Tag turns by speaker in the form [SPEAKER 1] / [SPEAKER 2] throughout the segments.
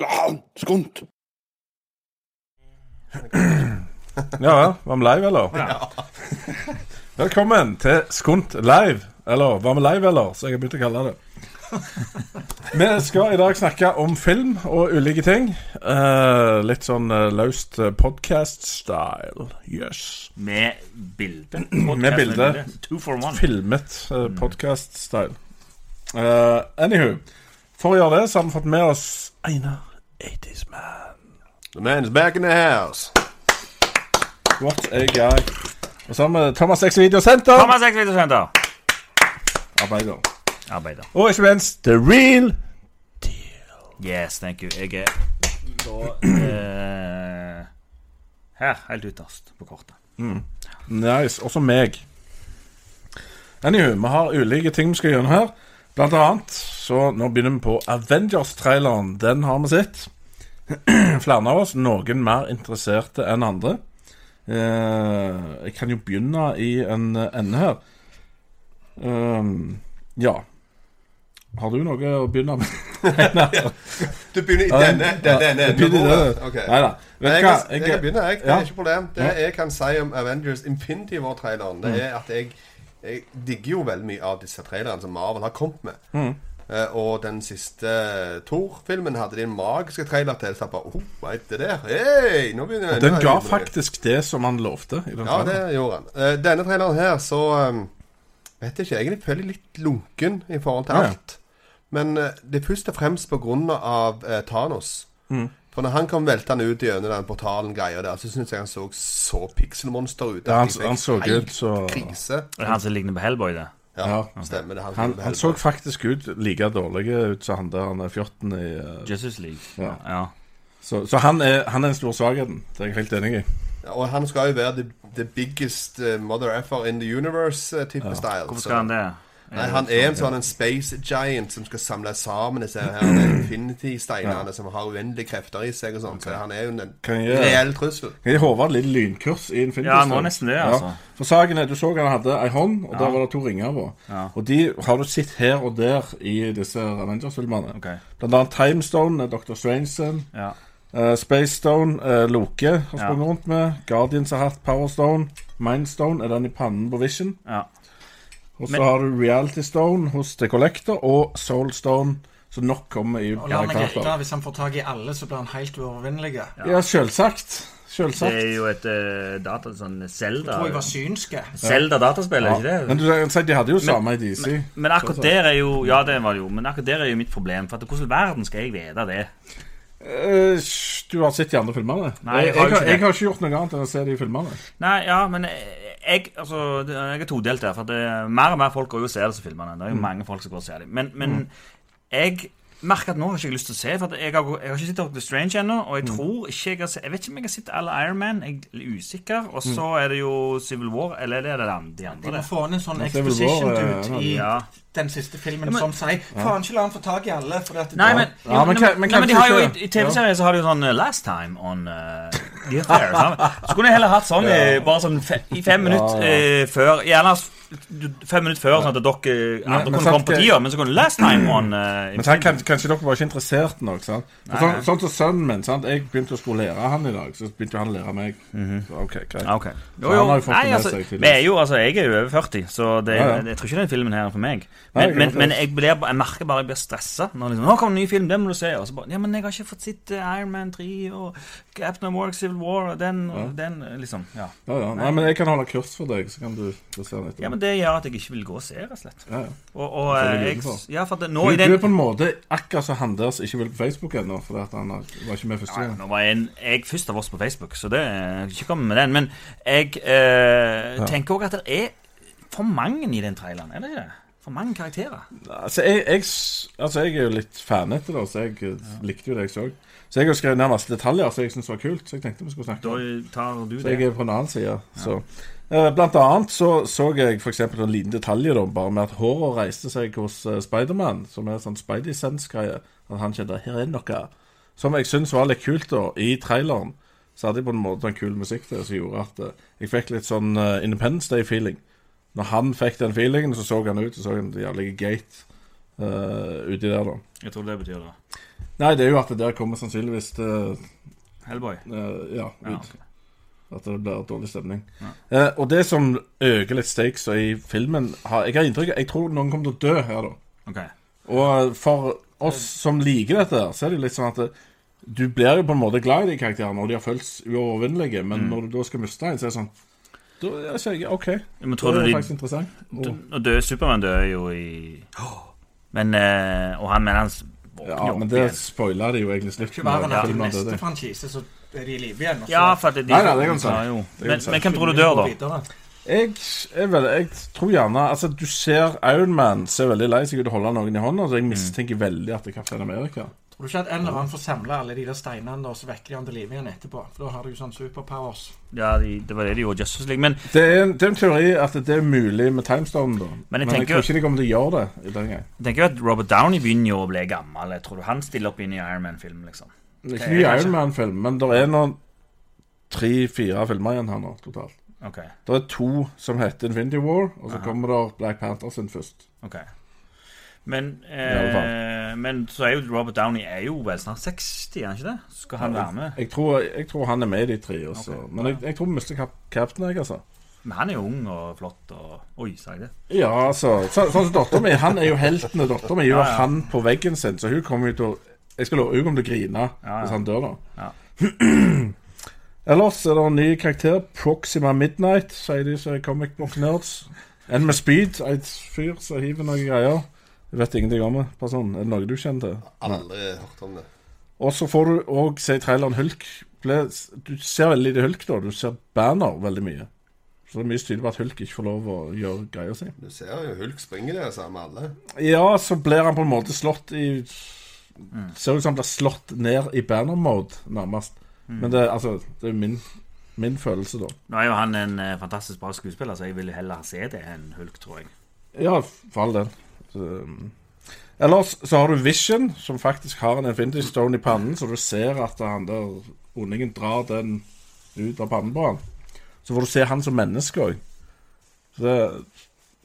[SPEAKER 1] Faen, skunt!
[SPEAKER 2] Ja, var vi live, eller? Velkommen til Skunt live. Eller var vi live, eller? Så jeg har begynt å kalle det. Vi skal i dag snakke om film og ulike ting. Eh, litt sånn eh, løst podkast-style. Yes.
[SPEAKER 3] Med bilde.
[SPEAKER 2] Med bilde.
[SPEAKER 3] Two for one.
[SPEAKER 2] Filmet eh, podcast-style. Eh, anywho, for å gjøre det, så har vi fått med oss Einar 80's Man.
[SPEAKER 4] The man's back in the house.
[SPEAKER 2] What a guy. Og så har vi Thomas X Videosenter.
[SPEAKER 3] Thomas X Videosenter.
[SPEAKER 2] Arbeider.
[SPEAKER 3] Arbeider.
[SPEAKER 2] Og ikke minst The Real
[SPEAKER 3] Yes, thank you. Jeg er da eh, her, helt ytterst på kortet.
[SPEAKER 2] Nice. Også meg. Anywho, vi har ulike ting vi skal gjennom her. Blant annet, så nå begynner vi på Avengers-traileren. Den har vi sett. Flere av oss, noen mer interesserte enn andre. Eh, jeg kan jo begynne i en eh, ende her. Um, ja. Har du noe å begynne med?
[SPEAKER 4] Du begynner i denne
[SPEAKER 2] Ja,
[SPEAKER 4] denne enden.
[SPEAKER 2] begynner i denne.
[SPEAKER 4] Ok.
[SPEAKER 2] Neida. Vet
[SPEAKER 4] Nei,
[SPEAKER 2] du
[SPEAKER 4] jeg,
[SPEAKER 2] hva?
[SPEAKER 4] kan- jeg
[SPEAKER 2] Jeg-
[SPEAKER 4] kan begynne, jeg. Det
[SPEAKER 2] Ja.
[SPEAKER 4] er ikke problem. Det jeg kan si om Avengers Infinity War-traileren, det er at jeg, jeg digger jo veldig mye av disse trailerne som Marvel har kommet med.
[SPEAKER 2] Mm.
[SPEAKER 4] Eh, og den siste Thor-filmen hadde de en magiske trailer til. Så jeg bare oh, vet det der? Hei, nå begynner jeg
[SPEAKER 2] Den
[SPEAKER 4] nå
[SPEAKER 2] ga
[SPEAKER 4] begynner jeg.
[SPEAKER 2] faktisk det som han lovte. I den
[SPEAKER 4] Ja,
[SPEAKER 2] traileren.
[SPEAKER 4] det gjorde han. Eh, denne traileren her, så eh, Vet jeg ikke. Jeg er føler litt lunken i forhold til
[SPEAKER 2] Ja, ja.
[SPEAKER 4] alt. Men eh, det er først og fremst på grunn av eh, Thanos.
[SPEAKER 2] Mm.
[SPEAKER 4] For når han kom veltende ut gjennom den portalen-greia der, så syns jeg han så så pikselmonster ut.
[SPEAKER 2] Ja, han-
[SPEAKER 4] at jeg fikk
[SPEAKER 2] han så
[SPEAKER 4] helt
[SPEAKER 2] ut, så-
[SPEAKER 4] Krise.
[SPEAKER 3] Det er han som ligner på Hellboy, det.
[SPEAKER 4] Ja,
[SPEAKER 2] Ja.
[SPEAKER 4] stemmer det. Han,
[SPEAKER 2] Han,
[SPEAKER 4] som
[SPEAKER 2] han
[SPEAKER 4] helst-
[SPEAKER 2] så faktisk ut like dårlig ut som han der han er fjotten i eh,
[SPEAKER 3] Jesus League.
[SPEAKER 2] Ja.
[SPEAKER 3] Ja.
[SPEAKER 2] Så, så han, er, han er den store svakheten. Det er jeg helt enig i.
[SPEAKER 4] Ja, Og han skal jo være the, the biggest eh, mother effer in the universe-type style.
[SPEAKER 3] Hvorfor
[SPEAKER 4] så-
[SPEAKER 3] skal han det?
[SPEAKER 4] Nei, han er en sånn en space giant som skal samle sammen disse her Infinity-steinene som har uendelige krefter i seg og sånn. Så han er jo en en
[SPEAKER 2] Kan jeg-
[SPEAKER 4] reell trussel.
[SPEAKER 2] Kan jeg håve et lite lynkurs i Infinity
[SPEAKER 3] Ja, han må
[SPEAKER 2] Stone?
[SPEAKER 3] nesten det, altså.
[SPEAKER 2] For saken er, Du så han hadde ei hånd, og der var det to ringer på.
[SPEAKER 3] Ja.
[SPEAKER 2] Og de har du sett her og der i disse Avengers-filmene.
[SPEAKER 3] Ok.
[SPEAKER 2] Blant annet Timestone, eh, Dr. Strangeson.
[SPEAKER 3] Ja.
[SPEAKER 2] Uh, Space Stone, eh, Loke har sprunget
[SPEAKER 3] Ja.
[SPEAKER 2] rundt med. Guardians har hatt Power Stone. Mindstone er den i pannen på Vision.
[SPEAKER 3] ja.
[SPEAKER 2] Og så
[SPEAKER 3] Men-
[SPEAKER 2] har du Reality Stone hos The Collector, og Soul Stone, som nok kommer i
[SPEAKER 5] La meg
[SPEAKER 2] Black
[SPEAKER 5] gjette,
[SPEAKER 2] Panther.
[SPEAKER 5] hvis han får tak i alle, så blir han helt uovervinnelig.
[SPEAKER 2] Ja, selvsagt.
[SPEAKER 3] Det
[SPEAKER 2] Selvsagt.
[SPEAKER 3] er jo et uh, data... Sånn Zelda
[SPEAKER 5] Tror jeg var synske.
[SPEAKER 3] Zelda-dataspill, er ikke
[SPEAKER 2] Ja.
[SPEAKER 3] det?
[SPEAKER 2] Men du kan si de hadde jo samme i DC.
[SPEAKER 3] Men akkurat der er jo Ja, det var det jo. Men akkurat der er jo mitt problem. For at hvordan i verden skal jeg vite det?
[SPEAKER 2] Eh, sj, du har sett de andre filmene?
[SPEAKER 3] Nei, jeg
[SPEAKER 2] jeg, har,
[SPEAKER 3] har jo ikke
[SPEAKER 2] jeg
[SPEAKER 3] det.
[SPEAKER 2] har ikke gjort noe annet enn å se de filmene.
[SPEAKER 3] Nei, ja, men jeg, altså, det- jeg er todelt her. For at det, mer og mer folk går jo og ser disse filmene. Det er jo
[SPEAKER 5] Mm.
[SPEAKER 3] mange folk som går og ser dem. Men, men jeg merker at nå har jeg ikke lyst til å se. For at jeg, har, jeg har ikke sett Doctor Strange ennå. Og jeg
[SPEAKER 5] Mm.
[SPEAKER 3] tror ikke jeg har sett Jeg vet ikke om jeg har sett alle Iron Man. Jeg er usikker. Og så er det jo Civil War. Eller er det det andre- de
[SPEAKER 5] Mm. De
[SPEAKER 3] andre?
[SPEAKER 5] må
[SPEAKER 3] det?
[SPEAKER 5] få inn en sånn
[SPEAKER 2] Men Civil War, eh,
[SPEAKER 5] exposition ut i
[SPEAKER 3] Ja.
[SPEAKER 5] den siste filmen
[SPEAKER 3] Ja, men-
[SPEAKER 5] som sier Faen, ikke la han få tak i alle. For at
[SPEAKER 3] Nei, men, jo,
[SPEAKER 2] Ja, men
[SPEAKER 3] nei,
[SPEAKER 2] kan- men
[SPEAKER 3] nei, men de har jo
[SPEAKER 2] kanskje
[SPEAKER 3] i,
[SPEAKER 2] ikke-
[SPEAKER 3] i TV-serier så har de jo sånn eh, Last Time on eh, The Affair. sant? Så kunne jeg heller hatt sånn eh, bare sånn fe, i fem minutter eh, før Gjerne s- du- fem minutter før, sånn at dere andre
[SPEAKER 2] men
[SPEAKER 3] kunne
[SPEAKER 2] sant,
[SPEAKER 3] komme på
[SPEAKER 2] det-
[SPEAKER 3] tida. Men så kunne Last Time on eh,
[SPEAKER 2] Men sant, kan, Kanskje dere var ikke interessert nok? sant? For
[SPEAKER 3] Nei,
[SPEAKER 2] Sånn
[SPEAKER 3] nei.
[SPEAKER 2] sånn som sønnen min. sant? Jeg begynte å skulle lære han i dag, så begynte han å lære meg. Så, ok, greit.
[SPEAKER 3] Mhm. Ja, ok. Jo,
[SPEAKER 2] Så
[SPEAKER 3] jo.
[SPEAKER 2] han har jo fått
[SPEAKER 3] Nei,
[SPEAKER 2] det med
[SPEAKER 3] altså,
[SPEAKER 2] seg, tydeligvis.
[SPEAKER 3] vi er jo, altså, jeg er jo over 40, så det,
[SPEAKER 2] Ja, ja.
[SPEAKER 3] jeg tror ikke den filmen her er for meg.
[SPEAKER 2] Nei,
[SPEAKER 3] Men,
[SPEAKER 2] jeg
[SPEAKER 3] men,
[SPEAKER 2] kan
[SPEAKER 3] men
[SPEAKER 2] forstå.
[SPEAKER 3] jeg, blir, bare- jeg merker bare jeg blir stressa. Når liksom, 'Nå kommer en ny film, den må du se.' Og så bare 'Ja, men jeg har ikke fått sett eh, Iron Man 3 og Captain America Civil War' og den, og den eh, liksom. Ja.
[SPEAKER 2] Ja, ja. Nei, men jeg kan holde kurs for deg, så kan du få se den etterpå.
[SPEAKER 3] ja, men det gjør at jeg ikke vil gå og se, rett og slett.
[SPEAKER 2] Ja, ja.
[SPEAKER 3] Og, og
[SPEAKER 2] er
[SPEAKER 3] eh,
[SPEAKER 2] det
[SPEAKER 3] jeg
[SPEAKER 2] utenfor.
[SPEAKER 3] Ja, for at det-
[SPEAKER 2] Du,
[SPEAKER 3] nå
[SPEAKER 2] du
[SPEAKER 3] i den
[SPEAKER 2] er på en måte akkurat som han deres ikke vil på Facebook ennå, fordi at han har- var ikke med første
[SPEAKER 3] Nei,
[SPEAKER 2] gang.
[SPEAKER 3] nå var jeg, en, jeg først av oss på Facebook, så det ikke kom med den. Men jeg eh, tenker òg at det er for mange i den traileren, er det ikke det? For mange karakterer.
[SPEAKER 2] Altså jeg, jeg, s- altså, jeg er jo litt fanete, da, så jeg eh, likte jo det jeg så. Så jeg har skrevet ned masse detaljer som jeg syntes var kult. Så jeg tenkte vi skulle snakke
[SPEAKER 3] Da
[SPEAKER 2] om det.
[SPEAKER 3] tar du
[SPEAKER 2] Så
[SPEAKER 3] det.
[SPEAKER 2] jeg er på en annen side. Så. Eh, Blant annet så så jeg f.eks. en liten detalj da, bare med at håret reiste seg hos eh, Spiderman, som er sånn Spidey Sense-greie. At han kjente 'her er noe'. Som jeg syns var litt kult, da, i traileren. Så hadde de på en måte en kul musikk der som gjorde at eh, jeg fikk litt sånn eh, Independence Day-feeling. Når han fikk den feelingen, så så han ut, så så han en jævlig gate eh, uti der, da.
[SPEAKER 3] Jeg tror det betyr det.
[SPEAKER 2] Nei, det er jo at det der kommer sannsynligvis til
[SPEAKER 3] Hellboy.
[SPEAKER 2] eh, Ja, ut.
[SPEAKER 3] Ja, ok.
[SPEAKER 2] At det blir dårlig stemning.
[SPEAKER 3] Ja.
[SPEAKER 2] Eh, og det som øker litt stakes i filmen har, Jeg har inntrykk av Jeg tror noen kommer til å dø her, da.
[SPEAKER 3] Ok.
[SPEAKER 2] Og eh, for oss som liker dette, her, så er det jo litt sånn at det, du blir jo på en måte glad i de karakterene, og de har føltes uovervinnelige, men når du da skal miste en, så er det sånn Da er det ikke OK.
[SPEAKER 3] Ja, Men
[SPEAKER 2] Da
[SPEAKER 3] tror
[SPEAKER 2] er
[SPEAKER 3] du
[SPEAKER 2] det
[SPEAKER 3] de
[SPEAKER 2] faktisk interessant. Og,
[SPEAKER 3] d- og døde Supermann døde jo i Men eh, Og han mener han s- våkner
[SPEAKER 2] ja,
[SPEAKER 3] opp
[SPEAKER 2] men det
[SPEAKER 3] igjen.
[SPEAKER 2] spoiler de jo egentlig
[SPEAKER 5] Ikke
[SPEAKER 2] slutten
[SPEAKER 5] verre enn
[SPEAKER 2] når
[SPEAKER 5] at i
[SPEAKER 2] filmen
[SPEAKER 5] neste
[SPEAKER 2] døde.
[SPEAKER 5] franchise så er de i live igjen. og så-
[SPEAKER 3] Ja, for at de
[SPEAKER 2] Nei, nei, det kan du si.
[SPEAKER 3] sa jo.
[SPEAKER 2] kan
[SPEAKER 3] Men,
[SPEAKER 2] du si.
[SPEAKER 3] men hvem tror du dør, da?
[SPEAKER 5] Videre.
[SPEAKER 2] Jeg, jeg, vel, jeg tror gjerne Altså, du ser Ironman ser veldig lei seg ut og holder noen i hånda, så jeg mistenker veldig at det er Kaptein Amerika.
[SPEAKER 5] Tror du ikke at en eller annen får samle alle de der steinene, og så vekker de han til live igjen etterpå? For da har du jo sånn superpowers.
[SPEAKER 3] Ja, de, Det var det de gjorde i Justice League. Men
[SPEAKER 2] Det er, en- det er en teori at det er mulig med Timestone, da.
[SPEAKER 3] Men jeg
[SPEAKER 2] men
[SPEAKER 3] tenker
[SPEAKER 2] jeg tror ikke de kommer til å gjøre det i den gang.
[SPEAKER 3] jeg tenker jo at Robert Downey begynner jo å bli gammel. Jeg tror du han stiller opp i en ny Iron Man-film,
[SPEAKER 2] Det
[SPEAKER 3] liksom?
[SPEAKER 2] er
[SPEAKER 3] Det
[SPEAKER 2] ikke
[SPEAKER 3] er
[SPEAKER 2] mye
[SPEAKER 3] kanskje-
[SPEAKER 2] Iron Man-film, men det er nå tre-fire filmer igjen her nå, totalt.
[SPEAKER 3] Ok,
[SPEAKER 2] Det er to som heter Infinity War, og så
[SPEAKER 3] Aha.
[SPEAKER 2] kommer der Black Panther sin først.
[SPEAKER 3] ok men,
[SPEAKER 2] alle
[SPEAKER 3] eh, men så er jo Robert Downey er jo vel snart 60, er han ikke det? Skal han være med?
[SPEAKER 2] Jeg tror, jeg tror han er med i de tre, også.
[SPEAKER 3] Ok.
[SPEAKER 2] men jeg, jeg tror vi mister kap Captain, jeg, altså.
[SPEAKER 3] Men han er jo ung og flott og Oi, sa jeg det?
[SPEAKER 2] Ja, altså. Så, sånn som dattera mi. Han er jo helten, og dattera mi er jo
[SPEAKER 3] Ja, ja.
[SPEAKER 2] han på veggen sin, så hun kommer jo til å Jeg skal love hun kommer til å grine
[SPEAKER 3] ja.
[SPEAKER 2] hvis han dør, da.
[SPEAKER 3] Ja.
[SPEAKER 2] Ellers er det en ny karakter, Proxima Midnight, sier de som er comic book nerds. En med speed, et fyr som hiver noen greier. Jeg vet ingenting om det. Person. Er det noe du kjenner til?
[SPEAKER 4] Aldri hørt om det.
[SPEAKER 2] Og så får du òg se i traileren Hulk. Ble, du ser veldig lite Hulk, da. Du ser Banner veldig mye. Så det er mye som tyder på at Hulk ikke får lov å gjøre greia si.
[SPEAKER 4] Du ser jo Hulk springer der sammen med alle.
[SPEAKER 2] Ja, så blir han på en måte slått i Ser ut som han blir slått ned i banner-mode, nærmest. Men det, er- altså, det er jo min, min følelse, da.
[SPEAKER 3] Nå er jo han en eh, fantastisk bra skuespiller, så jeg vil jo heller se det enn Hulk, tror jeg.
[SPEAKER 2] Ja, for all del. Så, um, Ellers så har du Vision, som faktisk har en Infinity Stone i pannen, så du ser at han der ondingen drar den ut av pannen på han. Så får du se han som menneske òg. Så det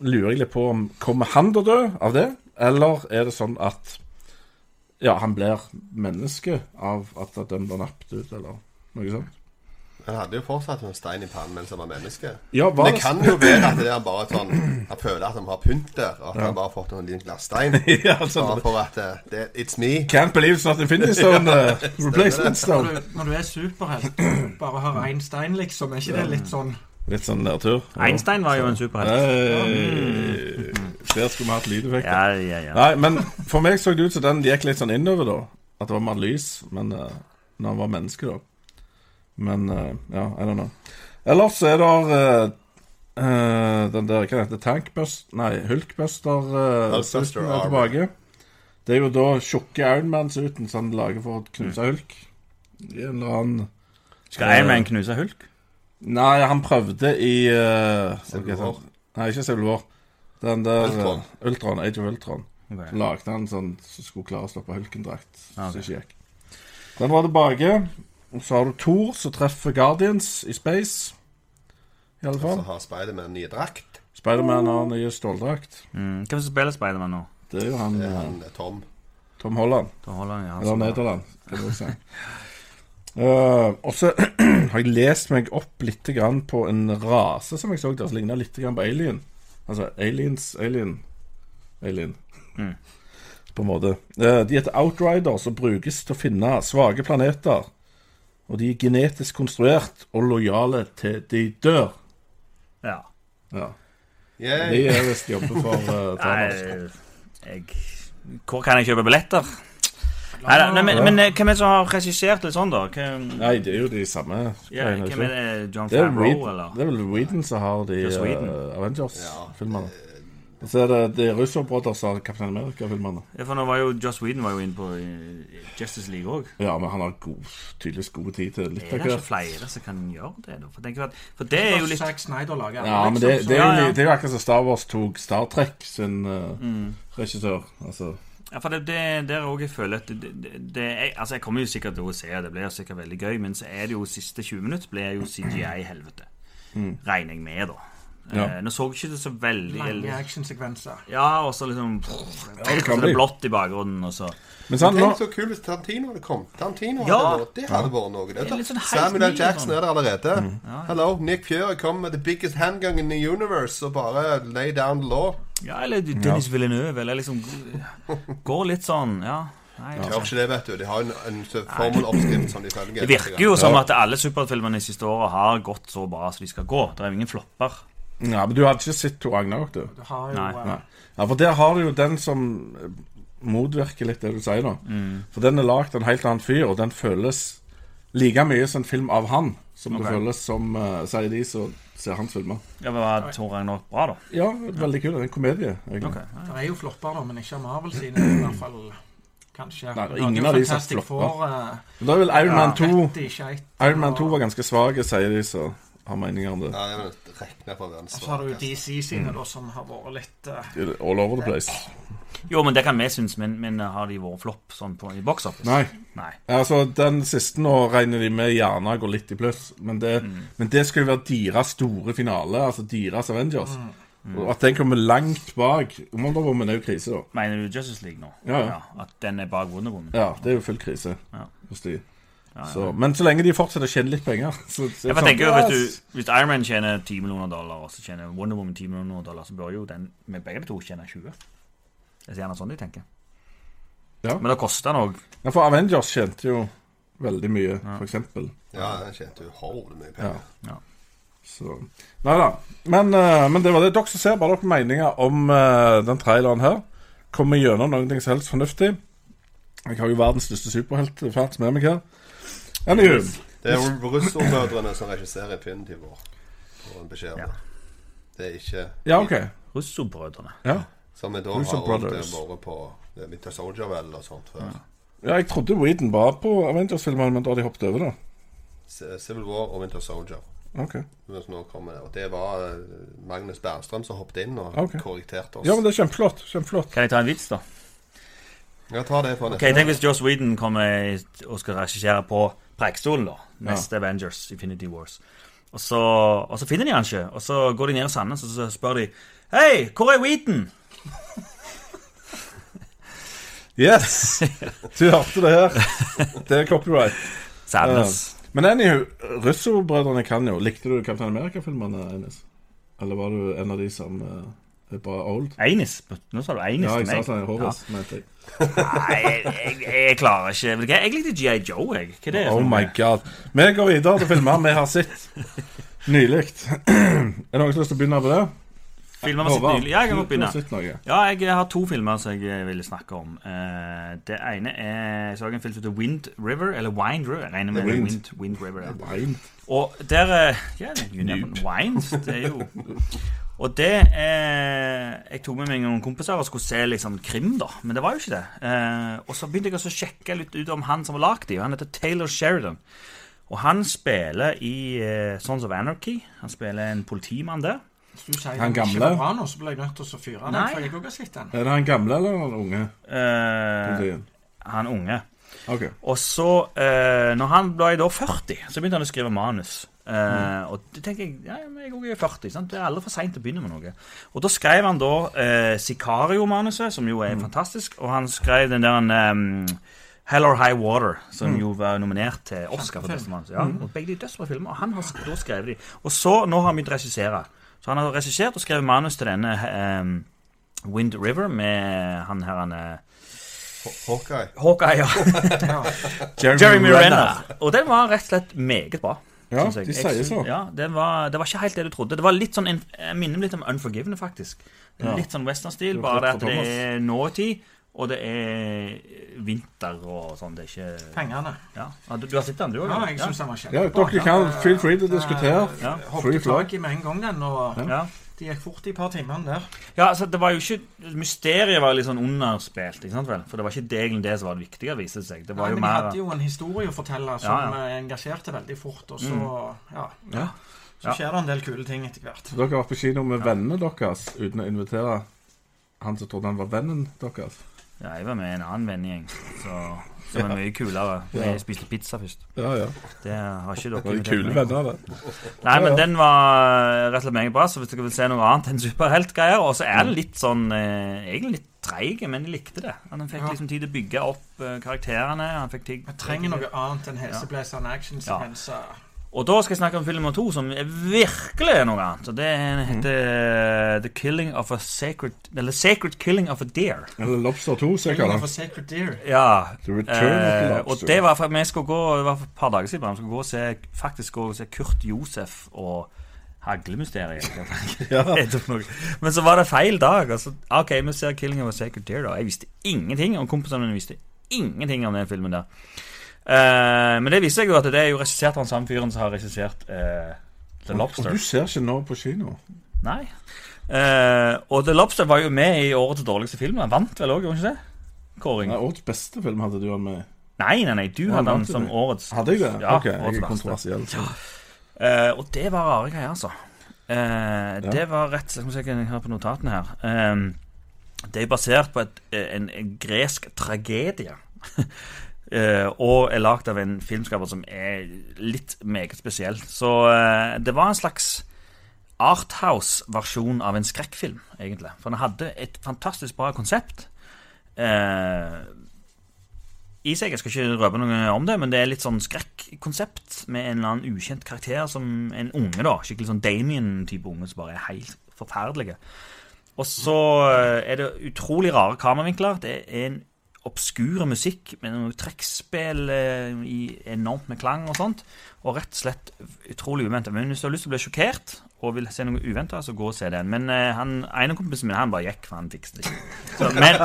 [SPEAKER 2] lurer jeg litt på om Kommer han til å dø av det, eller er det sånn at Ja, han blir menneske av at at den blir nappet ut, eller noe sånt?
[SPEAKER 4] Han hadde jo fortsatt en stein i pannen mens han var menneske.
[SPEAKER 2] Ja, hva
[SPEAKER 4] Men det kan jo være at det er bare sånn Han føler at han har pynt der, og at han bare har fått en liten glasstein.
[SPEAKER 2] ja,
[SPEAKER 4] Bare
[SPEAKER 2] sånn.
[SPEAKER 4] for at eh, det, It's me.
[SPEAKER 2] Can't believe it's not Infinity Stone. uh, replacement
[SPEAKER 5] Når
[SPEAKER 2] Stone.
[SPEAKER 5] du, når du er superhelt, bare har én stein, liksom, er ikke det litt sånn
[SPEAKER 2] Litt sånn nedtur. Ja.
[SPEAKER 3] Einstein var jo en superhelt.
[SPEAKER 2] Hey. Der skulle vi hatt lydeffekter.
[SPEAKER 3] Ja, ja, ja.
[SPEAKER 2] Nei, men for meg så det ut som den gikk litt sånn innover, da. At det var mer lys men, eh, når han var menneske, da. Men eh, ja, I don't know. Ellers så er det eh, eh, den der Hva heter det? Tankbust... Nei, Hulkbuster uh,
[SPEAKER 4] Hulkbuster
[SPEAKER 2] er
[SPEAKER 4] Armor.
[SPEAKER 2] tilbake. Det er jo da tjukke Ironman-suiten som han lager for å knuse Hulk. I en eller annen
[SPEAKER 3] Mm. Skal Iron Man knuse Hulk?
[SPEAKER 2] Nei, han prøvde i uh,
[SPEAKER 4] Civil War.
[SPEAKER 2] Nei, ikke Civil War. Den der
[SPEAKER 4] Ultron.
[SPEAKER 2] eh, Ultron, Age of Ultron.
[SPEAKER 3] Ok.
[SPEAKER 2] Så lagde han sånn som skulle klare å stoppe Hulken-drakt.
[SPEAKER 3] Ah,
[SPEAKER 2] Så
[SPEAKER 3] ok.
[SPEAKER 2] ikke gikk. Den var tilbake. Og så har du Thor, som treffer Guardians i space. I alle
[SPEAKER 4] Så
[SPEAKER 2] fall.
[SPEAKER 4] har Spiderman ny drakt.
[SPEAKER 2] Spiderman har nye ståldrakt.
[SPEAKER 3] Mm. Hvem som spiller Spiderman nå?
[SPEAKER 2] Det er jo han,
[SPEAKER 4] Det er
[SPEAKER 2] eh,
[SPEAKER 4] han eh, Tom.
[SPEAKER 2] Tom Holland.
[SPEAKER 3] Da holder han i
[SPEAKER 2] Eller
[SPEAKER 3] halsen.
[SPEAKER 2] Nederland, kan du si. Eh, og så har jeg lest meg opp litt grann på en rase som jeg så der, som ligna litt grann på alien. Altså aliens, alien, alien.
[SPEAKER 3] Mm.
[SPEAKER 2] På en måte. Eh, de heter outriders og brukes til å finne svake planeter. Og de er genetisk konstruert og lojale til de dør.
[SPEAKER 3] Ja.
[SPEAKER 2] Ja. De
[SPEAKER 4] Yay.
[SPEAKER 2] er visst jobber for eh, Thanos.
[SPEAKER 3] Nei, jeg Hvor kan jeg kjøpe billetter? Nei, nei, men, men eh, hvem er det som har regissert litt sånn, da? Hvem,
[SPEAKER 2] Nei, det er jo de samme
[SPEAKER 3] ja,
[SPEAKER 2] greiene.
[SPEAKER 3] hvem
[SPEAKER 2] ikke?
[SPEAKER 3] er det? eh, John
[SPEAKER 2] Det er, Reed,
[SPEAKER 3] Favreau, eller?
[SPEAKER 2] det er vel Whedon som har de
[SPEAKER 3] Joss Whedon.
[SPEAKER 2] eh, Avengers-filmerne.
[SPEAKER 4] Eh,
[SPEAKER 2] Og så er det de Russo Brothers som har Kaptein Amerika-filmerne.
[SPEAKER 3] Ja, for nå var jo Joss Whedon var jo inne på eh, Justice League òg.
[SPEAKER 2] Ja, men han har god, tydeligvis god tid til litt
[SPEAKER 3] Er det
[SPEAKER 2] av
[SPEAKER 3] ikke
[SPEAKER 2] hvert.
[SPEAKER 3] flere som kan gjøre det, da? For, tenk at, for det er jo litt
[SPEAKER 5] Zack Snyder lager Liksom,
[SPEAKER 2] Ja, men det, det, er
[SPEAKER 3] Ja,
[SPEAKER 2] jo,
[SPEAKER 3] ja.
[SPEAKER 2] det er jo akkurat som Star Wars tok Star Trek sin eh,
[SPEAKER 3] mm.
[SPEAKER 2] regissør. Altså,
[SPEAKER 3] Ja, for det, det der òg jeg føler at det, det, det jeg, Altså, jeg kommer jo sikkert til å se det, det blir sikkert veldig gøy, men så er det jo siste 20 minutter blir jo CGI-helvete.
[SPEAKER 2] Mm.
[SPEAKER 3] Regner jeg med, da.
[SPEAKER 2] Ja.
[SPEAKER 3] Eh, Nå så jeg ikke det så veldig
[SPEAKER 5] Lange actionsekvenser.
[SPEAKER 3] Ja, og så liksom
[SPEAKER 2] det
[SPEAKER 3] Så
[SPEAKER 2] kan
[SPEAKER 3] det
[SPEAKER 2] bli.
[SPEAKER 3] er blått i bakgrunnen, og så
[SPEAKER 2] Men sant, nå
[SPEAKER 4] Tenk så kult hvis Tarantino hadde kommet. Tarantino
[SPEAKER 3] Ja.
[SPEAKER 4] hadde vært, det hadde vært noe. Det.
[SPEAKER 3] Det er litt sånn helt
[SPEAKER 4] Samuel L.
[SPEAKER 3] ny,
[SPEAKER 4] Jackson
[SPEAKER 3] sånn.
[SPEAKER 4] er der allerede. Hello, Nick Fury kom med the biggest handgun in the universe og bare lay down the law.
[SPEAKER 3] Ja, eller Dennis Villeneuve, eller liksom Går litt sånn, ja. Nei, jeg vet
[SPEAKER 4] De har
[SPEAKER 3] ikke.
[SPEAKER 4] ikke det, vet du. De har en, en sånn formeloppskrift som de følger.
[SPEAKER 3] det virker jo som at alle superheltfilmene de siste åra har gått så bra som de skal gå. Det er jo ingen flopper.
[SPEAKER 2] Ja, men du hadde ikke sett Tor Agnar, vet du.
[SPEAKER 5] Du har jo
[SPEAKER 3] Nei.
[SPEAKER 5] eh,
[SPEAKER 2] Nei. Ja, for der har du jo den som eh, motvirker litt det du sier, da.
[SPEAKER 3] Mm.
[SPEAKER 2] For den er lagd av en helt annen fyr, og den føles like mye som en film av han som
[SPEAKER 3] Ok.
[SPEAKER 2] det føles som eh, sier de som ser hans filmer.
[SPEAKER 3] Ja, men Var Tor Ragnarok bra, da?
[SPEAKER 2] Ja, veldig kul. Det er en komedie. egentlig.
[SPEAKER 3] Ok, ja.
[SPEAKER 5] Det er jo flopper, da, men ikke av Marvel sine, i hvert fall. Kanskje.
[SPEAKER 2] Nei,
[SPEAKER 5] Vi
[SPEAKER 2] ingen
[SPEAKER 5] hadde jo
[SPEAKER 2] av de som
[SPEAKER 5] Fantastic
[SPEAKER 2] flopper.
[SPEAKER 5] Four, eh,
[SPEAKER 2] Men Da er vel Iron Man 2
[SPEAKER 5] Rett i skjeit.
[SPEAKER 2] Iron Man 2 var ganske svak, sier de som har meninger om det.
[SPEAKER 4] Ja, det er vel regna for verdens
[SPEAKER 5] Og Så har du jo
[SPEAKER 4] svakeste.
[SPEAKER 5] DC sine, da, som har vært litt eh,
[SPEAKER 2] All over the place.
[SPEAKER 3] Jo, men det kan vi synes, men, men har de vært flopp sånn på, i box office?
[SPEAKER 2] Nei.
[SPEAKER 3] Nei.
[SPEAKER 2] Altså, den siste nå regner de med gjerne går litt i pluss, men det,
[SPEAKER 3] Mm.
[SPEAKER 2] men det skal jo være deres store finale, altså deres Avengers.
[SPEAKER 3] Mm.
[SPEAKER 2] Og at den kommer langt bak Wonderwoman er jo krise, da.
[SPEAKER 3] Mener du Justice League nå?
[SPEAKER 2] Ja, ja.
[SPEAKER 3] At den er bak Wonder Woman?
[SPEAKER 2] Ja, det er jo full krise
[SPEAKER 3] Ja.
[SPEAKER 2] hos de.
[SPEAKER 3] ja.
[SPEAKER 2] Så, men så lenge de fortsetter å tjene litt penger så, så,
[SPEAKER 3] Jeg bare tenker jo,
[SPEAKER 2] sånn,
[SPEAKER 3] vet
[SPEAKER 2] yes.
[SPEAKER 3] du, Hvis Iron Man tjener 10 millioner dollar, og så tjener Wonder Woman 10 millioner dollar, så bør jo den med begge de to tjene 20. Det er gjerne sånn de tenker.
[SPEAKER 2] Ja.
[SPEAKER 3] Men det koster den òg.
[SPEAKER 2] Ja, for Avengers tjente jo veldig mye, for eksempel.
[SPEAKER 4] Ja, den tjente uhorvelig mye
[SPEAKER 2] Ja.
[SPEAKER 4] penger.
[SPEAKER 2] Så Nei da. Men, eh, men det var det. Dere som ser, bare dere meninger om eh, den traileren her. Kommer gjennom noen ting som helst fornuftig. Jeg har jo verdens største superheltfans med meg her. Anywho.
[SPEAKER 4] Det er jo russermødrene som regisserer Infinity War. For en beskjed om
[SPEAKER 3] Ja.
[SPEAKER 4] det. Det er ikke
[SPEAKER 2] Ja, OK.
[SPEAKER 3] Russobrødrene.
[SPEAKER 2] Ja.
[SPEAKER 4] Som vi da
[SPEAKER 2] Russo
[SPEAKER 4] har rundt
[SPEAKER 2] Brothers.
[SPEAKER 4] det bare på eh, Winter Soldier vel og sånt før.
[SPEAKER 2] ja jeg trodde Weeden var på Avengers-filmene, men da har de hoppet over, da.
[SPEAKER 4] C- Civil War og Winter Soldier.
[SPEAKER 2] Ok.
[SPEAKER 4] Mens nå kommer det. Og det var eh, Magnus Bernstrøm som hoppet inn og
[SPEAKER 2] Ok.
[SPEAKER 4] korrigerte oss.
[SPEAKER 2] Ja, men det er kjempeflott. Kjempeflott.
[SPEAKER 3] Kan jeg ta en vits, da?
[SPEAKER 4] Jeg tar det fra
[SPEAKER 3] Ok,
[SPEAKER 4] neste.
[SPEAKER 3] Tenk hvis Joss Whedon kommer i- og skal regissere på Preikestolen, da. Neste Avengers, Infinity Wars. Og så, og så finner de han ikke. Og så går de ned i Sandnes og så spør de Hei, hvor er Whedon?
[SPEAKER 2] Yes! Du hørte det her. Det er copyright.
[SPEAKER 3] Sandnes.
[SPEAKER 2] Men anywho, Russo-brødrene kan jo. Likte du Kaptein Amerika-filmene, Eines? Eller var du en av de som eh, er bare old?
[SPEAKER 3] Einis. Nå sa du Einis
[SPEAKER 2] Ja, jeg
[SPEAKER 3] til
[SPEAKER 2] sa
[SPEAKER 3] meg.
[SPEAKER 2] sånn Horace, mente jeg.
[SPEAKER 3] Nei, jeg, jeg, jeg klarer ikke. Vet du hva, Jeg likte GI Joe, jeg. Hva er sånn det?
[SPEAKER 2] Oh my god. Vi går videre til filmer vi har sett nylig. Er det noen som har lyst til å begynne på det?
[SPEAKER 3] Filmer med sitt
[SPEAKER 2] Håvard,
[SPEAKER 3] nylig. Ja, jeg kan
[SPEAKER 2] du-
[SPEAKER 3] godt begynne.
[SPEAKER 2] Du har sett noe.
[SPEAKER 3] Ja, jeg har to filmer som jeg ville snakke om. Eh, det ene er jeg så en film som heter Wind River, eller Wind River. Jeg regner med
[SPEAKER 2] The
[SPEAKER 3] Wind.
[SPEAKER 2] Wind.
[SPEAKER 3] Wind, River. Ja.
[SPEAKER 2] Nei.
[SPEAKER 3] Og der eh, Ja, you never wines, det er jo Og det eh, Jeg tok med meg noen kompiser og skulle se liksom krim, da. Men det var jo ikke det. Eh, og så begynte jeg også å sjekke litt ut om han som har lagd dem. Han heter Taylor Sheridan. Og han spiller i eh, Sons of Anarchy. Han spiller en politimann der.
[SPEAKER 5] Hvis du sier
[SPEAKER 2] Han
[SPEAKER 5] den ikke
[SPEAKER 2] gamle?
[SPEAKER 5] var bra nå, så ble jeg nødt til å fyre den.
[SPEAKER 3] Nei.
[SPEAKER 5] For jeg også har sett den.
[SPEAKER 2] Er det han gamle eller han unge?
[SPEAKER 3] Eh,
[SPEAKER 2] Politien?
[SPEAKER 3] han unge.
[SPEAKER 2] Ok.
[SPEAKER 3] Og så, eh, når han ble da 40, så begynte han å skrive manus. Eh, Og det tenker jeg ja, men jeg òg er 40. sant? Det er aldri for seint å begynne med noe. Og da skrev han da eh, Sicario-manuset, som jo er fantastisk, og han skrev den der um, Hell or High Water, som jo var nominert til Oscar for beste manus. Ja, og begge de er dødsbra filmer, og han har sk- da skrevet de. Og så, nå har han begynt å regissere. Så han har regissert og skrevet manus til denne ehm, Wind River med han her han eh,
[SPEAKER 4] Haw- Hawkeye.
[SPEAKER 3] Hawkeye, ja. Jeremy Renner. Og den var rett og slett meget bra.
[SPEAKER 2] Ja,
[SPEAKER 3] synes jeg.
[SPEAKER 2] de
[SPEAKER 3] Jeg
[SPEAKER 2] sier
[SPEAKER 3] synes-
[SPEAKER 2] så.
[SPEAKER 3] Ja, den var, det var ikke helt det du trodde. Det var litt sånn, Jeg minner meg litt om Unforgiven, faktisk. Litt sånn
[SPEAKER 2] Det
[SPEAKER 3] westernstil,
[SPEAKER 2] var klart
[SPEAKER 3] bare det at
[SPEAKER 2] for
[SPEAKER 3] det
[SPEAKER 2] Thomas.
[SPEAKER 3] er nåtid, og det er vinter og sånn. Det er ikke
[SPEAKER 5] Pengene.
[SPEAKER 3] Ja, ja du, du har sett den, du òg?
[SPEAKER 5] Ja, jeg syns den var
[SPEAKER 2] Ja,
[SPEAKER 5] kjempebra.
[SPEAKER 2] dere kan feel free til å
[SPEAKER 5] Det-
[SPEAKER 2] diskutere.
[SPEAKER 3] Ja.
[SPEAKER 2] Free
[SPEAKER 5] Hoppet
[SPEAKER 2] flow.
[SPEAKER 5] tak i med en gang, den. Og
[SPEAKER 3] ja.
[SPEAKER 5] det gikk fort i et par timene der.
[SPEAKER 3] Ja, altså det var jo ikke Mysteriet var litt sånn underspilt, ikke sant vel? For det var ikke det egentlig det som var det viktige, viste det seg. Det var jo
[SPEAKER 5] Nei, men de
[SPEAKER 3] mer
[SPEAKER 5] hadde jo en historie å fortelle som
[SPEAKER 3] Ja, Mm. ja.
[SPEAKER 5] eh, engasjerte veldig fort, og så ja.
[SPEAKER 3] Ja. Ja.
[SPEAKER 5] Så skjer det en del kule ting etter hvert.
[SPEAKER 2] Dere har vært på kino med vennene deres uten å invitere han som trodde han var vennen deres.
[SPEAKER 3] Ja, jeg var med en annen vennegjeng så- som er mye kulere. Vi spiste pizza først.
[SPEAKER 2] Ja, ja.
[SPEAKER 3] Det har ikke dere
[SPEAKER 2] Det var de
[SPEAKER 3] invitert
[SPEAKER 2] kule
[SPEAKER 3] meg på.
[SPEAKER 2] venner, det.
[SPEAKER 3] Nei, men den var eh, rett og slett meget bra, så hvis dere vil se noe annet enn superheltgreier Og så er det litt sånn eh, Egentlig litt treige, men de likte det. Han fikk
[SPEAKER 5] Ja.
[SPEAKER 3] liksom tid til å bygge opp eh, karakterene. Han fikk tid
[SPEAKER 5] Jeg trenger noe annet enn heseblesende actionsekvenser.
[SPEAKER 3] Og da skal jeg snakke om film nummer to, som er virkelig er noe annet. Og det
[SPEAKER 5] Mhm.
[SPEAKER 3] heter eh, The Killing of a Sacred Eller Sacred Killing of a Deer.
[SPEAKER 2] Eller Lobster 2, som jeg kaller
[SPEAKER 5] For
[SPEAKER 2] det.
[SPEAKER 5] Sacred Deer.
[SPEAKER 3] Ja.
[SPEAKER 2] The Return of the
[SPEAKER 3] Eh, og
[SPEAKER 2] Lobster.
[SPEAKER 3] det var for at vi skulle gå Det var for et par dager siden bare, vi skulle gå og se, faktisk gå og se Kurt Josef og Haglemysteriet.
[SPEAKER 2] Ja.
[SPEAKER 3] Jeg tok noe. Men så var det feil dag. Altså, ok, vi ser 'Killing of a Sacred Deer', da. Jeg visste ingenting, og kompisene mine visste ingenting om den filmen der. Eh, men det visste jeg jo at det er jo regissert av den samme fyren som har regissert eh, The Lobster.
[SPEAKER 2] Og du ser ikke nå på kino.
[SPEAKER 3] Nei. Eh, og The Lobster var jo med i årets dårligste film. Han vant vel òg, gjorde han ikke det? Kåring.
[SPEAKER 2] Nei, Årets beste film hadde du han med.
[SPEAKER 3] Nei, nei, nei, du
[SPEAKER 2] Å, vant
[SPEAKER 3] hadde den
[SPEAKER 2] altså, du
[SPEAKER 3] som
[SPEAKER 2] det?
[SPEAKER 3] årets.
[SPEAKER 2] Hadde jeg det?
[SPEAKER 3] Ja,
[SPEAKER 2] ok, jeg
[SPEAKER 3] årets
[SPEAKER 2] er
[SPEAKER 3] verste.
[SPEAKER 2] kontroversiell. så.
[SPEAKER 3] Eh, og det var rare greier, altså. Eh,
[SPEAKER 2] Ja.
[SPEAKER 3] Det var rett Skal vi se hva jeg har på notatene her. Eh, det er basert på et, eh, en, en gresk tragedie. Eh, og er lagd av en filmskaper som er litt meget spesiell. Så eh, det var en slags arthouse-versjon av en skrekkfilm, egentlig. For den hadde et fantastisk bra konsept. Eh, i seg, Jeg skal ikke røpe noe om det, men det er litt sånn skrekkonsept med en eller annen ukjent karakter som en unge, da. Skikkelig sånn Damien-type unge som bare er helt forferdelige. Og så eh, er det utrolig rare kameravinkler. Det er en obskure musikk med noe trekkspill eh, i enormt med klang og sånt. Og rett og slett utrolig uventa. Men hvis du har lyst til å bli sjokkert og vil se noe uventa, så gå og se den. Men eh, han ene kompisen min han bare gikk, for han fikset det ikke. Så, men,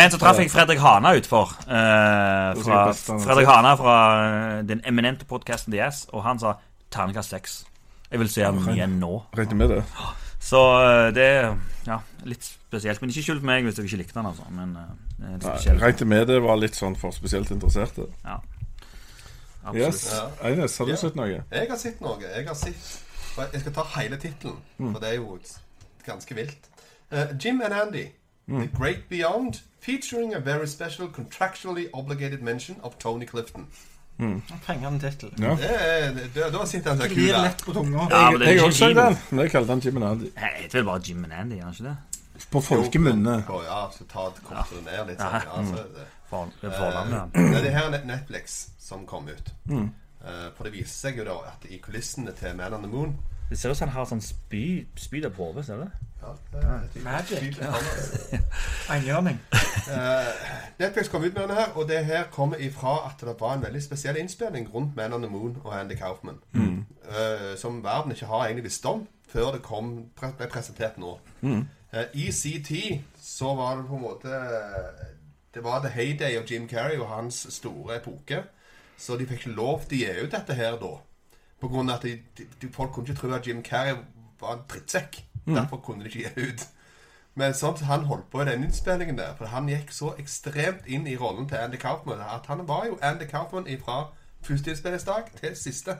[SPEAKER 3] men så traff jeg Fredrik Hana utfor. eh, fra, Fredrik Hana fra eh, den eminente podkasten DS, og han sa terningkast seks. Jeg vil se ham igjen nå.
[SPEAKER 2] Regner med det.
[SPEAKER 3] Så eh, det er ja, litt spesielt. Men ikke skyld på meg hvis dere ikke likte den. Altså. Men eh, det er litt
[SPEAKER 2] Nei,
[SPEAKER 3] spesielt.
[SPEAKER 2] Regnet med det var litt sånn for spesielt interesserte.
[SPEAKER 3] Absolutt.
[SPEAKER 2] Yes. Eines, har du
[SPEAKER 4] Ja.
[SPEAKER 2] sett noe?
[SPEAKER 4] Jeg har sett noe. Jeg har sett og Jeg skal ta hele tittelen, for det er jo ganske vilt. Eh, Jim and Andy, The Great Beyond, featuring a very special contractually obligated mention of Tony Clifton.
[SPEAKER 5] Fengende tittel.
[SPEAKER 2] Ja.
[SPEAKER 4] Det er, det, da- da sitter han så kul
[SPEAKER 5] Glir
[SPEAKER 4] der.
[SPEAKER 5] lett på tunga.
[SPEAKER 3] Ja, men det
[SPEAKER 2] Jeg har
[SPEAKER 3] er jo
[SPEAKER 2] også
[SPEAKER 3] ikke
[SPEAKER 2] sett
[SPEAKER 3] kino.
[SPEAKER 2] den, men jeg kalte den Jim and Andy.
[SPEAKER 3] Nei, Det heter vel bare Jim and Andy, gjør det ikke det?
[SPEAKER 2] På folkemunne.
[SPEAKER 4] Jo, Ja, så ta et kort og ned litt. Sånn, ja, så, det.
[SPEAKER 3] For,
[SPEAKER 4] Eh,
[SPEAKER 3] forlandet.
[SPEAKER 4] det er det her er Netflix som kom ut. Eh, for det viser seg jo da at i kulissene til Man on the Moon
[SPEAKER 3] Det ser ut som han har sånn spy, spyd av hodet, ser du det?
[SPEAKER 4] ja, det er typ-
[SPEAKER 5] Magic.
[SPEAKER 4] typ- ja.
[SPEAKER 5] Enhjørning.
[SPEAKER 4] Eh, Netflix kom ut med denne her, og det her kommer ifra at det var en veldig spesiell innspilling rundt Man on the Moon og Andy Kaufman. Eh, som verden ikke har egentlig visst om før det kom, pre ble presentert nå. Eh, I CT så var det på en måte Det var the heyday av Jim Carrey og hans store epoke. Så de fikk ikke lov til å gi ut dette her da. På grunn av at de, de, de, folk kunne ikke tro at Jim Carrey var en drittsekk. Derfor kunne de ikke gi ut. Men sånn som han holdt på i den innspillingen der, for han gikk så ekstremt inn i rollen til Andy Kaufman, at han var jo Andy Kaufman fra første innspillingsdag til siste.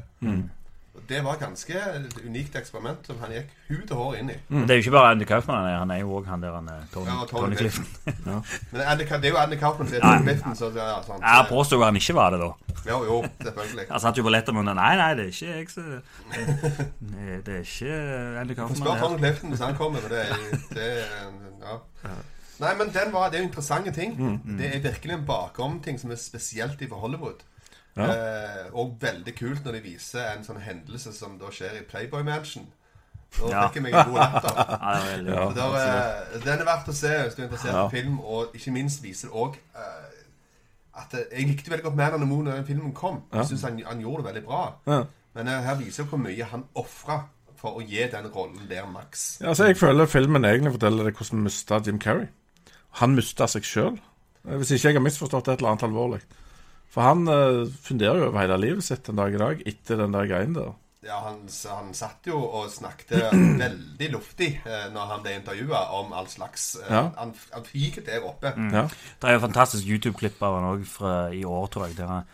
[SPEAKER 4] Og det var ganske et unikt eksperiment som han gikk hud og hår inn i.
[SPEAKER 3] Det er jo ikke bare Andy Kaufman, han er- han er jo òg han der han, eh, Tony,
[SPEAKER 4] Ja, Tony
[SPEAKER 3] Tony Clifton.
[SPEAKER 4] Men Andy, Ka- det er jo Andy Kaufman som er Tony Clifton, så ja, sant.
[SPEAKER 3] Jeg påstår jo han ikke var det, da.
[SPEAKER 4] Jo, jo, selvfølgelig.
[SPEAKER 3] Han satt jo på Letterman og Nei, nei, det er ikke jeg som Nei, Det er ikke Andy
[SPEAKER 4] Får
[SPEAKER 3] Kaufman.
[SPEAKER 4] spørre
[SPEAKER 3] det her.
[SPEAKER 4] Tony Clifton hvis han kommer, men det er det, er- ja. Nei, men den var, det er jo interessante ting.
[SPEAKER 2] Mm,
[SPEAKER 4] Det er virkelig en bakomting som er spesielt i for Hollywood.
[SPEAKER 2] Ja.
[SPEAKER 4] Eh, og veldig kult når de viser en sånn hendelse som da skjer i Playboy Mansion. Da
[SPEAKER 3] Ja.
[SPEAKER 4] fikk jeg meg en god latter.
[SPEAKER 3] Ja, det er veldig bra.
[SPEAKER 4] Så der, eh, den er verdt å se hvis du er interessert
[SPEAKER 2] Ja.
[SPEAKER 4] i film, og ikke minst viser det òg at eh, Jeg likte veldig godt Man on the Moon da den filmen kom. Jeg synes han, han gjorde det veldig bra.
[SPEAKER 2] Ja.
[SPEAKER 4] Men eh, her viser jo hvor mye han ofra for å gi den rollen der maks.
[SPEAKER 2] Ja, altså, jeg føler filmen egentlig forteller deg hvordan vi mista Jim Carrey. Han mista seg sjøl. Hvis ikke jeg har misforstått et eller annet alvorlig. For han eh, funderer jo over hele livet sitt en dag i dag etter den der greien der.
[SPEAKER 4] Ja, han, s- han satt jo og snakket veldig luftig eh, når han ble intervjua om all slags eh,
[SPEAKER 2] Ja.
[SPEAKER 4] Han, han fiket der oppe.
[SPEAKER 3] Mm.
[SPEAKER 2] Ja.
[SPEAKER 3] Det er jo et fantastisk YouTube-klipp av han òg fra i år, tror jeg. Der han-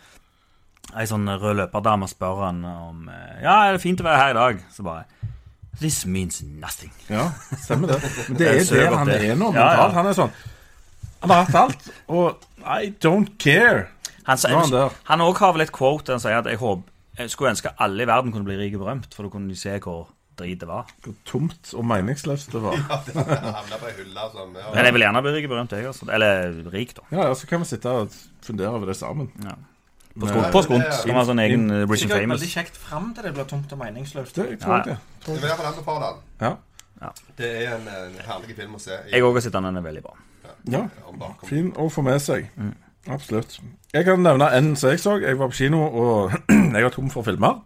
[SPEAKER 3] ei sånn rød løperdame spør han om eh, Ja, er det fint å være her i dag? Så bare This means nothing.
[SPEAKER 2] ja, stemmer det. Men det er
[SPEAKER 3] Jeg ser
[SPEAKER 2] der
[SPEAKER 3] at
[SPEAKER 2] han
[SPEAKER 3] det-
[SPEAKER 2] er nå.
[SPEAKER 3] Ja, ja.
[SPEAKER 2] mentalt. Han er sånn Han har hatt alt. Og I don't care.
[SPEAKER 3] Han, sa-
[SPEAKER 2] Nå er han der.
[SPEAKER 3] han også har vel et quote der han sier at jeg, håper, jeg skulle ønske alle i verden kunne bli rike og berømt, for da kunne de se hvor drit det var.
[SPEAKER 2] Hvor tomt og meningsløst det var.
[SPEAKER 4] Ja, det havna på ei hylle som ja.
[SPEAKER 3] Men jeg vil gjerne bli rik og berømt, jeg. Altså. Eller rik, da.
[SPEAKER 2] Ja, ja, så kan vi sitte og fundere over det sammen.
[SPEAKER 3] Ja.
[SPEAKER 2] Men-
[SPEAKER 3] På skunt. På skunt.
[SPEAKER 4] Ja, ja.
[SPEAKER 3] Kan være sånn egen eh, rich and
[SPEAKER 5] Sikkert veldig
[SPEAKER 3] famous.
[SPEAKER 5] kjekt fram til det blir tomt og meningsløst.
[SPEAKER 2] Det, jeg tror
[SPEAKER 3] Ja.
[SPEAKER 2] det.
[SPEAKER 4] Jeg vil iallfall anbefale den.
[SPEAKER 2] Ja.
[SPEAKER 4] Det er en, en herlig film å se. i-
[SPEAKER 3] Jeg òg har sett den, den er veldig bra.
[SPEAKER 2] ja.
[SPEAKER 4] om bakom.
[SPEAKER 2] Fin å få med seg. Absolutt. Jeg kan nevne en som jeg så. Jeg var på kino, og jeg var tom for filmer.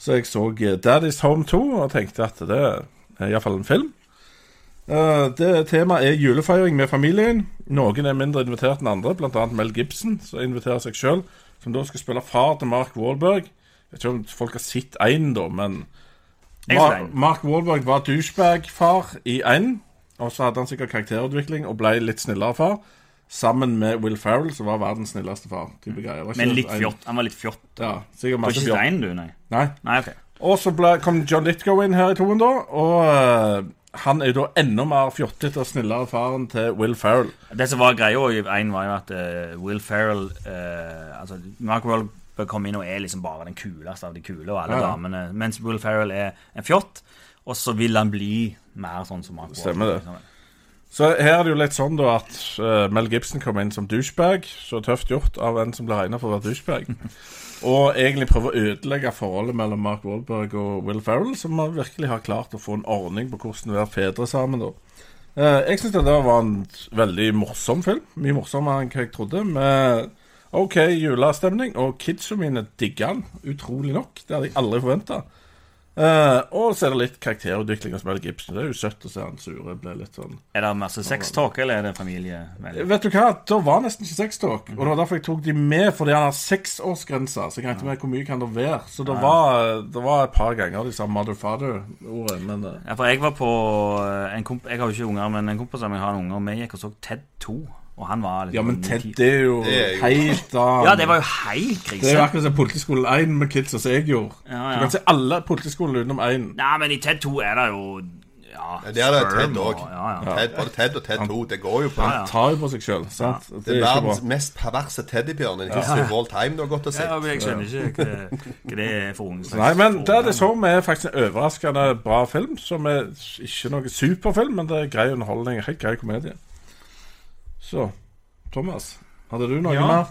[SPEAKER 2] Så jeg så eh, Daddy's Home 2 og tenkte at det er iallfall en film. Eh, Det Temaet er julefeiring med familien. Noen er mindre invitert enn andre, bl.a. Mel Gibson, som inviterer seg sjøl, som da skal spille far til Mark Wahlberg. Jeg vet ikke om folk har sett én, da, men
[SPEAKER 3] Jeg har sett
[SPEAKER 2] Mar
[SPEAKER 3] en.
[SPEAKER 2] Mark Wahlberg var douchebag-far i én, og så hadde han sikkert karakterutvikling og ble litt snillere far. Sammen med Will Ferrell, som var verdens snilleste far. type greier. Var ikke
[SPEAKER 3] Mm. Men
[SPEAKER 2] det
[SPEAKER 3] litt
[SPEAKER 2] en-
[SPEAKER 3] fjott. Han var litt fjott.
[SPEAKER 2] Ja, sikkert
[SPEAKER 3] Du har
[SPEAKER 2] masse
[SPEAKER 3] ikke
[SPEAKER 2] fjott.
[SPEAKER 3] sett en, du? Nei.
[SPEAKER 2] Nei.
[SPEAKER 3] Nei, ok.
[SPEAKER 2] Og så ble, kom John Lithgow inn her i toen, da. Og eh, han er jo da enda mer fjottete og snillere faren til Will Ferrell.
[SPEAKER 3] Det som var greia i en var jo at eh, Will Ferrell eh, Altså, Mark Wahlberg kom inn og er liksom bare den kuleste av de kule, og alle
[SPEAKER 2] Ja, ja.
[SPEAKER 3] damene. Mens Will Ferrell er en fjott, og så vil han bli mer sånn som Mark
[SPEAKER 2] Stemmer det.
[SPEAKER 3] liksom.
[SPEAKER 2] Så her er det jo litt sånn da at eh, Mel Gibson kom inn som douchebag. Så tøft gjort av en som ble regna for å være douchebag. Og egentlig prøve å ødelegge forholdet mellom Mark Wahlberg og Will Ferrell, som har virkelig har klart å få en ordning på hvordan være fedre sammen. da. Eh, jeg syns det der var en veldig morsom film. Mye morsommere enn hva jeg trodde. Med OK julestemning, og kidsa mine digger den. Utrolig nok. Det hadde jeg aldri forventa. og så er det litt karakterutvikling hos Mel Gibson. Det er jo søtt å se han sure bli litt sånn
[SPEAKER 3] Er det masse sextalk, eller er det familievennlig?
[SPEAKER 2] Vet du hva, da var nesten ikke sextalk. Og det var derfor jeg tok de med, fordi han har seksårsgrense. Så jeg regnet med hvor mye kan det være. Så det var, det var et par ganger de sa mother-father-ordet, men eh,
[SPEAKER 3] Ja, for jeg var på eh, en komp Jeg har jo ikke unger, men en kompis av meg har en unger, og vi gikk og så Ted 2, og han var liksom
[SPEAKER 2] Ja, men
[SPEAKER 3] ni-
[SPEAKER 2] Ted, det er jo
[SPEAKER 4] Det er jo-
[SPEAKER 2] helt av
[SPEAKER 3] Ja, det var jo helt
[SPEAKER 2] Det er jo
[SPEAKER 3] krise.
[SPEAKER 2] akkurat som Politiskolen 1 med kidsa som jeg gjorde.
[SPEAKER 3] Ja,
[SPEAKER 2] Du
[SPEAKER 3] ja.
[SPEAKER 2] kan se alle politiskoler utenom én.
[SPEAKER 3] Nei, men i Ted 2 er det jo Ja,
[SPEAKER 4] Ja, det er det
[SPEAKER 3] sperm
[SPEAKER 4] Ted
[SPEAKER 3] og-
[SPEAKER 4] også.
[SPEAKER 3] Ja, ja.
[SPEAKER 4] Ted, både Ted og Ted 2. Det går jo på.
[SPEAKER 2] Han tar jo på seg sjøl, sant?
[SPEAKER 4] Det
[SPEAKER 2] Det
[SPEAKER 4] er
[SPEAKER 2] er ikke bra.
[SPEAKER 4] verdens mest perverse teddybjørn. Det er ikke så all time du har gått og
[SPEAKER 3] Ja,
[SPEAKER 4] sett.
[SPEAKER 3] men jeg skjønner ikke hva, hva det er for unge. slags
[SPEAKER 2] Nei, men
[SPEAKER 3] forhold.
[SPEAKER 2] Daddy's Home er faktisk en overraskende bra film. Som er ikke noe superfilm, men det er grei underholdning. Helt grei komedie. Så Thomas, hadde du noe
[SPEAKER 5] Ja.
[SPEAKER 2] mer?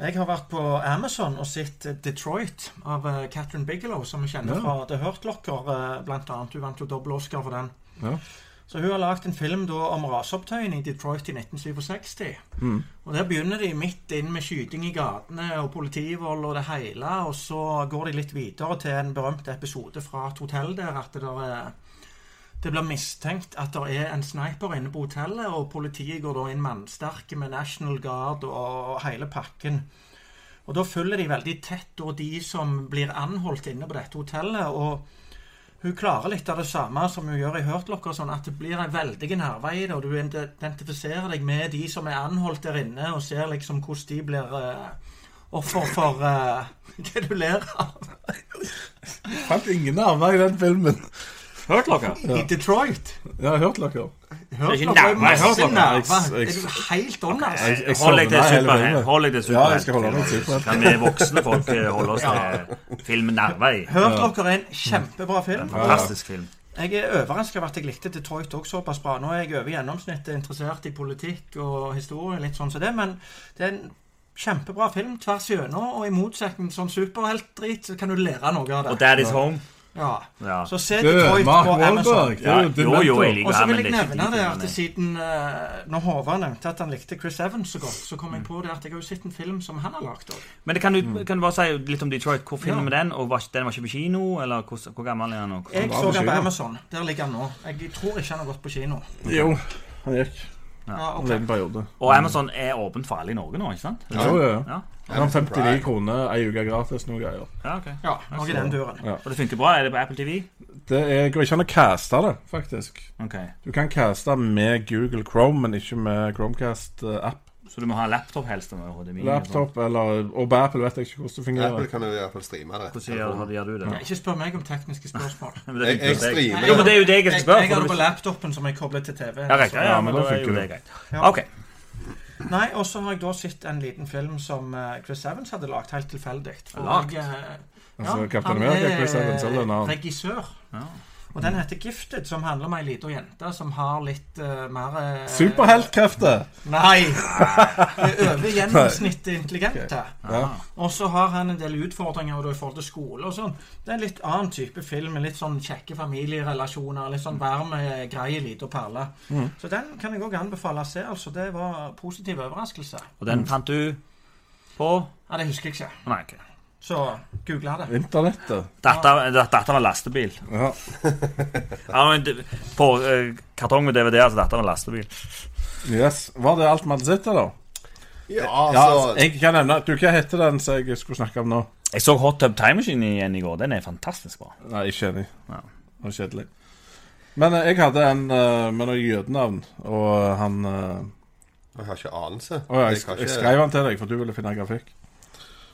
[SPEAKER 5] Jeg har vært på Amazon og sett eh, Detroit av eh, Catherine Bigelow, som vi kjenner
[SPEAKER 2] Ja.
[SPEAKER 5] fra The Hurt Locker, eh, blant annet. Hun vant jo dobbel Oscar for den.
[SPEAKER 2] Ja.
[SPEAKER 5] Så hun har lagd en film da, om raseopptøyene i Detroit i 1967.
[SPEAKER 2] Mm.
[SPEAKER 5] Og Der begynner de midt inn med skyting i gatene og politivold og det hele. Og så går de litt videre til en berømt episode fra et hotell der at det der er det blir mistenkt at det er en sniper inne på hotellet, og politiet går da inn mannsterke med National Guard og hele pakken. Og da følger de veldig tett da de som blir anholdt inne på dette hotellet. og hun klarer litt av det samme som hun gjør i Hurtlocker, sånn at det blir en veldig nerve i det, og du identifiserer deg med de som er anholdt der inne, og ser liksom hvordan de blir eh, offer for eh, Hva du ler av?
[SPEAKER 2] Fant ingen armer i den filmen.
[SPEAKER 3] Hurtlocker.
[SPEAKER 5] I Detroit.
[SPEAKER 2] Jeg har hørt dere.
[SPEAKER 5] Hørt
[SPEAKER 3] ikke
[SPEAKER 5] dere
[SPEAKER 3] nerver,
[SPEAKER 5] masse
[SPEAKER 3] jeg hørte
[SPEAKER 5] nerver.
[SPEAKER 2] dere.
[SPEAKER 5] Er du helt on, altså?
[SPEAKER 2] Jeg- jeg
[SPEAKER 3] Hold deg til
[SPEAKER 2] sovner hele
[SPEAKER 3] superhelt.
[SPEAKER 2] filmen.
[SPEAKER 3] Hold deg til
[SPEAKER 2] Ja, jeg skal
[SPEAKER 3] superhelt.
[SPEAKER 2] holde meg til superhelt.
[SPEAKER 3] Kan vi voksne folk eh, holde oss til filmen Nervei?
[SPEAKER 5] Hørt dere er en kjempebra film.
[SPEAKER 3] Fantastisk film.
[SPEAKER 5] Jeg er overraska over at jeg likte Detroit òg såpass bra. Nå er jeg over gjennomsnittet interessert i politikk og historie, litt sånn som det, men det er en kjempebra film tvers gjennom, og i motsetning til sånn superheltdrit, så kan du lære noe av
[SPEAKER 3] Og
[SPEAKER 5] det.
[SPEAKER 3] Daddy's Home.
[SPEAKER 5] Ja.
[SPEAKER 3] Ja.
[SPEAKER 5] Så se
[SPEAKER 2] Du,
[SPEAKER 5] Detroit
[SPEAKER 2] Mark
[SPEAKER 5] på Amazon.
[SPEAKER 2] Wahlberg. det er
[SPEAKER 3] Ja,
[SPEAKER 2] din
[SPEAKER 3] jo, jo, jeg
[SPEAKER 2] mentor.
[SPEAKER 3] liker
[SPEAKER 5] Og så
[SPEAKER 3] han,
[SPEAKER 5] vil
[SPEAKER 3] men
[SPEAKER 5] jeg
[SPEAKER 3] det er ikke
[SPEAKER 5] nevne
[SPEAKER 3] de
[SPEAKER 5] det
[SPEAKER 3] filmene.
[SPEAKER 5] at siden eh, Når Håvard nevnte at han likte Chris Evans så godt, så kom jeg på det at jeg har jo sett en film som han har lagd òg.
[SPEAKER 3] Men det kan du, kan du bare si litt om Detroit? Hvor finner
[SPEAKER 5] Ja.
[SPEAKER 3] vi den? Og var, ikke- den var ikke på kino? Eller hvor, hvor gammel er den? Og,
[SPEAKER 5] Jeg
[SPEAKER 2] var
[SPEAKER 5] så
[SPEAKER 2] på
[SPEAKER 5] den på
[SPEAKER 2] kino.
[SPEAKER 5] Amazon. Der ligger han nå. Jeg tror ikke han har gått på kino.
[SPEAKER 2] Jo, han gikk
[SPEAKER 5] Ja,
[SPEAKER 2] en
[SPEAKER 5] ok.
[SPEAKER 2] liten periode.
[SPEAKER 3] og Amazon er åpent for alle i Norge nå, ikke sant?
[SPEAKER 2] Jo, jo, jo.
[SPEAKER 3] Ja,
[SPEAKER 2] Han har 59 kroner ei uke gratis, noe greier.
[SPEAKER 3] ja ok.
[SPEAKER 5] Ja, noe i den duren.
[SPEAKER 2] Ja.
[SPEAKER 3] Og det funker bra? Er det på Apple TV?
[SPEAKER 2] Det er, går ikke an å caste det, faktisk.
[SPEAKER 3] Ok,
[SPEAKER 2] Du kan caste med Google Chrome, men ikke med Chromecast-app.
[SPEAKER 3] Så du må ha laptop helst? Med HDMI, og sånn. sånt.
[SPEAKER 2] Laptop
[SPEAKER 4] sånn.
[SPEAKER 2] eller Og på Apple vet jeg ikke hvordan det fungerer.
[SPEAKER 4] Apple kan jo i hvert fall streame det.
[SPEAKER 3] Hvordan gjør, hvordan gjør du det?
[SPEAKER 5] Ja, Ikke spør meg om tekniske spørsmål.
[SPEAKER 3] Men
[SPEAKER 4] Jeg,
[SPEAKER 3] det
[SPEAKER 4] jeg
[SPEAKER 3] funker jo deg.
[SPEAKER 4] streamer
[SPEAKER 3] Jo, men det er jo det jeg skal
[SPEAKER 5] Jeg,
[SPEAKER 3] spørre.
[SPEAKER 5] jeg har det
[SPEAKER 3] for
[SPEAKER 5] på
[SPEAKER 3] du-
[SPEAKER 5] laptopen som jeg kobler til TV.
[SPEAKER 3] Ja, riktig. Ja,
[SPEAKER 2] Ja,
[SPEAKER 3] men
[SPEAKER 2] men
[SPEAKER 3] da
[SPEAKER 2] da
[SPEAKER 3] er jo
[SPEAKER 2] funker
[SPEAKER 3] det
[SPEAKER 2] det.
[SPEAKER 3] greit.
[SPEAKER 5] Ja.
[SPEAKER 3] Ok.
[SPEAKER 5] Nei, og så har jeg da sett en liten film som eh, Chris Evans hadde lagd, helt tilfeldig. For
[SPEAKER 3] Lagt?
[SPEAKER 5] jeg, eh,
[SPEAKER 2] Altså, Captain America, Chris Evans, eller en
[SPEAKER 5] Han
[SPEAKER 2] annen.
[SPEAKER 5] er eh, regissør.
[SPEAKER 3] Ja.
[SPEAKER 5] Og den heter Gifted, som handler om ei lita jente som har litt eh, mer eh,
[SPEAKER 2] Superheltkrefter!
[SPEAKER 5] Nei! Over gjennomsnittet intelligente.
[SPEAKER 2] Ja.
[SPEAKER 3] Ah,
[SPEAKER 5] Og så har han en del utfordringer da, i forhold til skole og sånn. Det er en litt annen type film. med Litt sånn kjekke familierelasjoner. Litt sånn varm, eh, grei liten perle.
[SPEAKER 2] Mm.
[SPEAKER 5] Så den kan jeg òg anbefale å se. altså. Det var positiv overraskelse.
[SPEAKER 3] Og den fant du på
[SPEAKER 5] Ja, Det husker jeg ikke.
[SPEAKER 3] Nei, ikke.
[SPEAKER 5] Så googla det.
[SPEAKER 2] Internettet.
[SPEAKER 3] Datter datter av en lastebil.
[SPEAKER 2] Ja.
[SPEAKER 3] Ja, men det- På eh, kartong med DVD, altså datter av en lastebil.
[SPEAKER 2] Yes. Var det alt vi hadde sett, eller? Ja,
[SPEAKER 4] Ja, altså
[SPEAKER 2] jeg kan nevne Du, hva heter den som jeg skulle snakke om nå?
[SPEAKER 3] Jeg så Hot Tub Time Machine igjen i går. Den er fantastisk bra.
[SPEAKER 2] Nei, ikke enig.
[SPEAKER 3] Ja.
[SPEAKER 2] Det var kjedelig. Men eh, jeg hadde en eh, med noe jødenavn, og eh, han eh,
[SPEAKER 4] Jeg har ikke anelse.
[SPEAKER 2] Å ja, jeg,
[SPEAKER 4] har
[SPEAKER 2] sk- jeg
[SPEAKER 4] ikke-
[SPEAKER 2] skrev han til deg, for du ville finne grafikk.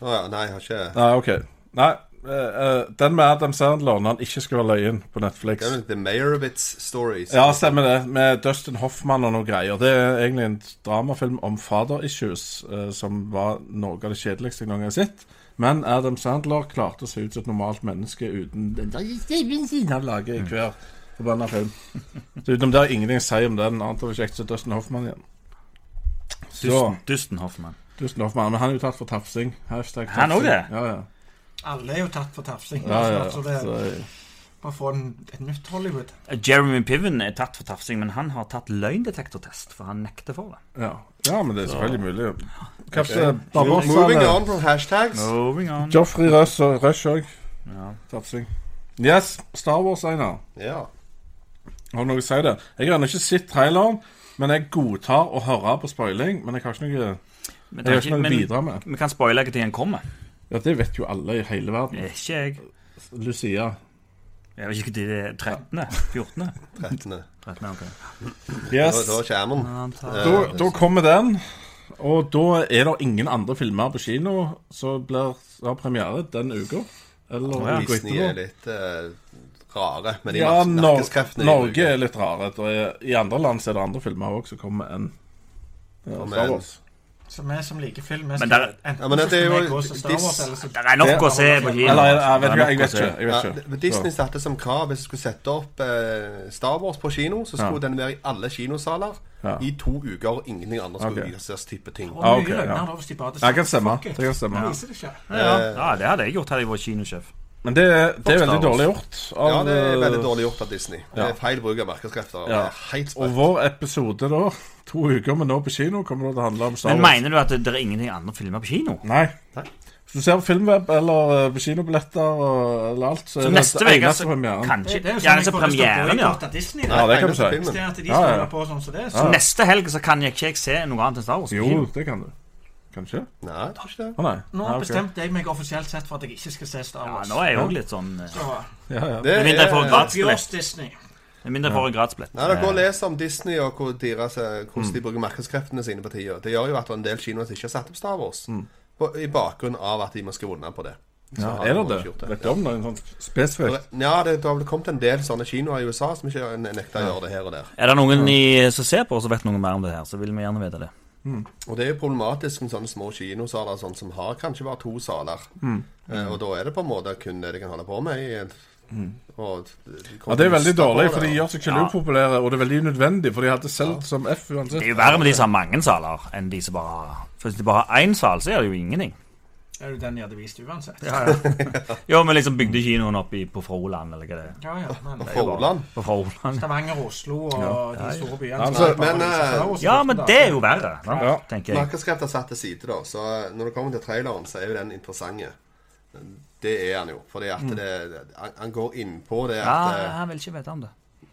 [SPEAKER 4] Å ja, Nei, jeg har ikke
[SPEAKER 2] Nei, OK. Nei, eh, eh, den med Adam Sandler når han ikke skal være løyen på
[SPEAKER 4] Det er
[SPEAKER 2] Netflix.
[SPEAKER 4] vel The Meyerowitz Stories.
[SPEAKER 2] Ja, stemmer det. Med Dustin Hoffman og noen greier. Det er egentlig en dramafilm om father issues, eh, som var noe av det kjedeligste jeg noen gang har sett. Men Adam Sandler klarte å se ut som et normalt menneske uten den der stemmen sin han lager i hver forbanna film. Så utenom det har jeg ingenting å si om den, annet enn å kjekt se Dustin Hoffman igjen. Så,
[SPEAKER 3] Dusten, Dusten Hoffmann.
[SPEAKER 2] Dustin Hoffman, Men han er jo tatt for tafsing. Hashtag
[SPEAKER 3] Han
[SPEAKER 2] tafsing.
[SPEAKER 3] også det?
[SPEAKER 2] Ja, ja.
[SPEAKER 5] Alle er jo tatt for tafsing.
[SPEAKER 2] Ja, ja.
[SPEAKER 5] Så det bare få en, et nytt Hollywood.
[SPEAKER 3] Eh, Jeremy Piven er tatt for tafsing, men han har tatt løgndetektortest, for han nekter for det.
[SPEAKER 2] ja. ja, men det er selvfølgelig mulig. Kanskje
[SPEAKER 4] Ok. Moving
[SPEAKER 2] Barbossa
[SPEAKER 4] on from hashtags.
[SPEAKER 3] Moving on.
[SPEAKER 2] Joffrey Rush og Rush òg.
[SPEAKER 3] Ja.
[SPEAKER 2] Tafsing. Yes, Star Wars, Einar.
[SPEAKER 4] Ja.
[SPEAKER 2] Har du noe å si det? Jeg har ennå ikke sett traileren, men jeg godtar å høre på spoiling. Men jeg har ikke noe,
[SPEAKER 3] Men,
[SPEAKER 2] jeg har ikke
[SPEAKER 3] men
[SPEAKER 2] noe å bidra med.
[SPEAKER 3] vi kan spoile hva tid han kommer.
[SPEAKER 2] Ja, Det vet jo alle i hele verden.
[SPEAKER 3] Ikke jeg.
[SPEAKER 2] Lucia.
[SPEAKER 3] Jeg vet ikke når det er 13. 14.
[SPEAKER 4] 13.
[SPEAKER 3] 13. ok.
[SPEAKER 4] Da,
[SPEAKER 2] Yes.
[SPEAKER 4] da Eh, kommer den.
[SPEAKER 3] Han tar-
[SPEAKER 2] Da, da kommer den. Og da er det ingen andre filmer på kino som blir har premiere den uka. Eller
[SPEAKER 3] Å ja.
[SPEAKER 2] uka
[SPEAKER 4] Disney er
[SPEAKER 2] etterpå.
[SPEAKER 4] litt eh, rare med de
[SPEAKER 2] Ja,
[SPEAKER 4] mark-
[SPEAKER 2] Nor
[SPEAKER 4] markedskreftene. de
[SPEAKER 2] Norge
[SPEAKER 4] bruker.
[SPEAKER 2] er litt rare. Det er- I andre land så er det andre filmer òg som kommer enn ja,
[SPEAKER 4] Kommer
[SPEAKER 2] Star
[SPEAKER 4] enn-
[SPEAKER 2] Wars.
[SPEAKER 5] Så vi som liker film, vi
[SPEAKER 3] Men
[SPEAKER 5] skal
[SPEAKER 3] der-
[SPEAKER 5] enten
[SPEAKER 4] Ja, men
[SPEAKER 5] så
[SPEAKER 4] det er
[SPEAKER 5] skal
[SPEAKER 4] jo-
[SPEAKER 5] vi gå som Star Wars,
[SPEAKER 4] dis-
[SPEAKER 5] eller så
[SPEAKER 3] Det er nok å se på kino.
[SPEAKER 2] Eller jeg vet
[SPEAKER 3] Det er
[SPEAKER 2] ikke.
[SPEAKER 3] nok
[SPEAKER 2] Jeg vet
[SPEAKER 3] å se.
[SPEAKER 2] ikke. Jeg
[SPEAKER 4] Ja,
[SPEAKER 2] vet ikke.
[SPEAKER 4] det- Disney satte som krav hvis du skulle sette opp eh, Star Wars på kino, så skulle den være i alle kinosaler
[SPEAKER 2] Ja.
[SPEAKER 4] i to uker, og ingenting annet skulle
[SPEAKER 2] Ok.
[SPEAKER 4] vises type ting.
[SPEAKER 5] Og
[SPEAKER 2] Ja,
[SPEAKER 5] mye
[SPEAKER 2] ok, ja.
[SPEAKER 5] løgner da, hvis de bare hadde
[SPEAKER 2] Ja, Det kan
[SPEAKER 5] sagt,
[SPEAKER 2] stemme.
[SPEAKER 5] fuck
[SPEAKER 2] Det
[SPEAKER 5] it.
[SPEAKER 2] kan stemme.
[SPEAKER 5] Det viser det ikke.
[SPEAKER 3] Ja, ja, det hadde jeg gjort hadde jeg vært kinosjef.
[SPEAKER 2] Men det, det er veldig
[SPEAKER 3] Star Wars.
[SPEAKER 2] dårlig gjort. Av, eh,
[SPEAKER 4] Ja, det er veldig dårlig gjort av Disney. Det
[SPEAKER 2] Ja.
[SPEAKER 4] er feil bruk av markedskrefter. og
[SPEAKER 2] Ja.
[SPEAKER 4] Det er helt
[SPEAKER 2] Og
[SPEAKER 4] sprøtt.
[SPEAKER 2] vår episode, da, to uker med nå på kino, kommer da til å handle om Star
[SPEAKER 3] Men
[SPEAKER 2] Wars.
[SPEAKER 3] mener du at det det er ingenting andre filmer på kino?
[SPEAKER 2] Nei.
[SPEAKER 4] Nei.
[SPEAKER 2] Hvis du ser på Filmweb eller eh, på kinobilletter og- eller alt, så er
[SPEAKER 3] Så
[SPEAKER 2] det
[SPEAKER 3] neste
[SPEAKER 2] det
[SPEAKER 3] uke
[SPEAKER 2] eneste
[SPEAKER 3] så
[SPEAKER 2] premieren.
[SPEAKER 3] kanskje
[SPEAKER 5] Det er jo
[SPEAKER 3] Ja,
[SPEAKER 5] sånn
[SPEAKER 3] altså
[SPEAKER 5] jeg får lyst til å
[SPEAKER 3] premieren, ja.
[SPEAKER 5] boykotte Disney.
[SPEAKER 4] Nei,
[SPEAKER 5] da.
[SPEAKER 2] Ja, det kan du
[SPEAKER 4] eneste
[SPEAKER 2] si.
[SPEAKER 4] filmen.
[SPEAKER 5] Hvis det er at de
[SPEAKER 2] Ja, ja.
[SPEAKER 5] står på sånn som det, så
[SPEAKER 2] Ja.
[SPEAKER 3] Neste helg så kan jeg ikke jeg se noe annet enn Star Wars. på
[SPEAKER 2] Jo,
[SPEAKER 3] kino.
[SPEAKER 2] det kan du. Kanskje?
[SPEAKER 4] Nei, jeg tror ikke det.
[SPEAKER 2] Å nei.
[SPEAKER 5] Nå
[SPEAKER 2] Nei, ok.
[SPEAKER 5] bestemte jeg meg offisielt sett for at jeg ikke skal se Star
[SPEAKER 3] Ja,
[SPEAKER 5] Wars.
[SPEAKER 3] nå er jeg òg litt sånn eh,
[SPEAKER 5] Så,
[SPEAKER 2] Ja, ja.
[SPEAKER 4] det
[SPEAKER 3] Med mindre jeg får en
[SPEAKER 4] er-
[SPEAKER 5] Adios,
[SPEAKER 3] gradsbillett.
[SPEAKER 5] Disney.
[SPEAKER 3] Med mindre jeg får en gradsbillett.
[SPEAKER 4] Nei, Gå og
[SPEAKER 3] Eh,
[SPEAKER 4] les om Disney og hvor deres, eh,
[SPEAKER 2] Mm.
[SPEAKER 4] hvordan de bruker markedskreftene sine på tida. Det gjør jo at det er en del kinoer som ikke har satt opp Star Wars. På, I bakgrunn av at de må skrive unna på det.
[SPEAKER 2] Mm.
[SPEAKER 4] Så
[SPEAKER 2] Ja,
[SPEAKER 4] har
[SPEAKER 2] er det
[SPEAKER 4] de
[SPEAKER 2] det?
[SPEAKER 4] ikke gjort
[SPEAKER 2] Vet du om det er en sånn spesifikt?
[SPEAKER 4] Ja, det, det har vel kommet en del sånne kinoer i USA som ikke nekter å gjøre det her og der.
[SPEAKER 3] Eh, Er det noen i, som ser på og som vet noe mer om det her, så vil vi gjerne vite det.
[SPEAKER 4] Og det er jo problematisk med sånne små kinosaler sånn, som har kanskje bare to saler.
[SPEAKER 2] Mm.
[SPEAKER 4] Eh, og da er det på en måte kun det de kan holde på med. I, og,
[SPEAKER 2] Mm. Ja, Det er veldig dårlig, for de gjør seg ikke
[SPEAKER 3] Ja.
[SPEAKER 2] upopulære, og det er veldig unødvendig, for de hadde solgt som F
[SPEAKER 3] Det
[SPEAKER 2] uansett.
[SPEAKER 3] er jo verre med de som har mange saler, enn de som bare har For hvis de bare har én sal, så er det jo ingenting.
[SPEAKER 5] Er jo den de hadde vist uansett.
[SPEAKER 3] Jo, men liksom bygde kinoen opp i, på Froland, eller hva det er.
[SPEAKER 5] Ja, ja, men det er jo bare
[SPEAKER 4] Froland.
[SPEAKER 3] På Froland.
[SPEAKER 5] Stavanger, Oslo og de store byene.
[SPEAKER 2] Altså,
[SPEAKER 5] som er bare
[SPEAKER 4] men,
[SPEAKER 5] vist Star
[SPEAKER 4] eh,
[SPEAKER 5] Wars
[SPEAKER 3] Ja,
[SPEAKER 5] i
[SPEAKER 3] men
[SPEAKER 5] slutten,
[SPEAKER 3] det
[SPEAKER 5] da.
[SPEAKER 3] er jo verre, da,
[SPEAKER 2] Ja.
[SPEAKER 3] tenker jeg.
[SPEAKER 4] Markedskrefter satt til side, da. Så når det kommer til traileren, så er jo den interessante. Det er han jo. Fordi at det, han, han går innpå det
[SPEAKER 3] Ja,
[SPEAKER 4] at eh,
[SPEAKER 3] han vil ikke vite om det.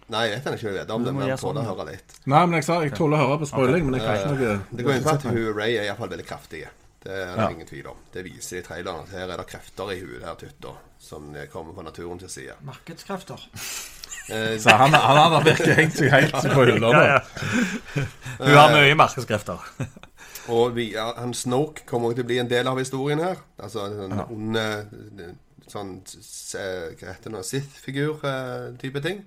[SPEAKER 4] Nei, jeg vet han ikke vil vite om det,
[SPEAKER 3] må
[SPEAKER 4] men
[SPEAKER 3] gjøre
[SPEAKER 4] han tåler å
[SPEAKER 3] sånn.
[SPEAKER 4] høre litt.
[SPEAKER 2] Nei, men jeg sa jeg tåler å høre på spoiling, men jeg kan ikke noe
[SPEAKER 4] Det går inn på at hun Ray er iallfall veldig kraftig. Det er det ingen tvil om. Det viser de i traileren. At her er det krefter i huet her tytta som kommer fra naturen til side.
[SPEAKER 5] Markedskrefter.
[SPEAKER 4] Eh,
[SPEAKER 2] Så han, han hadde virkelig hengt seg helt på hylla.
[SPEAKER 3] Ja,
[SPEAKER 2] da.
[SPEAKER 3] ja. Hun har mye markedskrefter.
[SPEAKER 4] Og vi, ja, han Snoke kommer også til å bli en del av historien her. Altså en sånn ond eh, sånn s- eh, Hva heter det nå Sith-figur-type ting.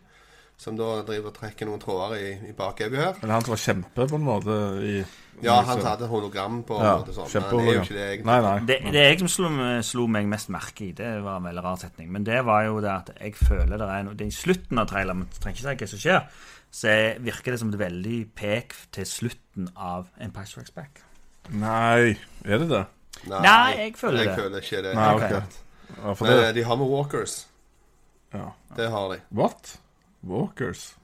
[SPEAKER 4] som da driver og trekker noen tråder i, i bakhodet her.
[SPEAKER 2] Men han som var kjempe, på en måte, i
[SPEAKER 4] Ja, han hadde hologram på en
[SPEAKER 2] ja,
[SPEAKER 4] måte sånn. men han er jo
[SPEAKER 2] kjempeovergang.
[SPEAKER 4] ikke det egentlig.
[SPEAKER 2] Nei, nei.
[SPEAKER 3] Det, det jeg som slo, slo meg mest merke i, det var en veldig rar setning, men det var jo det at jeg føler det er noe det er I slutten av traileren, men jeg trenger ikke si hva som skjer, så jeg- virker det som et veldig pek til slutten av Empire Strikes Back.
[SPEAKER 2] Nei, er det det?
[SPEAKER 4] Nei,
[SPEAKER 3] Nei, jeg føler det.
[SPEAKER 4] Jeg føler ikke det.
[SPEAKER 2] Nei,
[SPEAKER 3] ok.
[SPEAKER 4] akkurat.
[SPEAKER 2] Ja, for
[SPEAKER 4] Men eh,
[SPEAKER 2] det
[SPEAKER 4] de har med walkers.
[SPEAKER 2] ja.
[SPEAKER 4] Det har de.
[SPEAKER 2] What? Walkers?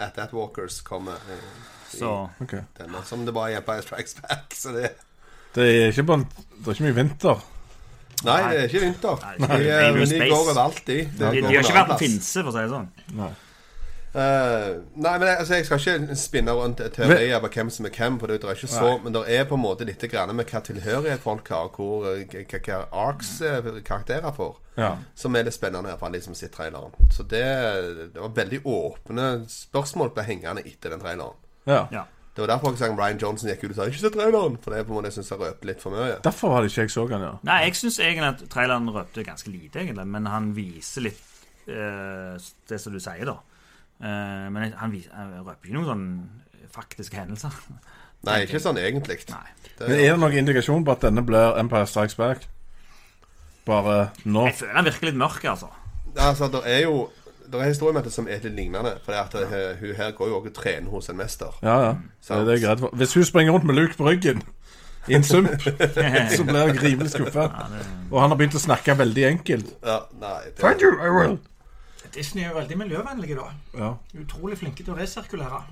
[SPEAKER 4] At That Walkers kommer eh,
[SPEAKER 3] Så
[SPEAKER 2] Ok.
[SPEAKER 4] denne, som det bare er på Strikes Back. Så det
[SPEAKER 2] Det er ikke, bare, det er ikke mye vinter.
[SPEAKER 4] Nei, det er ikke vinter.
[SPEAKER 3] Nei, det er
[SPEAKER 4] De,
[SPEAKER 3] ikke
[SPEAKER 4] eh,
[SPEAKER 3] Able
[SPEAKER 4] men de
[SPEAKER 3] Space.
[SPEAKER 4] går overalt, de. Det
[SPEAKER 3] de,
[SPEAKER 4] går
[SPEAKER 3] de har ikke
[SPEAKER 4] overalt.
[SPEAKER 3] vært på pinse, for å si det sånn.
[SPEAKER 2] Nei.
[SPEAKER 4] Eh, nei, men jeg, altså, jeg skal ikke spinne rundt teorier på hvem som er hvem, for det er ikke så, men det er på en måte litt grann med hva tilhørighet folk har, og hvor, eh, hva- hva hva arcs eh, karakterer får,
[SPEAKER 2] Ja.
[SPEAKER 4] som er det spennende her, for han liksom sitt traileren. Så det, det var veldig åpne spørsmål ble hengende etter den traileren.
[SPEAKER 2] ja.
[SPEAKER 3] Ja.
[SPEAKER 4] Det var derfor jeg sang Ryan Johnson gikk ut og sa 'ikke se traileren', for det er på en måte jeg syns jeg røpte litt for mye.
[SPEAKER 2] Derfor var det ikke jeg så han, ja.
[SPEAKER 3] Nei, jeg syns egentlig at traileren røpte ganske lite, egentlig, men han viser litt eh, det som du sier, da. Eh, men han, vis- han røper ikke noen sånn faktiske hendelser.
[SPEAKER 4] Nei, ikke sånn egentlig.
[SPEAKER 3] Nei.
[SPEAKER 4] Det-
[SPEAKER 2] Men er det noen indikasjon på at denne blir Empire Strikes Back? Bare nå?
[SPEAKER 3] Jeg føler han virker litt mørk, altså.
[SPEAKER 4] Altså, det er jo Det er historier med det som er litt lignende, for det er at eh, hun her går jo også og trener hos en mester.
[SPEAKER 2] Ja, ja. Det er det greit for. Hvis hun springer rundt med Luke på ryggen i en sump, så blir jeg rimelig skuffa. Og han har begynt å snakke veldig enkelt.
[SPEAKER 4] Ja, nei, det,
[SPEAKER 2] Thank you, I will.
[SPEAKER 5] Disney er jo veldig miljøvennlige, da.
[SPEAKER 2] Ja.
[SPEAKER 5] Utrolig flinke til å resirkulere.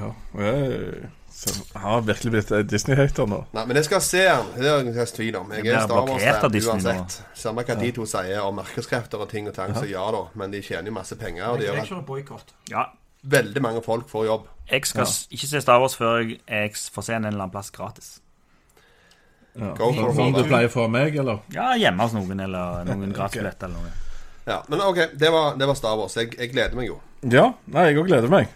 [SPEAKER 2] ja. Jeg så jeg har virkelig blitt eh, Disney-hater nå.
[SPEAKER 4] Nei, men jeg skal se den. Det er jeg tvil om. Jeg
[SPEAKER 3] Jeg
[SPEAKER 4] er
[SPEAKER 3] blir
[SPEAKER 4] Star
[SPEAKER 3] blokkert av
[SPEAKER 4] Wars-fan
[SPEAKER 3] Disney nå.
[SPEAKER 4] uansett. Samme hva de to sier om markedskrefter og ting og tang, så ja da. Men de tjener jo masse penger, og det
[SPEAKER 5] Jeg
[SPEAKER 4] gjør
[SPEAKER 5] kjører boikott.
[SPEAKER 3] Ja,
[SPEAKER 4] at veldig mange folk får jobb.
[SPEAKER 3] Jeg skal s- ikke se Star Wars før jeg, jeg får se den en eller annen plass gratis.
[SPEAKER 2] Ja.
[SPEAKER 4] Go for
[SPEAKER 2] Som du
[SPEAKER 4] it.
[SPEAKER 2] pleier for meg, eller?
[SPEAKER 3] Ja, hjemme hos noen, eller noen gratisbilletter eller noe.
[SPEAKER 4] Ja, men OK, det var, det var Star Wars. Jeg, jeg gleder meg jo.
[SPEAKER 2] Ja. Nei, jeg òg gleder meg.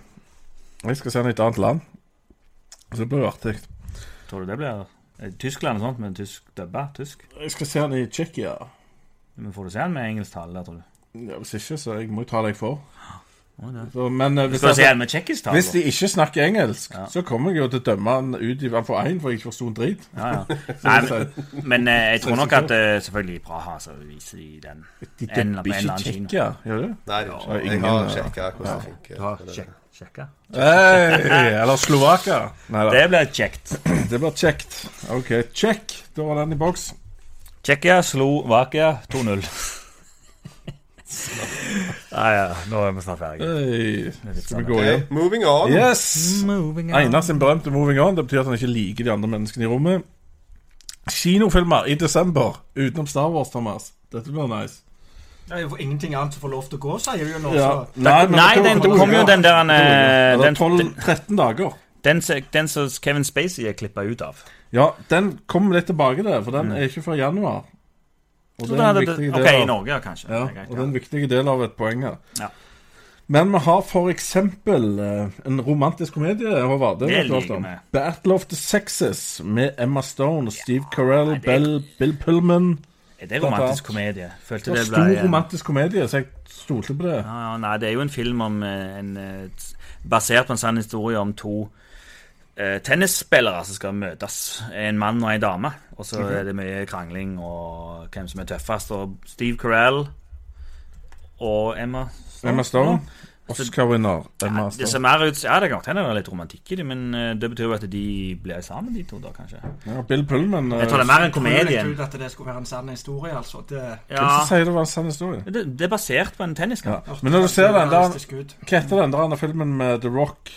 [SPEAKER 2] Jeg skal se den i et annet land. Så det blir artig.
[SPEAKER 3] Tror du det blir eh, Tyskland og sånt, men tysk dubba? Tysk?
[SPEAKER 2] Jeg skal se den i Tsjekkia.
[SPEAKER 3] Men får du se den med engelsk tale der, tror du?
[SPEAKER 2] Ja, hvis ikke, så jeg må jo ta det jeg får.
[SPEAKER 3] Å, det-
[SPEAKER 2] Så, men eh, hvis,
[SPEAKER 3] Skal du se
[SPEAKER 2] jeg-
[SPEAKER 3] den med tsjekkisk tale?
[SPEAKER 2] hvis de
[SPEAKER 3] da?
[SPEAKER 2] ikke snakker engelsk,
[SPEAKER 3] Ja.
[SPEAKER 2] så kommer jeg jo til å dømme han ut i hvert fall én, for jeg ikke forsto en drit.
[SPEAKER 3] Ja, ja. Nei, men, men eh, jeg tror nok at eh, selvfølgelig i Praha så viser de den.
[SPEAKER 2] De
[SPEAKER 3] En eller-
[SPEAKER 2] dømmer
[SPEAKER 3] på en eller
[SPEAKER 2] ikke
[SPEAKER 3] annen kino.
[SPEAKER 2] Tsjekkia, gjør de?
[SPEAKER 4] Nei,
[SPEAKER 2] Ja,
[SPEAKER 4] det er ikke. Jeg
[SPEAKER 2] ingen,
[SPEAKER 4] har
[SPEAKER 2] ja.
[SPEAKER 4] sjekka hvordan det
[SPEAKER 3] Du har
[SPEAKER 4] funker. eh,
[SPEAKER 3] sjek sjekka?
[SPEAKER 2] Hey, eller Slovakia. Nei da.
[SPEAKER 3] Det blir kjekt.
[SPEAKER 2] Det blir kjekt. OK, check. Da var den i boks.
[SPEAKER 3] Tsjekkia slo Vakia 2-0.
[SPEAKER 2] Ah,
[SPEAKER 3] Nei, ja, nå er sånn vi snart ferdige.
[SPEAKER 2] Hey, skal vi gå igjen?
[SPEAKER 4] Ok, moving on.
[SPEAKER 2] Yes!
[SPEAKER 3] Moving on.
[SPEAKER 2] Einar sin berømte 'Moving On'. Det betyr at han ikke liker de andre menneskene i rommet. Kinofilmer i desember utenom Star Wars, Thomas. Dette blir nice.
[SPEAKER 5] Det er jo ingenting annet som får lov til å gå, sier du jo nå.
[SPEAKER 2] Ja.
[SPEAKER 5] Så.
[SPEAKER 2] Nei, men
[SPEAKER 3] Nei,
[SPEAKER 2] det
[SPEAKER 3] den- det kom jo den der, eh,
[SPEAKER 2] den,
[SPEAKER 3] den-
[SPEAKER 2] 12-13 dager.
[SPEAKER 3] Den, se- den som Kevin Spacey er klippa ut av.
[SPEAKER 2] Ja, den kommer litt tilbake til, for den er ikke før januar. Og det
[SPEAKER 3] Så den
[SPEAKER 2] er en
[SPEAKER 3] hadde,
[SPEAKER 2] viktig del
[SPEAKER 3] ok, i
[SPEAKER 2] av,
[SPEAKER 3] Norge, ja, kanskje.
[SPEAKER 2] ja,
[SPEAKER 3] Det er greit,
[SPEAKER 2] og det er en viktig del av et poeng her.
[SPEAKER 3] Ja.
[SPEAKER 2] Men vi har for eksempel eh, en romantisk komedie, Håvard. Det,
[SPEAKER 3] Det
[SPEAKER 2] vet du alt
[SPEAKER 3] liker
[SPEAKER 2] om.
[SPEAKER 3] vi.
[SPEAKER 2] Battle of the Sexes med Emma Stone, Steve Carell,
[SPEAKER 3] nei, det-
[SPEAKER 2] Bell, Bill Pullman.
[SPEAKER 3] ja. Det er romantisk komedie.
[SPEAKER 2] Det
[SPEAKER 3] Følte
[SPEAKER 2] var
[SPEAKER 3] det øh, ble
[SPEAKER 2] stor
[SPEAKER 3] en-
[SPEAKER 2] romantisk komedie, så jeg stolte på det.
[SPEAKER 3] Ja, ja, nei, det er jo en film om eh, en, eh, t- basert på en sann historie om to eh, tennisspillere som skal møtes. En mann og en dame. Og så er det mye krangling og hvem som er tøffest. Og Steve Carell og Emma Stone.
[SPEAKER 2] Emma Stone, Oscar-vinner. Emma
[SPEAKER 3] Ja, det ser
[SPEAKER 2] Stone.
[SPEAKER 3] mer ut Ja, det kan godt hende det er litt romantikk i det, men eh, det betyr jo at de blir sammen, de to, da, kanskje.
[SPEAKER 2] Ja, Bill Pullman. eh,
[SPEAKER 3] Jeg tror det er mer en
[SPEAKER 5] Jeg
[SPEAKER 3] komedie.
[SPEAKER 5] tror ut at det skulle være en sann historie, altså. Det
[SPEAKER 2] Hvem
[SPEAKER 3] Ja,
[SPEAKER 2] som sier det var en sann historie?
[SPEAKER 3] det, det er basert på en
[SPEAKER 2] Ja.
[SPEAKER 3] tenniskamp.
[SPEAKER 2] Men når du ser den der
[SPEAKER 5] Realistisk ut.
[SPEAKER 2] Hva heter den der andre filmen med The Rock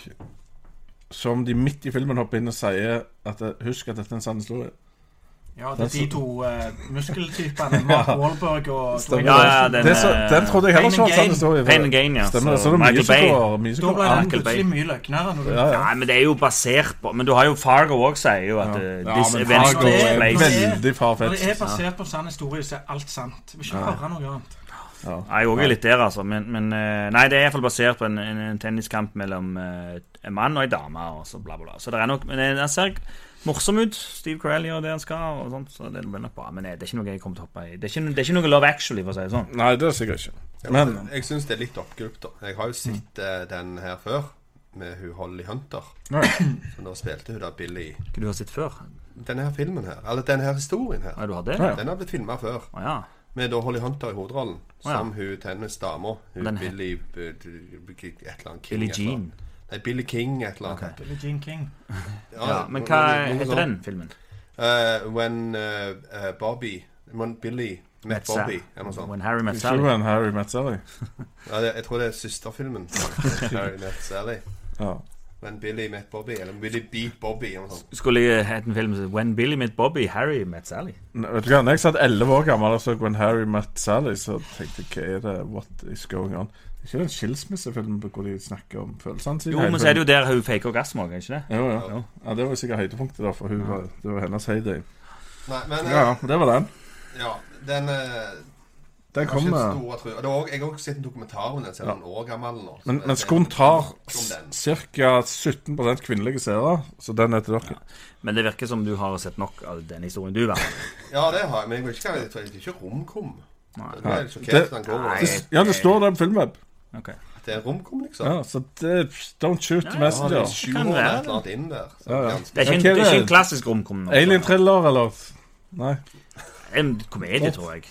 [SPEAKER 2] som de midt i filmen hopper inn og sier at eh, Husk at dette er en sann historie.
[SPEAKER 5] Ja, det er de to eh, muskeltypene. Mark Wahlberg og
[SPEAKER 2] Stemmer
[SPEAKER 3] Ja,
[SPEAKER 2] det.
[SPEAKER 3] ja, den,
[SPEAKER 2] det er så,
[SPEAKER 3] eh,
[SPEAKER 2] den trodde jeg heller ikke var en sann
[SPEAKER 5] Pain and
[SPEAKER 2] historie. for
[SPEAKER 3] Pain
[SPEAKER 2] det-
[SPEAKER 3] and Gain, ja.
[SPEAKER 2] Stemmer det.
[SPEAKER 3] Så
[SPEAKER 2] Så det er mye
[SPEAKER 3] altså. Michael
[SPEAKER 2] som
[SPEAKER 3] Bay.
[SPEAKER 2] går, mye som
[SPEAKER 5] Da
[SPEAKER 2] går
[SPEAKER 5] ble
[SPEAKER 2] an.
[SPEAKER 5] den plutselig mye løgnere. Når du,
[SPEAKER 2] Ja, ja.
[SPEAKER 3] Nei, men det er jo basert på Men du har jo Fargo òg, sier jo at
[SPEAKER 2] Ja.
[SPEAKER 3] eh,
[SPEAKER 2] Ja,
[SPEAKER 3] This
[SPEAKER 2] men
[SPEAKER 3] event
[SPEAKER 2] Fargo
[SPEAKER 3] takes
[SPEAKER 2] er
[SPEAKER 3] place
[SPEAKER 5] veldig-
[SPEAKER 2] veldig
[SPEAKER 5] når det er
[SPEAKER 2] farfetched.
[SPEAKER 5] basert på en sann historie, så er alt sant. Jeg Vil ikke høre noe annet.
[SPEAKER 2] Ja.
[SPEAKER 3] Nei, Jeg òg er litt der, altså. Men, men eh, nei, det er iallfall basert på en, en, en tenniskamp mellom eh, en mann og en dame, og så bla, bla, bla. Så det er nok Men den ser morsom ut. Steve Carell gjør det han skal, og sånt, så det blir nok bra. Men eh, det er ikke noe jeg kommer til å hoppe i. Det er ikke, det er ikke noe Love Actually, for å si det sånn.
[SPEAKER 2] Nei, det er sikkert ikke.
[SPEAKER 4] Ja,
[SPEAKER 2] Men-
[SPEAKER 4] men jeg syns det er litt oppgulpt, da. Jeg har jo sett eh, den her før, med hun Holly Hunter.
[SPEAKER 2] Nei.
[SPEAKER 4] Så nå spilte hun da Billy i
[SPEAKER 3] Hva du har sett før?
[SPEAKER 4] denne her filmen her. Eller denne her historien her.
[SPEAKER 3] Nei, du har det?
[SPEAKER 2] Ja, ja.
[SPEAKER 4] Den har blitt filma før,
[SPEAKER 3] Å ja.
[SPEAKER 4] med da Holly Hunter i hovedrollen.
[SPEAKER 3] Å, ja.
[SPEAKER 4] Som hun tennisdama. Hun
[SPEAKER 3] Den her-
[SPEAKER 4] Billy b- d- b- et eller annet King.
[SPEAKER 3] Billie
[SPEAKER 4] et eller
[SPEAKER 3] Jean.
[SPEAKER 4] annet. Nei, Billy King et eller annet.
[SPEAKER 5] Billie Jean King.
[SPEAKER 4] Ja,
[SPEAKER 3] ja. Men
[SPEAKER 4] noe-
[SPEAKER 3] hva
[SPEAKER 4] noe sånn
[SPEAKER 3] heter
[SPEAKER 4] sånt.
[SPEAKER 3] den filmen?
[SPEAKER 4] Eh, when eh, eh, Bobby when Billy Met
[SPEAKER 3] Sa-
[SPEAKER 4] Bobby, eller noe sånt.
[SPEAKER 3] When Harry Met
[SPEAKER 2] Ikke
[SPEAKER 3] Sally.
[SPEAKER 2] en Harry Met Sally.
[SPEAKER 4] Ja, det, jeg tror det er søsterfilmen. Harry Met Sally.
[SPEAKER 2] Ja.
[SPEAKER 4] When Billy Met Bobby, eller Billy Beat Bobby, eller noe sånt.
[SPEAKER 3] Skulle jeg hett en film som heter When Billy Met Bobby, Harry Met Sally?
[SPEAKER 2] Nei, Vet du hva, når jeg satt 11 år gammel og så When Harry Met Sally, så tenkte jeg hva er det What is going on? Er ikke det en skilsmissefilm hvor de snakker om følelsene sine?
[SPEAKER 3] Jo, men så er det jo der hun faker orgasme òg, er det ikke det?
[SPEAKER 2] jo, ja.
[SPEAKER 3] Jo.
[SPEAKER 2] ja, Det var jo sikkert høydepunktet, da, for hun var, det var hennes heyday.
[SPEAKER 4] Nei, men eh,
[SPEAKER 2] Ja, det var den.
[SPEAKER 4] ja den eh,
[SPEAKER 2] Den eh,
[SPEAKER 4] har ikke
[SPEAKER 2] kommer.
[SPEAKER 4] store tru- Og det er også- Jeg har også sett en dokumentar om den, selv om den er år gammel nå.
[SPEAKER 2] Men, men
[SPEAKER 4] Så-
[SPEAKER 2] Skund tar
[SPEAKER 4] Om den.
[SPEAKER 2] ca. 17 kvinnelige seere, så den er til dere.
[SPEAKER 3] Men det virker som du har sett nok av den historien du var.
[SPEAKER 4] Ja, det har jeg, men jeg vet ikke hva jeg tror jeg ikke romkom.
[SPEAKER 3] Nei.
[SPEAKER 4] Det er sjokkert
[SPEAKER 2] Det-
[SPEAKER 4] når han går
[SPEAKER 3] Nei.
[SPEAKER 4] over.
[SPEAKER 2] Det- Ja, det står der på filmweb.
[SPEAKER 3] Ok.
[SPEAKER 4] Det er romkom, liksom.
[SPEAKER 2] Ja, så det, don't shoot
[SPEAKER 3] Ja, ja.
[SPEAKER 4] det er
[SPEAKER 2] messenger.
[SPEAKER 4] sju
[SPEAKER 3] Kan
[SPEAKER 4] år
[SPEAKER 3] være.
[SPEAKER 4] eller et eller annet inn der. Så
[SPEAKER 2] Ja, ja.
[SPEAKER 4] ganske-
[SPEAKER 3] Det er ikke en,
[SPEAKER 2] Ja, hva er
[SPEAKER 3] det er ikke
[SPEAKER 2] det?
[SPEAKER 3] en klassisk romkom. nå.
[SPEAKER 2] Alien-thriller, eller? Nei.
[SPEAKER 3] En komedie, tror jeg.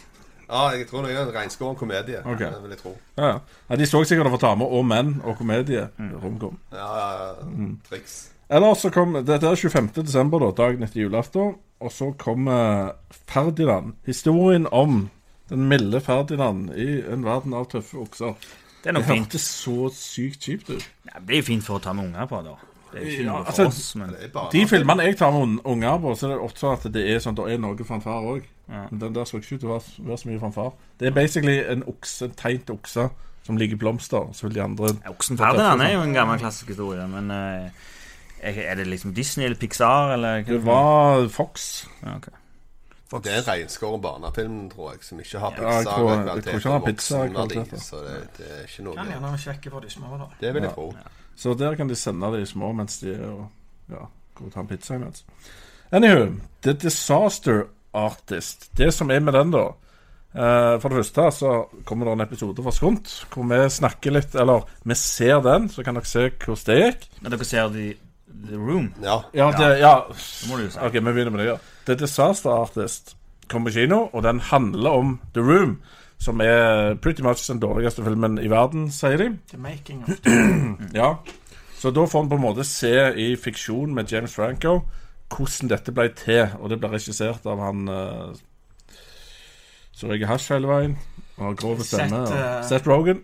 [SPEAKER 4] Ja, jeg tror det er en regnskåren komedie.
[SPEAKER 2] Ok.
[SPEAKER 4] Det vil jeg tro.
[SPEAKER 2] Ja, ja. ja De så sikkert for damer og menn og komedie. Romkom.
[SPEAKER 4] Ja, ja, ja,
[SPEAKER 2] Mm.
[SPEAKER 4] triks.
[SPEAKER 2] Ellers så kom Dette er 25. desember, da, dagen etter julaften. Og så kommer Ferdinand. Historien om den milde Ferdinand i en verden av tøffe okser.
[SPEAKER 3] Det
[SPEAKER 2] Det
[SPEAKER 3] er nok fint.
[SPEAKER 2] hørtes så sykt kjipt ut.
[SPEAKER 3] Ja, det blir jo fint for å ta med unger på, da. Det er jo ikke
[SPEAKER 2] Ja,
[SPEAKER 3] noe for
[SPEAKER 2] altså,
[SPEAKER 3] oss, men
[SPEAKER 4] Det er bare
[SPEAKER 2] De filmene jeg tar med un- unger på, så er det ofte sånn at det er sånn, det er noe fanfare òg.
[SPEAKER 3] Ja.
[SPEAKER 2] Men den der så ikke ut til å være- være så mye fanfare. Det er basically en okse, en tegnet okse som liker blomster. Så vil de andre
[SPEAKER 3] Ja, Oksen Ferdinand er jo en gammel klassisk historie, men eh, er er det liksom Disney eller Pixar eller hva
[SPEAKER 2] Det var Fox.
[SPEAKER 3] Ja, ok.
[SPEAKER 4] Det er en regnskåren barnefilm, tror jeg, som ikke har pizza.
[SPEAKER 2] jeg tror- jeg
[SPEAKER 4] kvalitet
[SPEAKER 2] tror ikke han har
[SPEAKER 4] og
[SPEAKER 2] pizza
[SPEAKER 4] voksenverdi,
[SPEAKER 2] kvalitet, altså. da.
[SPEAKER 4] Så det, det er ikke
[SPEAKER 5] Kan
[SPEAKER 4] noe
[SPEAKER 5] gjerne sjekke for de små, da.
[SPEAKER 4] Det vil jeg tro.
[SPEAKER 2] Så der kan de sende de små mens de er og ja, går og tar en pizza imens. Anywho, The Disaster Artist. Det som er med den, da eh, For det første så kommer det en episode fra Skunt hvor vi snakker litt Eller vi ser den, så kan dere se hvordan det gikk.
[SPEAKER 3] Når dere ser The, the Room,
[SPEAKER 4] Ja.
[SPEAKER 2] Ja, det, ja.
[SPEAKER 3] så må du jo si
[SPEAKER 2] Ok, vi begynner med det. ja The Disaster Artist kommer på kino, og den handler om The Room. Som er pretty much den dårligste filmen i verden, sier de.
[SPEAKER 5] The making of the
[SPEAKER 2] Ja. Så da får en på en måte se i fiksjon med James Franco hvordan dette ble til. Og det ble regissert av han uh, som røyker hasj hele veien. Og har grov
[SPEAKER 5] Seth,
[SPEAKER 2] stemme.
[SPEAKER 5] eh,
[SPEAKER 2] og- Seth Rogan.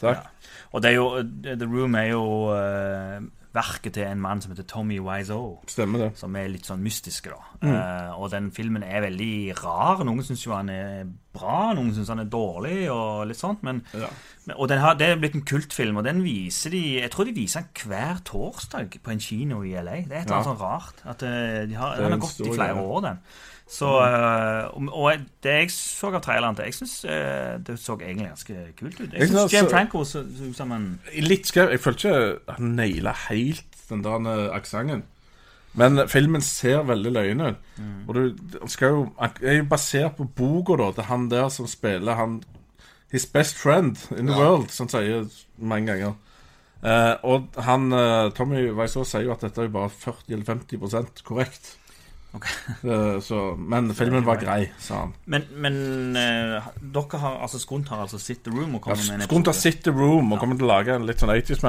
[SPEAKER 2] Takk.
[SPEAKER 3] Og det er jo, The Room er jo eh, verket til en mann som heter Tommy Wiseau.
[SPEAKER 2] Stemmer det.
[SPEAKER 3] Som er litt sånn mystisk, da.
[SPEAKER 2] Mm.
[SPEAKER 3] Eh, og den filmen er veldig rar. Noen syns jo han er bra, noen syns han er dårlig, og litt sånt. Men,
[SPEAKER 2] Ja.
[SPEAKER 3] men, og den har, det er blitt en kultfilm, og den viser de Jeg tror de viser den hver torsdag på en kino i LA. Det er et eller annet
[SPEAKER 2] Ja.
[SPEAKER 3] sånn rart. At eh, de har,
[SPEAKER 2] er
[SPEAKER 3] den
[SPEAKER 2] en
[SPEAKER 3] har gått
[SPEAKER 2] stor
[SPEAKER 3] i flere
[SPEAKER 2] greie. Mm.
[SPEAKER 3] år, den. Så, eh, og- og det jeg så av traileren til Jeg syns det så egentlig ganske kult ut.
[SPEAKER 2] Jeg
[SPEAKER 3] Jeg syns
[SPEAKER 2] synes
[SPEAKER 3] Jam
[SPEAKER 2] så-
[SPEAKER 3] Franco så så ut som en
[SPEAKER 2] Litt skrev Jeg følte ikke han naila helt den der eh, aksenten. Men filmen ser veldig løyen ut. Og du han skal jo Han er jo basert på boka da til han der som spiller han His best friend in the
[SPEAKER 4] Ja.
[SPEAKER 2] world, som han sier mange ganger. Eh, og han eh, Tommy Wiseau sier jo at dette er jo bare 40 eller 50 korrekt.
[SPEAKER 3] Ok.
[SPEAKER 2] Eh, så, men filmen var grei, sa han.
[SPEAKER 3] Men, men eh, dere har altså Skunt har altså sett The Room og
[SPEAKER 2] Ja,
[SPEAKER 3] kommer med en
[SPEAKER 2] Skunt har sett The Room og kommer til å lage en litt sånn 80's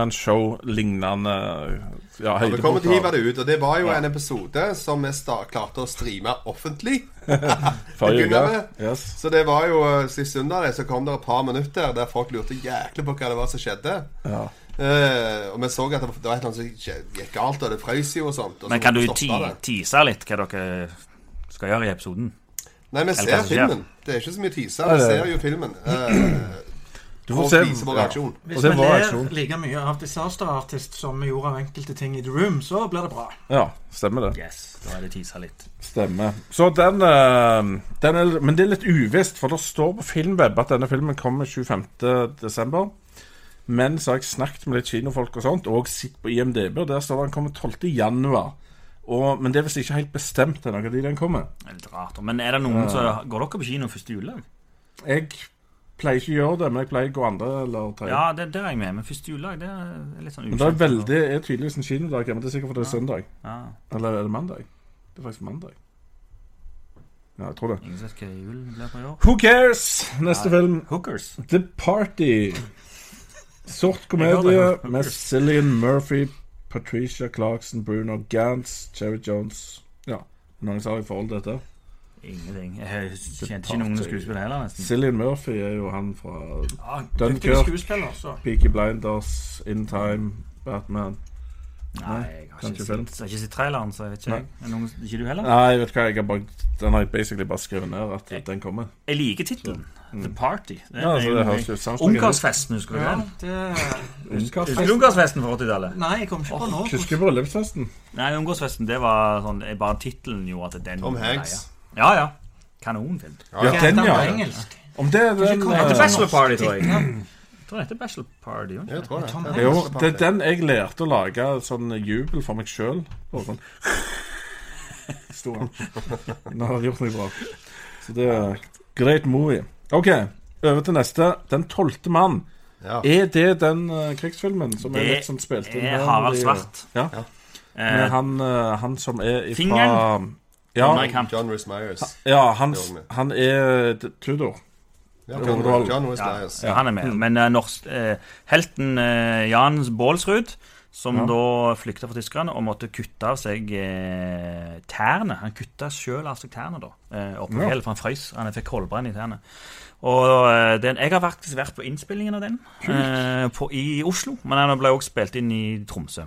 [SPEAKER 2] Man-show-lignende ja,
[SPEAKER 4] Vi kommer til å hive
[SPEAKER 2] høydepunkter.
[SPEAKER 4] det ut. Og det var jo en episode som vi sta- klarte å streame offentlig.
[SPEAKER 2] Forrige
[SPEAKER 4] begynner
[SPEAKER 2] uke. Yes.
[SPEAKER 4] Så det var jo eh, sist søndag det, så kom det et par minutter der folk lurte jæklig på hva det var som skjedde.
[SPEAKER 2] Ja.
[SPEAKER 4] Eh, og vi så at det var det var et eller annet som gikk- gikk galt, og det frøs jo og sånt. Og så
[SPEAKER 3] Men kan du
[SPEAKER 4] måtte vi
[SPEAKER 3] ti
[SPEAKER 4] stoppe det.
[SPEAKER 3] tease litt hva dere skal gjøre i episoden?
[SPEAKER 4] Nei, vi
[SPEAKER 3] hva
[SPEAKER 4] ser
[SPEAKER 3] som skjer?
[SPEAKER 4] filmen. Det er ikke så mye teaser.
[SPEAKER 2] Nei,
[SPEAKER 4] Vi
[SPEAKER 2] det-
[SPEAKER 4] ser jo filmen. Eh,
[SPEAKER 2] Du
[SPEAKER 4] og viser vår
[SPEAKER 2] ja.
[SPEAKER 4] reaksjon.
[SPEAKER 5] Hvis
[SPEAKER 2] Og det
[SPEAKER 5] vi
[SPEAKER 2] var
[SPEAKER 5] ler
[SPEAKER 2] aksjon.
[SPEAKER 5] like mye av Disaster Artist som vi gjorde av enkelte ting i The Room, så blir det bra.
[SPEAKER 2] Ja, stemmer det.
[SPEAKER 3] Yes, da er det teasa litt.
[SPEAKER 2] Stemmer. Så den, eh, den er, Men det er litt uvisst, for det står på Filmweb at denne filmen kommer 25.12. Men så har jeg snakket med litt kinofolk og sånt, og sett på IMDb, og der står det den kommer 12.1. Og, men det er visst ikke helt bestemt ennå når den kommer.
[SPEAKER 3] Det er Litt rart. Men er det noen som Går dere på kino første juledag?
[SPEAKER 2] Jeg pleier ikke å gjøre det, men jeg pleier å gå andre eller tredje.
[SPEAKER 3] Ja, det, der er jeg med. Men første juledag, det er litt sånn
[SPEAKER 2] men det er veldig, det er tydeligvis en kinodag hjemme. Det er sikkert fordi det er søndag.
[SPEAKER 3] Ja,
[SPEAKER 2] Eller er det mandag? Det er faktisk mandag. Ja, jeg tror det.
[SPEAKER 3] Ingen vet hva julen blir på i år.
[SPEAKER 2] Who cares? Neste film.
[SPEAKER 3] Hookers.
[SPEAKER 2] The Party. Sort
[SPEAKER 3] Jeg
[SPEAKER 2] komedie
[SPEAKER 3] hører det.
[SPEAKER 2] med Cillian Murphy, Patricia Clarkson, Bruno Gantz, Cherry Jones Ja, noen som har i forhold til dette?
[SPEAKER 3] Mm. Ingenting. Jeg kjente ikke noen skuespillere heller, nesten.
[SPEAKER 2] Cillian Murphy er jo han fra
[SPEAKER 5] Ja,
[SPEAKER 2] Dunkirk.
[SPEAKER 5] Dyktige skuespiller, så.
[SPEAKER 2] Peaky Blinders, In Time, Batman
[SPEAKER 3] Nei, jeg har
[SPEAKER 2] kanskje
[SPEAKER 3] ikke
[SPEAKER 2] film.
[SPEAKER 3] sett, jeg har ikke sett traileren, så jeg vet ikke.
[SPEAKER 2] Nei.
[SPEAKER 3] jeg. Er det noen, ikke du heller?
[SPEAKER 2] Nei, vet du hva, jeg har bare, den har jeg basically bare skrevet ned at
[SPEAKER 3] Jeg-
[SPEAKER 2] den kommer.
[SPEAKER 3] Jeg liker tittelen. The Party. Det
[SPEAKER 2] Mm. Ja, altså, det
[SPEAKER 3] jo-
[SPEAKER 2] høres jo ut som
[SPEAKER 3] Ungkarsfesten, husker du
[SPEAKER 5] Ja,
[SPEAKER 3] den?
[SPEAKER 5] det
[SPEAKER 3] Husker du Ungkarsfesten fra 80-tallet?
[SPEAKER 5] Nei, jeg kom ikke på nå.
[SPEAKER 2] Husker du bryllupsfesten?
[SPEAKER 3] Nei, Ungkarsfesten, det var sånn jeg- Bare tittelen gjorde at den
[SPEAKER 4] Tom
[SPEAKER 3] var
[SPEAKER 4] Hanks.
[SPEAKER 3] greia. Ja, ja. Kanonfilm.
[SPEAKER 2] Ja, den,
[SPEAKER 5] Den
[SPEAKER 2] ja.
[SPEAKER 5] var engelsk.
[SPEAKER 2] Om det er den
[SPEAKER 5] komme
[SPEAKER 2] eh,
[SPEAKER 5] til
[SPEAKER 3] Etter Bachelor
[SPEAKER 5] norsk
[SPEAKER 3] Party, tror jeg. Jeg tror det heter Bachelor Party. jo.
[SPEAKER 4] Jeg tror det.
[SPEAKER 5] Tom
[SPEAKER 4] Ja,
[SPEAKER 5] Hanks.
[SPEAKER 2] Jo, det er den jeg lærte å lage sånn jubel for meg sjøl. Sånn. Sto han. Nå har jeg gjort meg bra. Så det er great movie. OK, over til neste. Den tolvte mann.
[SPEAKER 4] Ja.
[SPEAKER 2] Er det den eh, krigsfilmen som er
[SPEAKER 3] Det
[SPEAKER 2] litt sånn spilt inn?
[SPEAKER 3] er
[SPEAKER 2] med
[SPEAKER 3] Harald
[SPEAKER 2] de-
[SPEAKER 3] Svart.
[SPEAKER 2] Ja. Med
[SPEAKER 3] Eh,
[SPEAKER 2] han, eh, han som er ifra
[SPEAKER 3] Fingeren?
[SPEAKER 2] Ja,
[SPEAKER 3] Nei. Camp.
[SPEAKER 4] John Rhys Meyers.
[SPEAKER 2] ja han,
[SPEAKER 4] Det var med.
[SPEAKER 2] han er d- Tudor.
[SPEAKER 4] Ja,
[SPEAKER 2] det
[SPEAKER 4] John,
[SPEAKER 2] var det.
[SPEAKER 4] John Rhys
[SPEAKER 3] ja,
[SPEAKER 4] Meyers.
[SPEAKER 3] ja, han er med. Men eh, norsk, eh, helten eh, Jan Baalsrud, som
[SPEAKER 2] Ja.
[SPEAKER 3] da flykta fra tyskerne og måtte kutte av seg eh, tærne. Han kutta sjøl av seg tærne, da. Eh, oppe på
[SPEAKER 2] Ja.
[SPEAKER 3] fjellet, for han frøs. Han fikk koldbrann i tærne. Og eh, den, Jeg har faktisk vært på innspillingen av den eh, på, i Oslo, men den ble også spilt inn i Tromsø.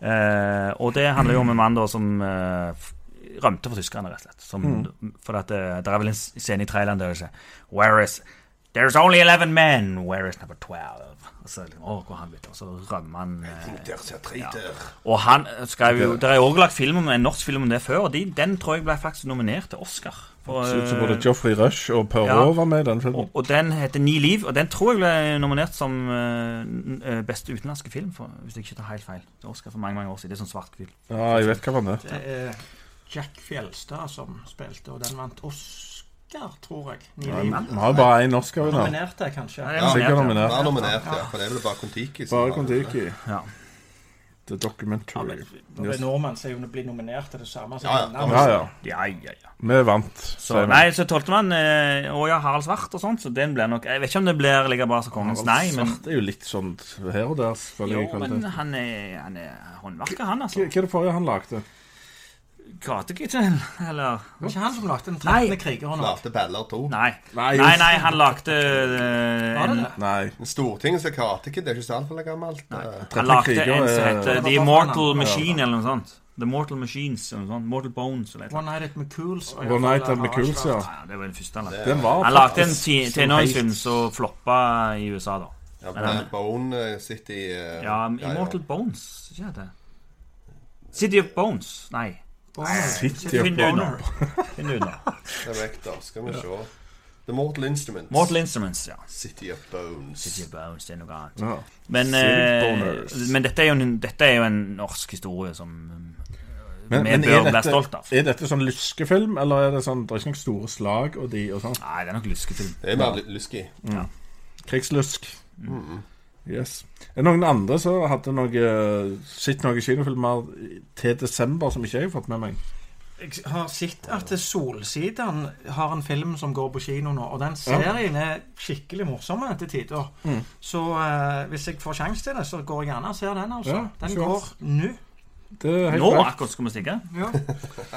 [SPEAKER 3] Eh, og det handler jo om en mann da som eh, f- rømte fra tyskerne, rett og slett. Som,
[SPEAKER 2] Mm.
[SPEAKER 3] For at, eh, det er vel en s- scene i traileren der det sier Where is There's only 11 men, where is number 12? Og så, liksom, å, hvor er han blitt, og så rømmer han eh, og han skrev jo Det er jo også lagt film om en norsk film om det før, og de, den tror jeg ble faktisk nominert til Oscar. For,
[SPEAKER 2] Så ut som
[SPEAKER 3] eh,
[SPEAKER 2] både Joffrey Rush og Perrault
[SPEAKER 3] Ja.
[SPEAKER 2] var med i den filmen.
[SPEAKER 3] og, og den heter Ni liv, og den tror jeg ble nominert som eh, n- eh, beste utenlandske film, for, hvis jeg ikke tar helt feil. Det er Oscar for mange mange år siden. Det er sånn svart-hvitt.
[SPEAKER 2] Ja, jeg vet hva han er.
[SPEAKER 5] Det er Jack Fjelstad som spilte, og den vant Oscar, tror jeg. Ni liv.
[SPEAKER 2] Vi har jo bare én Oscar-vinner.
[SPEAKER 5] Nominerte, kanskje.
[SPEAKER 3] Ja,
[SPEAKER 4] Ja,
[SPEAKER 2] Sikkert
[SPEAKER 3] nominert,
[SPEAKER 4] Han
[SPEAKER 2] nominert.
[SPEAKER 4] er nominert, ja. For det er vel bare Kon-Tiki. som
[SPEAKER 2] Bare
[SPEAKER 4] har-
[SPEAKER 2] Kon-Tiki.
[SPEAKER 3] Ja.
[SPEAKER 2] The
[SPEAKER 5] Ja,
[SPEAKER 2] Documentary.
[SPEAKER 5] men Når det er nordmenn, så er jo å bli nominert til det samme som
[SPEAKER 4] Ja, ja.
[SPEAKER 5] vinner.
[SPEAKER 2] Ja, ja.
[SPEAKER 3] Ja, ja, ja.
[SPEAKER 2] Vi vant.
[SPEAKER 3] Så,
[SPEAKER 2] sier vi.
[SPEAKER 3] nei, så tolvtemann eh, Å ja, Harald Svart og sånt, så den blir nok Jeg vet ikke om det blir like bra som Kongens nei, men
[SPEAKER 2] Svart er jo litt sånn her og der, selvfølgelig.
[SPEAKER 3] jo,
[SPEAKER 2] i kvalitet.
[SPEAKER 3] men han er, han er håndverker, han,
[SPEAKER 2] Hva
[SPEAKER 3] altså.
[SPEAKER 2] hva er det forrige han lagde?
[SPEAKER 3] Gatekitchen, eller
[SPEAKER 5] Det var ikke han som lagde den
[SPEAKER 3] Nei.
[SPEAKER 5] 13. krigeren? også.
[SPEAKER 4] Late Beller 2.
[SPEAKER 3] Nei.
[SPEAKER 2] Nei.
[SPEAKER 3] Nei, nei, han lagde eh,
[SPEAKER 5] Var det
[SPEAKER 3] en,
[SPEAKER 5] det?
[SPEAKER 2] Nei.
[SPEAKER 4] Stortingets Karate Kid det er ikke så altfor gammelt. Eh,
[SPEAKER 3] Han lagde
[SPEAKER 2] Kriger
[SPEAKER 3] en som
[SPEAKER 2] er-
[SPEAKER 3] heter The Immortal Machine, eller noe sånt. The Mortal Machines, eller noe sånt. Mortal Bones, eller noe sånt.
[SPEAKER 5] One Night at McCools.
[SPEAKER 2] One Night at McCool's, ja.
[SPEAKER 3] Ja, det var den første han lagde.
[SPEAKER 2] Den var
[SPEAKER 3] Han lagde en
[SPEAKER 2] faktisk
[SPEAKER 3] ti-
[SPEAKER 2] som
[SPEAKER 3] tenåringsfilm
[SPEAKER 2] helt-
[SPEAKER 3] som floppa i USA, da.
[SPEAKER 4] Ja,
[SPEAKER 3] Men han-
[SPEAKER 4] Bone eh, City eh,
[SPEAKER 3] Ja, Immortal Bones, ikke det? City of Bones. Nei.
[SPEAKER 2] City of
[SPEAKER 3] Finn det
[SPEAKER 2] Bones.
[SPEAKER 3] under. Finn det under.
[SPEAKER 4] Director, skal vi se. The Mortal Instruments.
[SPEAKER 3] Mortal Instruments, ja.
[SPEAKER 4] City of Bones.
[SPEAKER 3] City of Bones, det er noe annet.
[SPEAKER 2] Ja.
[SPEAKER 3] Men,
[SPEAKER 2] City
[SPEAKER 3] eh,
[SPEAKER 2] Boners.
[SPEAKER 3] men dette, er jo en, dette er jo en norsk historie som mm,
[SPEAKER 2] Men,
[SPEAKER 3] vi
[SPEAKER 2] men
[SPEAKER 3] bør
[SPEAKER 2] er,
[SPEAKER 3] være stolt
[SPEAKER 2] dette,
[SPEAKER 3] av.
[SPEAKER 2] er dette sånn lyskefilm, eller er det sånn Det er ikke noen store slag og de og sånn?
[SPEAKER 3] Nei, det er nok lyskefilm.
[SPEAKER 4] Det er mer ly- lysky.
[SPEAKER 2] Krigslysk.
[SPEAKER 3] Mm.
[SPEAKER 2] Yes. Er det noen andre som hadde noe sett noen kinofilmer til desember som ikke jeg har fått med meg?
[SPEAKER 5] Jeg har sett at Solsiden har en film som går på kino nå, og den serien er skikkelig morsom til tider.
[SPEAKER 2] Mm.
[SPEAKER 5] Så eh, hvis jeg får sjanse til det, så går jeg gjerne og ser den, altså.
[SPEAKER 2] Ja,
[SPEAKER 5] den
[SPEAKER 2] sure.
[SPEAKER 5] går nå.
[SPEAKER 2] Det er helt
[SPEAKER 3] Nå
[SPEAKER 2] greit.
[SPEAKER 3] akkurat skal vi stikke.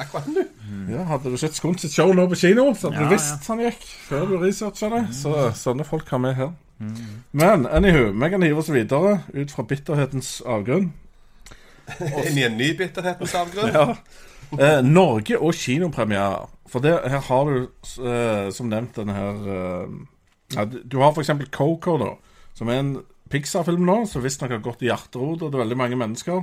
[SPEAKER 4] Akkurat nå.
[SPEAKER 2] Ja, Hadde du sett Skund sitt show nå på kino, så hadde
[SPEAKER 3] Ja, Mm.
[SPEAKER 2] du visst han gikk før du researcha det. Så sånne folk har vi her. Men anywho, vi kan hive oss videre ut fra bitterhetens avgrunn.
[SPEAKER 4] Inn i en ny bitterhetens avgrunn.
[SPEAKER 2] Ja. Eh, Norge og kinopremiere. For det, her har du, eh, som nevnt, denne her eh, ja, Du du har for eksempel Coco, da, som er en Pixar-film nå, som visstnok har gått i hjerterot til veldig mange mennesker.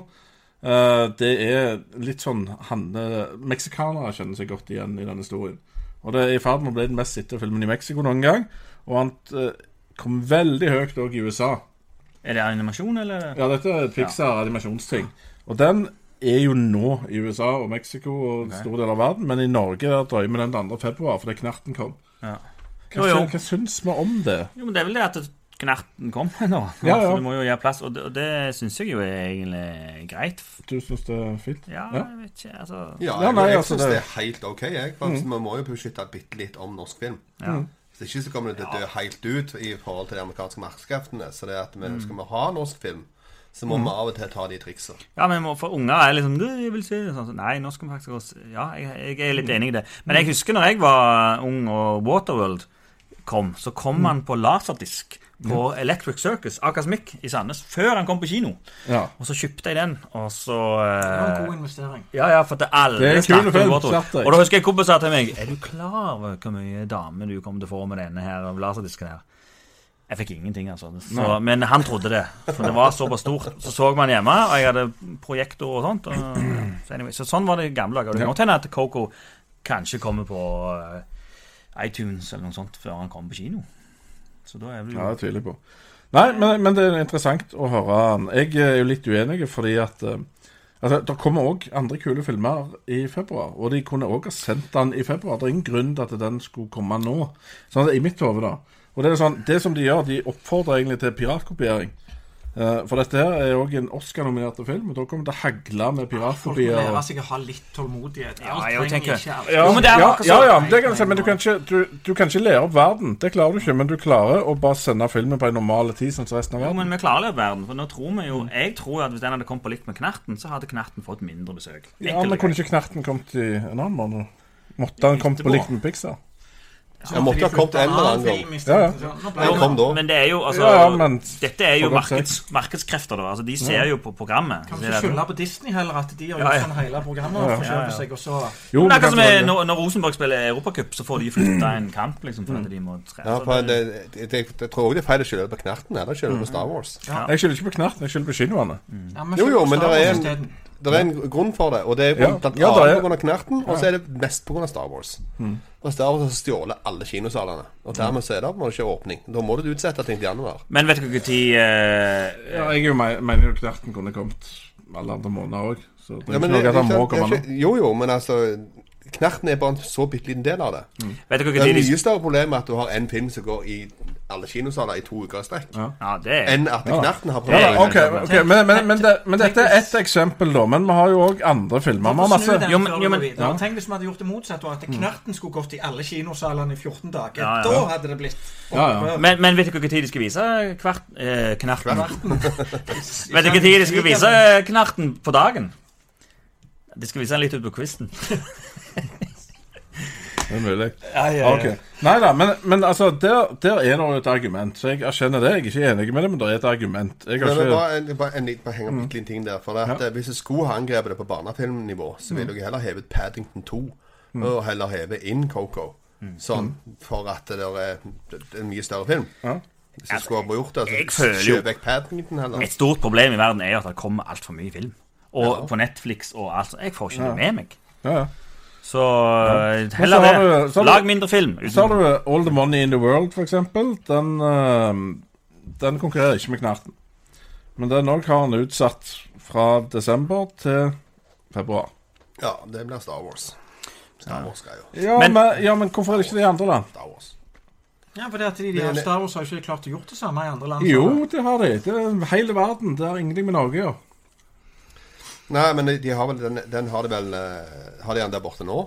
[SPEAKER 2] Eh, det er litt sånn Hanne Meksikanere kjenner seg godt igjen i den historien. Og det er i ferd med å bli den mest sittende filmen i Mexico noen gang. Og han eh, kom veldig høyt òg i USA.
[SPEAKER 3] Er det animasjon, eller?
[SPEAKER 2] Ja, dette er Pixar animasjonsting. Og den er jo nå i USA og Mexico og en stor del av verden, men i Norge der drøyer vi den 2. februar fordi knerten kom.
[SPEAKER 3] Ja.
[SPEAKER 2] Hva,
[SPEAKER 3] Jo, jo.
[SPEAKER 2] sy- hva syns vi om det?
[SPEAKER 3] Jo, men det er vel det at knerten kom nå.
[SPEAKER 2] Ja, ja.
[SPEAKER 3] Så Du må jo gjøre plass, og det, og det syns jeg jo er egentlig greit.
[SPEAKER 2] Du syns det er fint?
[SPEAKER 3] Ja,
[SPEAKER 2] Ja.
[SPEAKER 3] jeg vet ikke, altså
[SPEAKER 4] Ja,
[SPEAKER 2] Ja,
[SPEAKER 4] jeg,
[SPEAKER 2] nei,
[SPEAKER 4] jeg
[SPEAKER 2] altså,
[SPEAKER 4] syns
[SPEAKER 2] det-
[SPEAKER 4] det er helt OK, jeg. For Vi må jo beskytte bitte litt om norsk film. Mm.
[SPEAKER 3] ja.
[SPEAKER 4] Hvis ikke så kommer det til å dø helt ut i forhold til de amerikanske markedskreftene. Så det at vi, skal vi ha norsk film, så må vi av og til ta de triksa.
[SPEAKER 3] Ja, men må- for unger er liksom «Du, jeg vil se det», sånn, så, Nei, nå skal vi faktisk også Ja, jeg, jeg er
[SPEAKER 2] Mm.
[SPEAKER 3] litt enig i det. Men jeg husker når jeg var ung og Waterworld kom, så
[SPEAKER 2] Mm.
[SPEAKER 3] kom han på laserdisk på Electric Circus, Akasmic i Sandnes, før han kom på kino.
[SPEAKER 2] Ja.
[SPEAKER 3] Og så kjøpte jeg den, og så
[SPEAKER 5] Det var en
[SPEAKER 3] eh,
[SPEAKER 5] god investering.
[SPEAKER 3] ja, ja, for det er alle
[SPEAKER 2] Det er en
[SPEAKER 3] snakker
[SPEAKER 2] kul film,
[SPEAKER 3] om Waterworld.
[SPEAKER 2] klart det.
[SPEAKER 3] Og da husker jeg kompiser til meg Er du klar over hvor mye dame du kommer til å få med denne her laserdisken her? Jeg fikk ingenting, altså. Så, men han trodde det. For det var såpass stort. Så så man hjemme, og jeg hadde projektor og sånt. Og, så, anyway, så sånn var det i gamle dager. Det kan godt hende at Coco kanskje kommer på eh, iTunes eller noe sånt før han kommer på kino. Så da er vel
[SPEAKER 2] Ja, det tviler jeg på. Nei, men, men det er interessant å høre han. Jeg er jo litt uenig, fordi at eh, Altså, Det kommer òg andre kule filmer i februar, og de kunne òg ha sendt den i februar. Det er ingen grunn til at den skulle komme nå. Sånn at I mitt hode, da. Og Det er sånn, det som de gjør, de oppfordrer egentlig til piratkopiering. Eh, for dette her er òg en Oscar-nominert film, og da kommer det hagle med
[SPEAKER 5] Folk må
[SPEAKER 2] piratkopier.
[SPEAKER 5] lære seg å ha litt tålmodighet.
[SPEAKER 3] Ja,
[SPEAKER 5] Alt
[SPEAKER 3] jeg
[SPEAKER 5] trenger
[SPEAKER 3] tenker-
[SPEAKER 5] ikke alt.
[SPEAKER 2] Ja,
[SPEAKER 3] Jo, men det er
[SPEAKER 2] ja,
[SPEAKER 3] akkurat
[SPEAKER 2] ja,
[SPEAKER 3] sånn.
[SPEAKER 2] ja, men det kan jeg si, men du kan, ikke, du, du kan ikke lære opp verden. Det klarer du ikke, men du klarer å bare sende filmen på en normal tid, sånn som resten av
[SPEAKER 3] Jo,
[SPEAKER 2] verden.
[SPEAKER 3] men vi klarer det i verden. For nå tror vi jo Jeg tror at hvis den hadde kommet på likt med Knerten, så hadde Knerten fått mindre besøk.
[SPEAKER 2] Ja,
[SPEAKER 3] Enkelt og
[SPEAKER 2] men
[SPEAKER 3] greit.
[SPEAKER 2] kunne ikke Knerten kommet i en annen måned? Måtte han kommet på
[SPEAKER 3] Etterpå.
[SPEAKER 2] likt med Pixar?
[SPEAKER 4] Jeg måtte ha kommet en eller annen gang.
[SPEAKER 2] Ja, ja.
[SPEAKER 4] Jeg kom da.
[SPEAKER 3] Men det er jo, altså,
[SPEAKER 2] Ja, men-
[SPEAKER 3] dette er jo
[SPEAKER 2] for godt
[SPEAKER 3] markeds, markedskrefter, da. Altså, de ser jo på programmet.
[SPEAKER 5] Kan
[SPEAKER 3] Så
[SPEAKER 5] vi ikke
[SPEAKER 3] det er-
[SPEAKER 5] skylde på Disney heller, at de har
[SPEAKER 3] Ja,
[SPEAKER 5] gjort
[SPEAKER 3] ja.
[SPEAKER 5] sånn hele programmet og
[SPEAKER 3] Ja, ja.
[SPEAKER 5] forskjøvet seg, og
[SPEAKER 2] Jo,
[SPEAKER 5] så
[SPEAKER 3] Men det er
[SPEAKER 2] men
[SPEAKER 3] akkurat som
[SPEAKER 2] kanskje- Mm.
[SPEAKER 3] er, når, når Rosenborg spiller Europacup, så får de flytta en kamp, liksom, fordi de må trene.
[SPEAKER 4] Ja, for det, det, det, jeg tror også det er feil å skylde på Knerten eller skylde på Star Wars.
[SPEAKER 2] Jeg skylder ikke på Knerten, jeg skylder på kinoene.
[SPEAKER 5] ja, men
[SPEAKER 4] Jo, jo,
[SPEAKER 5] så-
[SPEAKER 4] men
[SPEAKER 5] så-
[SPEAKER 4] det er en-
[SPEAKER 5] isteden.
[SPEAKER 4] Det er en grunn for det, og det er
[SPEAKER 2] Ja.
[SPEAKER 4] blant
[SPEAKER 2] Ja, det
[SPEAKER 4] annet
[SPEAKER 2] er- Mm.
[SPEAKER 4] pga. Knerten, og så er det mest pga. Star Wars. Og Star Wars har stjålet alle kinosalene, og dermed så er det på en måte ikke åpning. Da må du utsette ting til januar.
[SPEAKER 3] Men vet du når eh,
[SPEAKER 2] Ja, jeg er jo me- mener jo Knerten kunne kommet alle andre måneder òg. Så det er ikke
[SPEAKER 4] Ja, men
[SPEAKER 2] noe
[SPEAKER 4] det-
[SPEAKER 2] at han
[SPEAKER 4] det-
[SPEAKER 2] må
[SPEAKER 4] det er
[SPEAKER 2] komme nå.
[SPEAKER 4] ikke- Jo, jo, men altså Knerten er bare en så bitte liten del av det.
[SPEAKER 2] Mm.
[SPEAKER 3] Vet du
[SPEAKER 4] Det
[SPEAKER 3] når
[SPEAKER 4] er
[SPEAKER 3] de
[SPEAKER 4] mye større problem at du har en film som går i alle kinosaler i to uker i strekk,
[SPEAKER 3] Ja, det er
[SPEAKER 4] enn at Knerten
[SPEAKER 2] Ja,
[SPEAKER 4] har problemer.
[SPEAKER 2] da, ok, ok, men, men, men, det, men dette er ett eksempel, da. Men vi har jo òg andre filmer. Vi har
[SPEAKER 5] Snu
[SPEAKER 2] masse
[SPEAKER 5] den
[SPEAKER 3] Jo, men-
[SPEAKER 5] før
[SPEAKER 3] jo,
[SPEAKER 5] du går
[SPEAKER 3] men-
[SPEAKER 5] videre. Tenk hvis vi hadde gjort det motsatt, og at
[SPEAKER 4] Mm.
[SPEAKER 5] Knerten skulle gått i alle kinosalene i 14 dager.
[SPEAKER 3] Ja, ja.
[SPEAKER 5] Da hadde det blitt
[SPEAKER 2] Ja, ja.
[SPEAKER 5] opprør.
[SPEAKER 3] men, men vet du når de skal vise kvart, eh, Knerten? Vet du
[SPEAKER 5] Ikke
[SPEAKER 3] når de skal
[SPEAKER 5] sant?
[SPEAKER 3] vise eh, Knerten på dagen? De skal vise den litt ut på kvisten.
[SPEAKER 2] Det er mulig. Ok. Nei da, men, men altså, der, der er det jo et argument. Så jeg erkjenner det. Jeg er ikke enig med det, men det er et argument. Jeg har
[SPEAKER 4] Men
[SPEAKER 2] ikke
[SPEAKER 4] bare en, bare en liten, bare henge
[SPEAKER 2] Mm.
[SPEAKER 4] opp litt liten ting der. For det at, eh, Hvis jeg skulle ha angrepet det på barnefilmnivå, så
[SPEAKER 2] Mm.
[SPEAKER 4] ville jeg heller hevet Paddington 2. Og heller heve inn Coco.
[SPEAKER 2] Mm.
[SPEAKER 4] Sånn, for at det der er det er en mye større film. Hvis jeg skulle ha gjort det,
[SPEAKER 3] jeg
[SPEAKER 4] så
[SPEAKER 3] føler jo-
[SPEAKER 4] kjøper jeg Paddington heller.
[SPEAKER 3] Et stort problem i verden er jo at det kommer altfor mye film. Og på Netflix og alt sånt. Jeg får ikke det med meg.
[SPEAKER 2] ja, ja.
[SPEAKER 3] Så eh, heller
[SPEAKER 2] Men så
[SPEAKER 3] det.
[SPEAKER 2] har du- så har du-
[SPEAKER 3] Lag mindre film.
[SPEAKER 2] Så har
[SPEAKER 3] Uten,
[SPEAKER 2] du eh, All the Money in the World, for eksempel. Den, eh, den konkurrerer ikke med Knerten. Men den òg har han utsatt fra desember til februar.
[SPEAKER 4] Ja, det blir Star Wars. Star Wars-greier.
[SPEAKER 2] Ja, men,
[SPEAKER 3] Men-
[SPEAKER 2] ja, men hvorfor er det ikke det i andre land?
[SPEAKER 4] Star Wars.
[SPEAKER 5] Ja, for det at de, de her Star Wars har jo ikke klart å gjort det samme i andre land.
[SPEAKER 2] Jo, det har de. Det er hele verden. Det har ingenting med Norge å gjøre.
[SPEAKER 4] Nei, men de, de har vel den, den har de vel eh, Har de den der borte nå?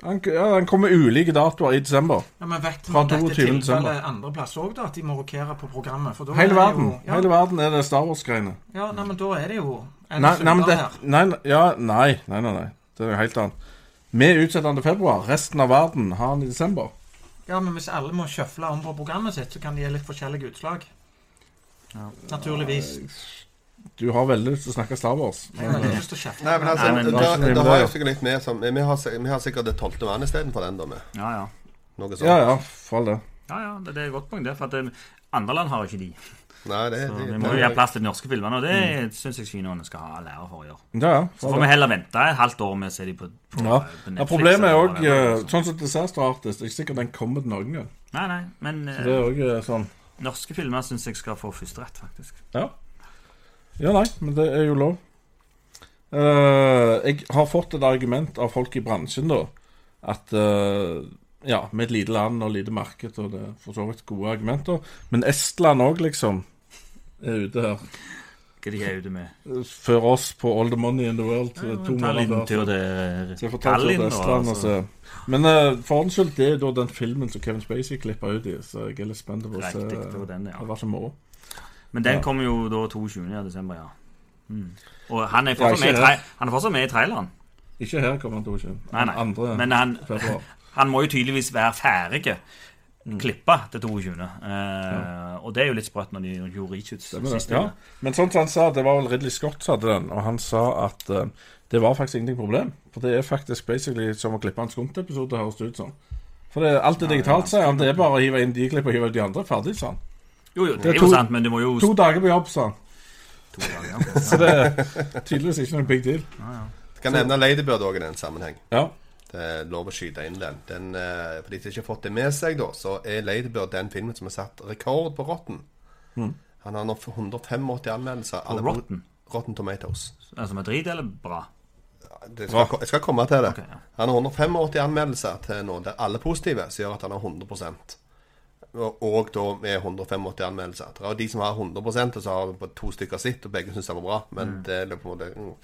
[SPEAKER 2] Den, ja, den kommer ulike datoer i desember.
[SPEAKER 5] Ja, men vet
[SPEAKER 2] Fra
[SPEAKER 5] man dette
[SPEAKER 2] 22. desember.
[SPEAKER 5] tilfellet andre plasser òg, da? At de må rokere på programmet? For da er
[SPEAKER 2] Hele
[SPEAKER 5] det
[SPEAKER 2] verden.
[SPEAKER 5] Jo, ja,
[SPEAKER 2] Hele verden er det Star Wars-greiene.
[SPEAKER 5] ja, nei, men da er det jo en
[SPEAKER 2] Nei, nei, men det,
[SPEAKER 5] synder her.
[SPEAKER 2] nei, nei, ja, nei, nei, nei, nei. Det er noe helt annet. Vi utsetter den til februar. Resten av verden har den i desember.
[SPEAKER 5] Ja, men hvis alle må sjøfle om på programmet sitt, så kan de gi litt forskjellige utslag. Naturligvis.
[SPEAKER 2] Du har veldig lyst til å snakke Star Wars.
[SPEAKER 5] Jeg har veldig lyst til å kjefte.
[SPEAKER 4] Nei, men altså,
[SPEAKER 3] Nei, men-
[SPEAKER 4] da,
[SPEAKER 2] Det er ikke så
[SPEAKER 4] da har
[SPEAKER 2] mye.
[SPEAKER 4] jeg sikkert litt mer som Vi har, sik- vi har sikkert det tolvte vann istedenfor den, da. Med.
[SPEAKER 3] ja, ja.
[SPEAKER 4] Noe sånt.
[SPEAKER 2] Ja, ja, for all det.
[SPEAKER 3] ja, ja, det det er et godt poeng. Det, for at eh, andre land har ikke de.
[SPEAKER 4] Nei, det,
[SPEAKER 3] Så
[SPEAKER 4] det,
[SPEAKER 3] vi må jo gjøre plass til de norske filmene, og det
[SPEAKER 2] Mm.
[SPEAKER 3] syns jeg kinoene skal ha lære for å gjøre.
[SPEAKER 2] Ja, ja.
[SPEAKER 3] Så
[SPEAKER 2] for
[SPEAKER 3] får
[SPEAKER 2] all det.
[SPEAKER 3] vi heller vente et halvt år med å se de på, på,
[SPEAKER 2] Ja.
[SPEAKER 3] på
[SPEAKER 2] Ja, problemet er
[SPEAKER 3] eller
[SPEAKER 2] òg
[SPEAKER 3] hva det er. liksom.
[SPEAKER 2] Sånn som Disaster Artist, det er ikke sikkert den kommer til Norge.
[SPEAKER 3] Nei, nei, men eh,
[SPEAKER 2] Det er også, eh, sånn.
[SPEAKER 3] norske filmer syns jeg skal få førsterett, faktisk.
[SPEAKER 2] Ja, nei, men det er jo lov. Eh, jeg har fått et argument av folk i bransjen, da, at eh, Ja, med et lite land og lite marked, og det er for så vidt gode argumenter, men Estland òg, liksom, er ute her.
[SPEAKER 3] Hva de er ute med?
[SPEAKER 2] Før oss på All the Money in the World. eh, to måneder
[SPEAKER 3] Tallinn
[SPEAKER 2] før.
[SPEAKER 3] til det
[SPEAKER 2] Så jeg får ta til
[SPEAKER 3] Tallinn, og
[SPEAKER 2] Estland og
[SPEAKER 3] altså-
[SPEAKER 2] se. Men eh, for ordens skyld, det er da den filmen som Kevin Spacey klippa ut i, så jeg er litt spent på å se.
[SPEAKER 3] Riktig, det var den, ja.
[SPEAKER 2] Det var så moro.
[SPEAKER 3] Men den
[SPEAKER 2] Ja.
[SPEAKER 3] kommer jo da 22. desember, ja. Mm. Og han er
[SPEAKER 2] Ja,
[SPEAKER 3] fortsatt
[SPEAKER 2] ikke
[SPEAKER 3] med i,
[SPEAKER 2] det.
[SPEAKER 3] trai- han er fortsatt med i traileren.
[SPEAKER 2] Ikke her kommer han til å skje.
[SPEAKER 3] Nei, nei.
[SPEAKER 2] Andre
[SPEAKER 3] Men han,
[SPEAKER 2] februar.
[SPEAKER 3] han må jo tydeligvis være ferdig
[SPEAKER 2] Mm.
[SPEAKER 3] klippa til 22. Eh, Og det er jo litt sprøtt når de gjorde Richards
[SPEAKER 2] Stemmer det.
[SPEAKER 3] siste.
[SPEAKER 2] Ja. Men sånn som han sa, det var vel Ridley Scott som hadde den, og han sa at eh, det var faktisk ingenting problem. For det er faktisk basically som å klippe en skumtepisode, høres det ut som. For det, alt er
[SPEAKER 3] det er
[SPEAKER 2] digitalt, sier han. Det er bare å hive inn de klippene og hive ut de andre. Ferdig, sa han.
[SPEAKER 3] Jo, jo, det
[SPEAKER 2] Det
[SPEAKER 3] er
[SPEAKER 2] er
[SPEAKER 3] jo
[SPEAKER 2] to-
[SPEAKER 3] sant, men du må jo
[SPEAKER 2] To dager på jobb, sa han.
[SPEAKER 3] to dager.
[SPEAKER 2] Så det er tydeligvis ikke noen big deal.
[SPEAKER 4] Kan nevne Ladybird òg i den sammenheng.
[SPEAKER 2] Ja.
[SPEAKER 4] Det er lov å skyte inn den. den eh, for de som ikke har fått det med seg, da, så er Ladybird den filmen som har satt rekord på Rotten. Han har nå 185 anmeldelser. Alle
[SPEAKER 3] Rotten?
[SPEAKER 4] Rotten Tomatoes.
[SPEAKER 3] Ja. Som er drit eller bra?
[SPEAKER 4] Det skal, jeg skal komme til det.
[SPEAKER 3] Ok, ja.
[SPEAKER 4] Han har 185 anmeldelser til nå, der alle er positive, som gjør at han har 100 og, og da med 185 anmeldelser. Det er jo de som har 100 og så har bare to stykker sitt, og begge syns han var bra. Men det er på en måte mm.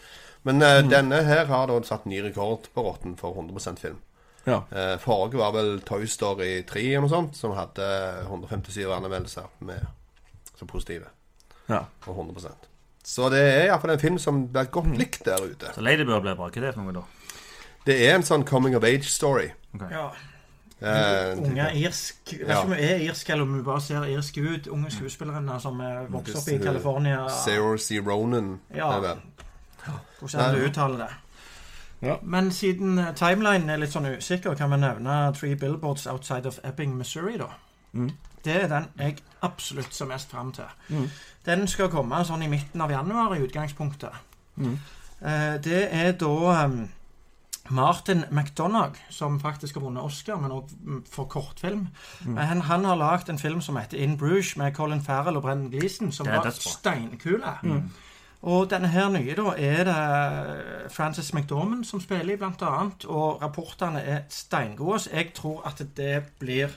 [SPEAKER 4] Men eh, denne her har da satt ny rekord på Rotten for 100 film.
[SPEAKER 2] ja.
[SPEAKER 4] Eh, forrige var vel Toy Story 3 eller noe sånt, som hadde 157 anmeldelser med, som positive.
[SPEAKER 2] ja.
[SPEAKER 4] Og 100 Så det er iallfall en film som blir godt likt der ute.
[SPEAKER 3] Så Ladybird blir bra. Hva er det for noe, da?
[SPEAKER 4] Det er en sånn coming of age-story.
[SPEAKER 3] Ok.
[SPEAKER 5] Ja.
[SPEAKER 4] Eh,
[SPEAKER 5] Unge irsk Jeg vet
[SPEAKER 4] Ja.
[SPEAKER 5] ikke om hun er irsk, eller om hun bare ser irsk ut. Unge skuespillere som eh, vokser opp i California.
[SPEAKER 4] Sarah C. Ronan.
[SPEAKER 5] Ja.
[SPEAKER 4] er vel.
[SPEAKER 5] Hvordan
[SPEAKER 4] Nei.
[SPEAKER 5] du uttaler det.
[SPEAKER 2] Ja.
[SPEAKER 5] Men siden eh, timelinen er litt sånn usikker, kan vi nevne Three Billboards Outside of Ebbing, Missouri, da.
[SPEAKER 2] Mm.
[SPEAKER 5] Det er den jeg absolutt ser mest fram til.
[SPEAKER 2] Mm.
[SPEAKER 5] Den skal komme sånn i midten av januar i utgangspunktet.
[SPEAKER 2] Mm.
[SPEAKER 5] Eh, Det er da em, Martin McDonagh, som faktisk har vunnet Oscar, men også for kortfilm.
[SPEAKER 2] Mm.
[SPEAKER 5] Men han har lagd en film som heter In Bruges, med Colin Farrell og Brennan Gleeson, som
[SPEAKER 3] Det er
[SPEAKER 5] var
[SPEAKER 3] dødsbra.
[SPEAKER 5] steinkule.
[SPEAKER 2] Mm.
[SPEAKER 5] Og denne her nye, da, er det eh, Frances McDormand som spiller i, blant annet. Og rapportene er steingode, så jeg tror at det blir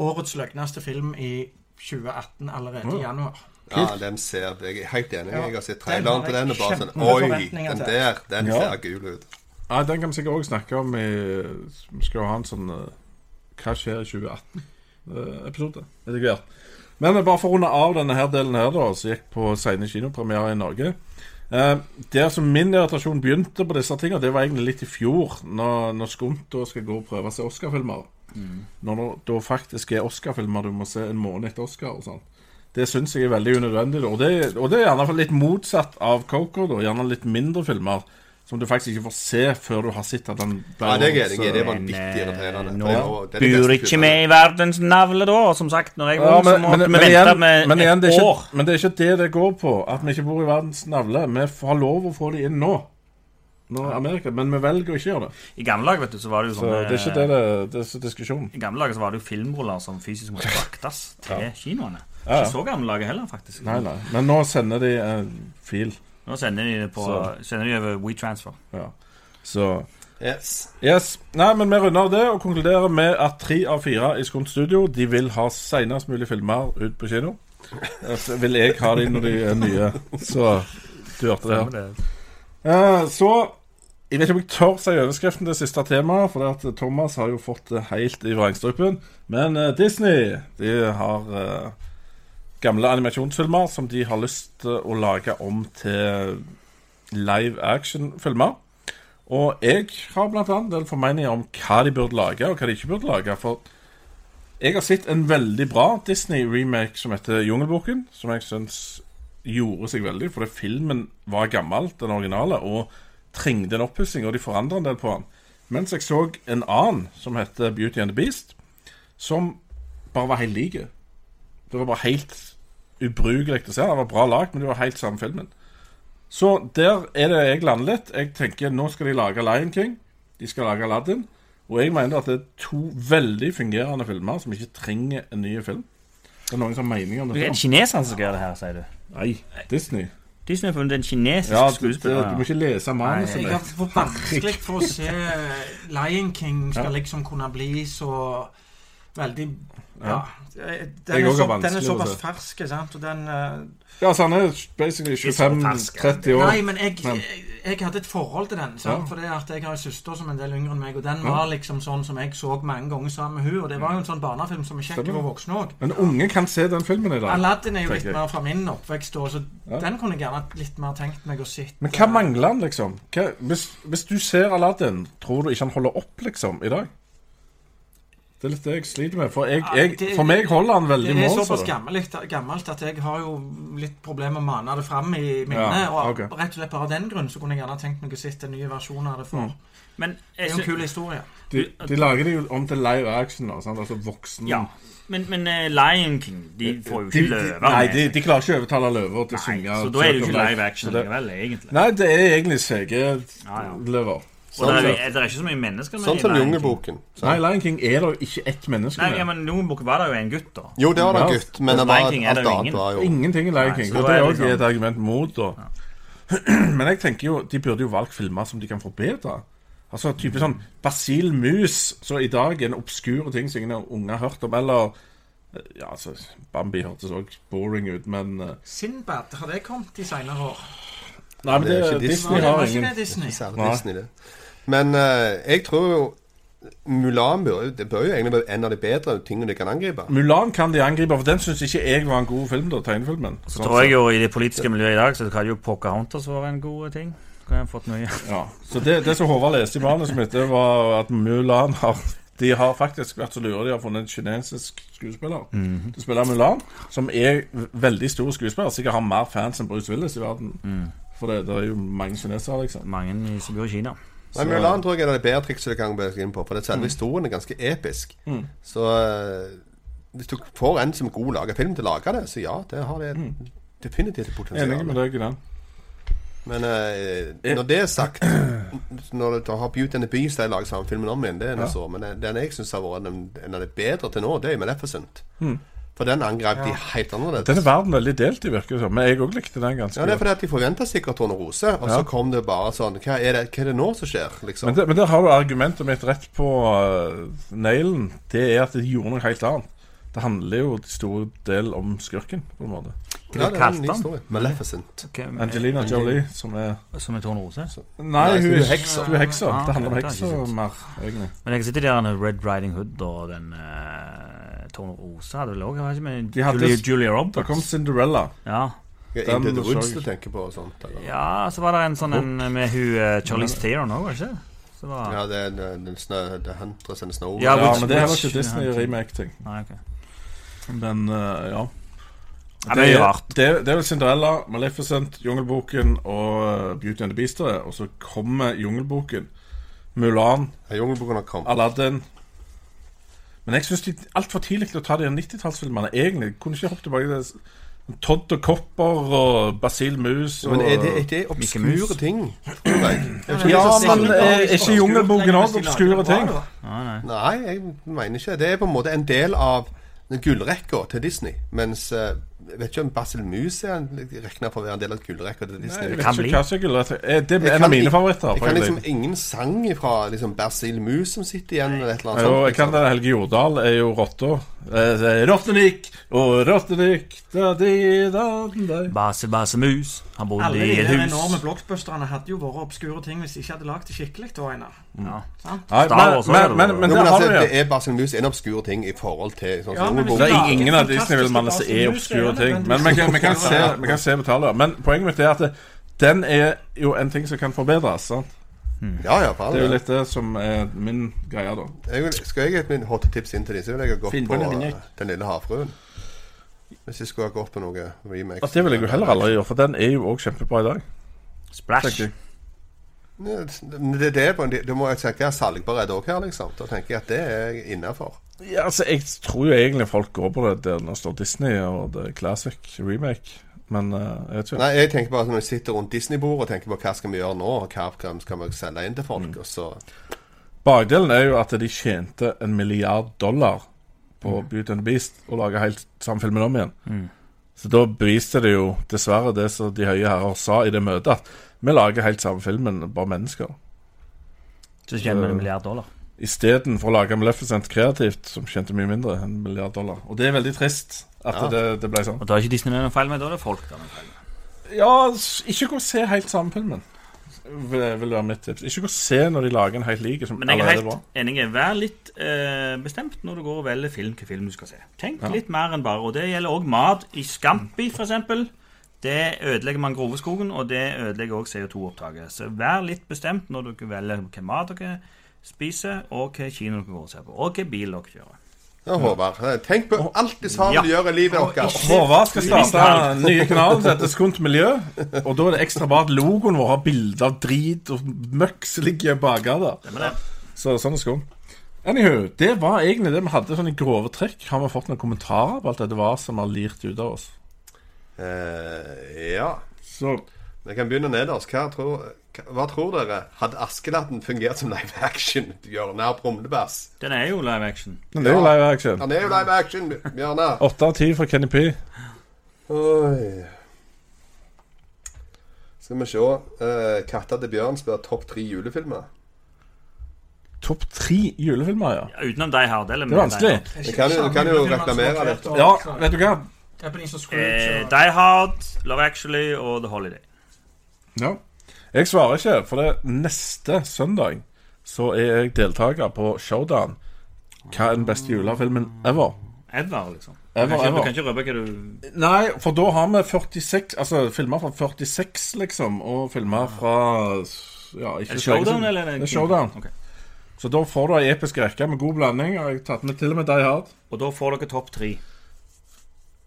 [SPEAKER 5] årets løgneste film i 2018 allerede i
[SPEAKER 2] Ja.
[SPEAKER 5] januar.
[SPEAKER 4] Ja, den ser Jeg er helt enig. Jeg har sett
[SPEAKER 5] Ja, den
[SPEAKER 4] traileren
[SPEAKER 5] har
[SPEAKER 4] til
[SPEAKER 5] jeg
[SPEAKER 4] den, og bare sånn Oi,
[SPEAKER 5] kjempeforventninger
[SPEAKER 4] den
[SPEAKER 5] til.
[SPEAKER 4] der, den
[SPEAKER 2] Ja.
[SPEAKER 4] ser gul ut.
[SPEAKER 2] Nei, den kan vi sikkert òg snakke om eh, i Vi skal jo ha en sånn eh, Hva skjer i Eh, 2018-episode. Etter hvert. Men eh, bare for å runde av denne her delen her, da, som gikk på sene kinopremierer i Norge eh, Der som min irritasjon begynte på disse tingene, det var egentlig litt i fjor, når, når Skunt da skal gå og prøve å se Oscar-filmer.
[SPEAKER 4] Mm.
[SPEAKER 2] Når det da faktisk er Oscar-filmer du må se en måned etter Oscar og sånn. Det syns jeg er veldig unødvendig. da. Og det, og det er gjerne litt motsatt av Coco. da, Gjerne litt mindre filmer som du faktisk ikke får se før du har sett at den
[SPEAKER 4] Ja, det er jeg enig i. Det var
[SPEAKER 3] Men,
[SPEAKER 4] vanvittig
[SPEAKER 3] eh,
[SPEAKER 4] irriterende.
[SPEAKER 3] nå
[SPEAKER 4] Det er jo- det er det
[SPEAKER 3] Bur
[SPEAKER 4] beste
[SPEAKER 3] ikke
[SPEAKER 4] filmen.
[SPEAKER 3] med i verdens navle, da. Og som sagt, når jeg var
[SPEAKER 2] Ja,
[SPEAKER 3] ung, så måtte vi vente
[SPEAKER 2] igjen-
[SPEAKER 3] med
[SPEAKER 2] men igjen, det
[SPEAKER 3] et
[SPEAKER 2] er ikke,
[SPEAKER 3] år.
[SPEAKER 2] Men det er ikke det det går på, at vi ikke bor i verdens navle. Vi f- har lov å få de inn nå, nå i Amerika, men vi velger å ikke gjøre det.
[SPEAKER 3] I gamle dager, vet du, så var det jo
[SPEAKER 2] Så
[SPEAKER 3] sånn
[SPEAKER 2] det er ikke det det, det er diskusjonen.
[SPEAKER 3] I gamle dager så var det jo filmroller som fysisk måtte fraktes til kinoene.
[SPEAKER 2] Ja, ja.
[SPEAKER 3] Ikke så gamle dager heller, faktisk.
[SPEAKER 2] Nei, nei. Men nå sender de en fil.
[SPEAKER 3] Nå sender de det på,
[SPEAKER 2] Så.
[SPEAKER 3] sender de over WeTransfer.
[SPEAKER 2] Ja. Så
[SPEAKER 4] Yes.
[SPEAKER 2] Yes. Nei, men vi runder av det og konkluderer med at tre av fire i Skunt Studio De vil ha senest mulig filmer ut på kino. Eh, Så vil jeg ha de når de er nye. Så du hørte det her. Eh, Så Jeg vet ikke om jeg tør si overskriften til siste tema, for det at Thomas har jo fått det helt i vrangstrupen. Men eh, Disney de har eh, gamle animasjonsfilmer som de har lyst til å lage om til live action-filmer. Og jeg har blant annet en del formeninger om hva de burde lage, og hva de ikke burde lage. For jeg har sett en veldig bra Disney-remake som heter Jungelboken, som jeg syns gjorde seg veldig, fordi filmen var gammel, den originale, og trengte en oppussing, og de forandra en del på den. Mens jeg så en annen som heter Beauty and the Beast, som bare var helt lik. Det var bare helt ubrukelig å se. Det var bra lag, men det var helt samme filmen. Så der er det jeg lander litt. Jeg tenker nå skal de lage Lion King. De skal lage Aladdin. Og jeg mener at det er to veldig fungerende filmer som ikke trenger en ny film. Det er noen som har meninger om
[SPEAKER 3] Det er
[SPEAKER 2] det.
[SPEAKER 3] kineserne som gjør det her, sier du.
[SPEAKER 2] Nei, Disney.
[SPEAKER 3] Disney har funnet en kinesisk
[SPEAKER 2] Ja, du, du
[SPEAKER 3] skuespiller.
[SPEAKER 2] må ikke lese manuset
[SPEAKER 5] Jeg
[SPEAKER 2] ditt.
[SPEAKER 5] har for vanskelig for å se eh, Lion King skal liksom kunne bli så veldig Ja. Den
[SPEAKER 2] Jeg
[SPEAKER 5] er,
[SPEAKER 2] også
[SPEAKER 5] så,
[SPEAKER 2] har
[SPEAKER 5] den er
[SPEAKER 2] vanskelig å
[SPEAKER 5] såpass
[SPEAKER 2] se.
[SPEAKER 5] fersk, sant, og den eh,
[SPEAKER 2] Ja, så han er basically
[SPEAKER 3] Ikke så fersk, ja.
[SPEAKER 2] 25-30 år.
[SPEAKER 5] Nei, men jeg,
[SPEAKER 2] Men-
[SPEAKER 5] jeg, jeg hadde et forhold til den. Sant?
[SPEAKER 2] Ja.
[SPEAKER 5] For det at Jeg har en søster som er en del yngre enn meg, og den var liksom sånn som jeg så mange ganger sammen med hun, Og det var jo en sånn barnefilm som er kjekk
[SPEAKER 2] Stemmer.
[SPEAKER 5] for voksne òg.
[SPEAKER 2] Men unge kan se den filmen i dag.
[SPEAKER 5] Aladdin er jo litt
[SPEAKER 2] tenker jeg.
[SPEAKER 5] mer fra min oppvekst, da, så
[SPEAKER 2] Ja.
[SPEAKER 5] den kunne jeg gjerne litt mer tenkt meg å sitte
[SPEAKER 2] Men hva mangler han, liksom? Hva, hvis, hvis du ser Aladdin, tror du ikke han holder opp, liksom, i dag? Det er litt det jeg sliter med. For, jeg,
[SPEAKER 5] Ja,
[SPEAKER 2] jeg,
[SPEAKER 5] det-
[SPEAKER 2] for meg holder han veldig
[SPEAKER 5] Det er
[SPEAKER 2] mål.
[SPEAKER 5] såpass
[SPEAKER 2] så det.
[SPEAKER 5] gammelt, gammelt at jeg har jo litt problemer med å mane det fram i minnet.
[SPEAKER 2] Ja, ok.
[SPEAKER 5] Og rett og slett bare av den grunn så kunne jeg gjerne tenkt meg å sitte en ny versjon av det.
[SPEAKER 2] Mm.
[SPEAKER 5] for.
[SPEAKER 3] Men eh,
[SPEAKER 5] Det
[SPEAKER 3] jeg
[SPEAKER 5] er jo en
[SPEAKER 3] sy-
[SPEAKER 5] kul historie.
[SPEAKER 2] De, de lager det jo om til live action, nå, sant? altså voksen
[SPEAKER 3] ja. Men, men eh, Lion King de får jo ikke løver.
[SPEAKER 2] Nei, Eh,
[SPEAKER 3] med.
[SPEAKER 2] de, de klarer ikke å overtale løver til å
[SPEAKER 3] Nei,
[SPEAKER 2] synge.
[SPEAKER 3] så da er det jo ikke live
[SPEAKER 2] Så
[SPEAKER 3] action
[SPEAKER 2] det-
[SPEAKER 3] likevel, egentlig.
[SPEAKER 2] Nei, det er egentlig CG
[SPEAKER 3] Ja, ja.
[SPEAKER 2] løver.
[SPEAKER 3] Og det
[SPEAKER 4] Sånn
[SPEAKER 3] er,
[SPEAKER 4] som-
[SPEAKER 3] det er ikke så mye mennesker med
[SPEAKER 4] Sånn
[SPEAKER 3] i
[SPEAKER 4] som Sånn.
[SPEAKER 3] Lion King.
[SPEAKER 4] Jungelboken.
[SPEAKER 2] Nei, Lion King er det jo ikke ett menneske
[SPEAKER 3] Nei, ja,
[SPEAKER 2] med.
[SPEAKER 3] men Jungelboken var det jo en gutt, da.
[SPEAKER 2] Sånn
[SPEAKER 4] Jo, det var da
[SPEAKER 2] Ja.
[SPEAKER 4] en gutt, men det var
[SPEAKER 3] Lion King er det
[SPEAKER 4] alt
[SPEAKER 3] jo
[SPEAKER 4] annet
[SPEAKER 3] ingen.
[SPEAKER 4] var jo
[SPEAKER 2] Ingenting i Lion
[SPEAKER 3] Nei,
[SPEAKER 2] King.
[SPEAKER 3] så
[SPEAKER 2] Og
[SPEAKER 3] da
[SPEAKER 2] det
[SPEAKER 3] er
[SPEAKER 2] er
[SPEAKER 3] det
[SPEAKER 2] også et
[SPEAKER 3] liksom-
[SPEAKER 2] argument mot, da. Men jeg tenker jo, de burde jo valgt filmer som de kan forbedre. Altså type sånn Basil Mus, som i dag er en obskur ting som ingen unge har hørt om. Eller ja, altså, Bambi hørtes òg boring ut, men eh,
[SPEAKER 5] Sinbad, har det kommet de senere år?
[SPEAKER 2] Nei, men
[SPEAKER 4] det
[SPEAKER 2] det,
[SPEAKER 4] er jo ikke Disney.
[SPEAKER 2] Disney
[SPEAKER 5] Var det
[SPEAKER 2] har
[SPEAKER 5] var ikke
[SPEAKER 2] ingen
[SPEAKER 5] det Disney?
[SPEAKER 4] særlig
[SPEAKER 2] Nei.
[SPEAKER 4] Disney, det. Men eh, jeg tror jo Mulan bør, jo- det bør jo egentlig være en av de bedre tingene de kan angripe.
[SPEAKER 2] Mulan kan de angripe, for den syns ikke jeg var en god film, da, tegnefilmen.
[SPEAKER 3] Så tror jeg jo i det politiske miljøet i dag så hadde jo Pocahontas vært en god ting. Kunne jeg fått mye.
[SPEAKER 2] Ja. Så det, det som Håvard leste i manuset mitt, det var at Mulan har De har faktisk vært så lure de har funnet en kinesisk skuespiller til å spille Mulan, som er v- veldig stor skuespiller. Sikkert har mer fans enn Bruce Willis i verden. For det, det er jo mange kinesere, liksom.
[SPEAKER 3] Mange i- som bor i Kina.
[SPEAKER 4] Nei, Mulan tror jeg er det bedre trikset de kan bevege seg inn på, for det selve historien er ganske episk. Så eh, hvis du får en som er god lager film til å lage det, så ja, det har det definitivt et
[SPEAKER 2] Enig med
[SPEAKER 4] potensial.
[SPEAKER 2] deg i den.
[SPEAKER 4] Men eh, når det er sagt, når du har Beauty and the Beast de lager samme filmen om igjen, det er noe så, men den jeg syns har vært den- en av de bedre til nå, det er Maleficent. For den angrep de helt annerledes.
[SPEAKER 2] Mm. Den er verden veldig delt i, virker det som. Men jeg òg likte den ganske
[SPEAKER 4] Ja, det er
[SPEAKER 2] godt.
[SPEAKER 4] fordi at de forventa sikkert Tone Rose, og så kom det bare sånn Hva er det, hva er det nå som skjer, liksom?
[SPEAKER 2] Men, det, men der har du argumentet mitt rett på eh, nailen. Det er at de gjorde noe helt annet. Det handler jo i stor del om skurken, på en måte.
[SPEAKER 4] ja, det er en
[SPEAKER 3] kalte
[SPEAKER 4] ny
[SPEAKER 3] han?
[SPEAKER 4] historie. Maleficent.
[SPEAKER 2] Angelina Jolie, som er
[SPEAKER 3] Som en tårnrose.
[SPEAKER 2] Nei, hun er heksa.
[SPEAKER 4] heksa.
[SPEAKER 2] Hun er heksa.
[SPEAKER 3] Ah,
[SPEAKER 2] det handler om
[SPEAKER 3] det har jeg
[SPEAKER 2] heksa
[SPEAKER 3] ikke sett.
[SPEAKER 2] mer, egentlig.
[SPEAKER 3] Men jeg sitter der med Red Riding Hood og den uh, Tårnrose hadde vel òg
[SPEAKER 2] De hadde-
[SPEAKER 3] Julia, Julia
[SPEAKER 2] Da kom
[SPEAKER 3] Roberts.
[SPEAKER 2] Cinderella.
[SPEAKER 3] Ja.
[SPEAKER 4] Ja,
[SPEAKER 2] Den
[SPEAKER 4] Ingrid
[SPEAKER 2] så jeg
[SPEAKER 4] Woods du
[SPEAKER 2] ikke.
[SPEAKER 4] tenker på og sånt? Eller? Ja.
[SPEAKER 3] ja, så var det en sånn en med hun eh, Charlize Theron òg, var det ikke? Så var,
[SPEAKER 4] det er den- den snø, The Huntress and Snow
[SPEAKER 3] Ja,
[SPEAKER 2] Ja,
[SPEAKER 3] Witch-
[SPEAKER 2] men det er heller
[SPEAKER 3] Witch-
[SPEAKER 2] ikke Disney-remake-ting.
[SPEAKER 3] Nei, ok.
[SPEAKER 2] Men eh, ja.
[SPEAKER 3] Ja, det er jo rart.
[SPEAKER 2] Det, det er vel Cinderella, Maleficent, Jungelboken og eh, Beauty and the Beast. det er. Og så kommer Jungelboken, Mulan,
[SPEAKER 4] Ja, Jungelboken har kommet.
[SPEAKER 2] Aladdin Men jeg syns de er altfor tidlig til å ta de 90-tallsfilmene, egentlig. Kunne ikke hoppet tilbake til s- Todd og Copper og Basil Mus og
[SPEAKER 4] Men er det, er det
[SPEAKER 3] Mickey
[SPEAKER 4] obskure
[SPEAKER 3] Mouse.
[SPEAKER 4] ting, tror jeg? Er ikke det
[SPEAKER 2] Ja,
[SPEAKER 4] så
[SPEAKER 2] men
[SPEAKER 4] sant?
[SPEAKER 2] er ikke Jungelboken òg obskure ting?
[SPEAKER 3] Nei, nei.
[SPEAKER 4] eh, Nei, jeg mener ikke det. Det er på en måte en del av den gullrekka til Disney. Mens eh, jeg vet ikke om Basil Mus er regna for å være en del av gullrekka til Disney.
[SPEAKER 2] Jeg
[SPEAKER 3] Det
[SPEAKER 2] vet
[SPEAKER 3] kan
[SPEAKER 2] ikke
[SPEAKER 3] bli.
[SPEAKER 2] hva som er gulrøtter. Eh, Det
[SPEAKER 4] Jeg
[SPEAKER 2] er en
[SPEAKER 4] kan
[SPEAKER 2] av mine
[SPEAKER 4] i-
[SPEAKER 2] favoritter.
[SPEAKER 4] Jeg kan
[SPEAKER 2] faktisk.
[SPEAKER 4] liksom ingen sang fra liksom Basil Mus som sitter igjen, eller et eller annet
[SPEAKER 2] Jo, jeg kan
[SPEAKER 4] liksom.
[SPEAKER 2] den Helge Jordal er jo rotta. Eh, det er Rottenik og Rottenik da, di, da, da.
[SPEAKER 3] Base, base, mus. Han bodde
[SPEAKER 5] Alle
[SPEAKER 3] i
[SPEAKER 5] de
[SPEAKER 3] et
[SPEAKER 5] der
[SPEAKER 3] hus.
[SPEAKER 5] enorme blockbusterne hadde jo vært obskure ting hvis de ikke hadde lagd det skikkelig. da, Einar.
[SPEAKER 3] Ja.
[SPEAKER 5] Sant?
[SPEAKER 2] Nei,
[SPEAKER 3] Star
[SPEAKER 2] men,
[SPEAKER 3] Wars er
[SPEAKER 2] men,
[SPEAKER 3] det
[SPEAKER 2] men,
[SPEAKER 3] jo.
[SPEAKER 2] men
[SPEAKER 4] Jo,
[SPEAKER 2] der
[SPEAKER 4] men
[SPEAKER 2] har
[SPEAKER 4] altså,
[SPEAKER 2] du
[SPEAKER 4] det
[SPEAKER 2] det.
[SPEAKER 4] er Basil Mus en obskur ting i forhold til sånn
[SPEAKER 5] Ja,
[SPEAKER 4] som
[SPEAKER 5] men
[SPEAKER 4] Jungelboken.
[SPEAKER 2] Det er
[SPEAKER 5] hvis du lager
[SPEAKER 2] ingen av
[SPEAKER 5] fantastiske
[SPEAKER 2] Disney-filmene som er
[SPEAKER 5] Basil Mus,
[SPEAKER 2] obskure
[SPEAKER 5] er det
[SPEAKER 2] ting. Men vi
[SPEAKER 5] nødvendigvis
[SPEAKER 2] kan, vi kan, se,
[SPEAKER 5] obskure.
[SPEAKER 2] vi kan se på tallene. Men poenget mitt er at det, den er jo en ting som kan forbedres. Sant?
[SPEAKER 4] Ja, ja, for all
[SPEAKER 2] Det er jo
[SPEAKER 4] del.
[SPEAKER 2] litt det som er min greie, da.
[SPEAKER 4] Jeg vil- Skal jeg gi et min hotte tips inn til dem, så ville jeg ha gått
[SPEAKER 2] Finn på
[SPEAKER 4] på
[SPEAKER 2] noe
[SPEAKER 4] eh,
[SPEAKER 2] nytt.
[SPEAKER 4] Den lille havfruen. Hvis jeg skulle ha gått på noe remake.
[SPEAKER 2] Altså, det vil jeg jo heller aldri gjøre, for den er jo òg kjempebra i dag.
[SPEAKER 3] Splash.
[SPEAKER 2] tenker jeg.
[SPEAKER 4] Ja, Det, det, er på en, det må jeg tenke er salgbarhet òg her, liksom. Da tenker jeg at det er innafor.
[SPEAKER 2] Ja, altså, jeg tror jo egentlig folk går på det der når det står Disney og det er classic remake, men eh, jeg vet ikke.
[SPEAKER 4] Nei, jeg tenker bare at når jeg sitter rundt Disney-bordet og tenker på hva skal vi gjøre nå, og hva kan kan vi selge inn til folk,
[SPEAKER 2] Mm.
[SPEAKER 4] og så
[SPEAKER 2] Bakdelen er jo at de tjente
[SPEAKER 3] Mm.
[SPEAKER 2] en milliard dollar på Beauty and the Beast og laga helt samme filmen om igjen. Så da beviste det jo dessverre det som de høye herrer sa i det møtet, at vi lager helt samme filmen, bare mennesker.
[SPEAKER 3] Så tjener vi en milliard dollar.
[SPEAKER 2] Istedenfor å lage Maleficent kreativt, som tjente mye mindre, en milliard dollar. Og det er veldig trist at
[SPEAKER 4] Ja.
[SPEAKER 2] det, det ble sånn.
[SPEAKER 3] Og da er ikke Disney noe feil med, da er det folk. Da, er det feil med.
[SPEAKER 2] Ja, s- ikke gå og se helt samme filmen, vil, vil være mitt tips. Ikke gå og se når de lager en helt lik som
[SPEAKER 3] Men jeg er
[SPEAKER 2] allerede er bra.
[SPEAKER 3] helt enig. Vær litt eh, bestemt når du går og velger film, hvilken film du skal se. Tenk
[SPEAKER 2] Ja.
[SPEAKER 3] litt mer enn bare. Og det gjelder òg mat. I Scampi, for eksempel. Det ødelegger man groveskogen, og det ødelegger òg CO2-opptaket. Så vær litt bestemt når dere velger hvilken mat dere spiser, og hvilken kino dere går og ser på, og hvilken bil dere kjører.
[SPEAKER 4] Ja, Håvard. eh, Tenk på alt det samme
[SPEAKER 3] Ja.
[SPEAKER 4] du gjør i livet deres.
[SPEAKER 2] Håvard skal starte
[SPEAKER 3] Minst
[SPEAKER 2] den nye kanalen som heter Skunt miljø. Og da er det ekstra bra at logoen vår har bilder av drit og møkk som ligger baki der.
[SPEAKER 3] Stemmer det?
[SPEAKER 2] Så sånn er skunt. Anywho, det var egentlig det vi hadde sånn i grove trekk. Har vi fått noen kommentarer på alt dette var som har lirt ut av oss?
[SPEAKER 4] Eh, ja.
[SPEAKER 2] Så
[SPEAKER 4] Vi kan begynne nederst. Hva tror, hva tror dere? Hadde Askelatten fungert som live action? Bjørnar Brumlebass.
[SPEAKER 3] Den er jo live action.
[SPEAKER 2] Men det er jo live action.
[SPEAKER 4] Han er jo live action, Bjørnar.
[SPEAKER 2] Åtte av ti fra Kenny P.
[SPEAKER 4] Oi. Skal vi se. Eh, 'Katta til bjørn' spør topp tre julefilmer.
[SPEAKER 2] Topp tre julefilmer, ja.
[SPEAKER 3] Ja, utenom de her. Det er
[SPEAKER 2] Det er vanskelig.
[SPEAKER 4] Du kan jo- du kan jo reklamere litt.
[SPEAKER 2] Ja, vet du hva?
[SPEAKER 5] Det er på de som
[SPEAKER 3] Eh,
[SPEAKER 5] Scrooge og-
[SPEAKER 3] Die Hard, Love Actually og The Holiday.
[SPEAKER 2] Ja. Jeg svarer ikke, for det neste søndag så er jeg deltaker på Showdown. Hva er den beste julefilmen ever?
[SPEAKER 3] Edvard, liksom. Du
[SPEAKER 2] Ever,
[SPEAKER 3] kan ikke, du
[SPEAKER 2] ever.
[SPEAKER 3] kan ikke røpe hva du
[SPEAKER 2] Nei, for da har vi 46 Altså filmer fra 46, liksom, og filmer fra ja, ikke
[SPEAKER 3] Er det
[SPEAKER 2] så lenge
[SPEAKER 3] showdown,
[SPEAKER 2] siden.
[SPEAKER 3] eller? er
[SPEAKER 2] Det er showdown.
[SPEAKER 3] Ok.
[SPEAKER 2] Så da får du ei episk rekke med god blanding. Og jeg har tatt med til og med Die Hard.
[SPEAKER 3] Og da får dere topp tre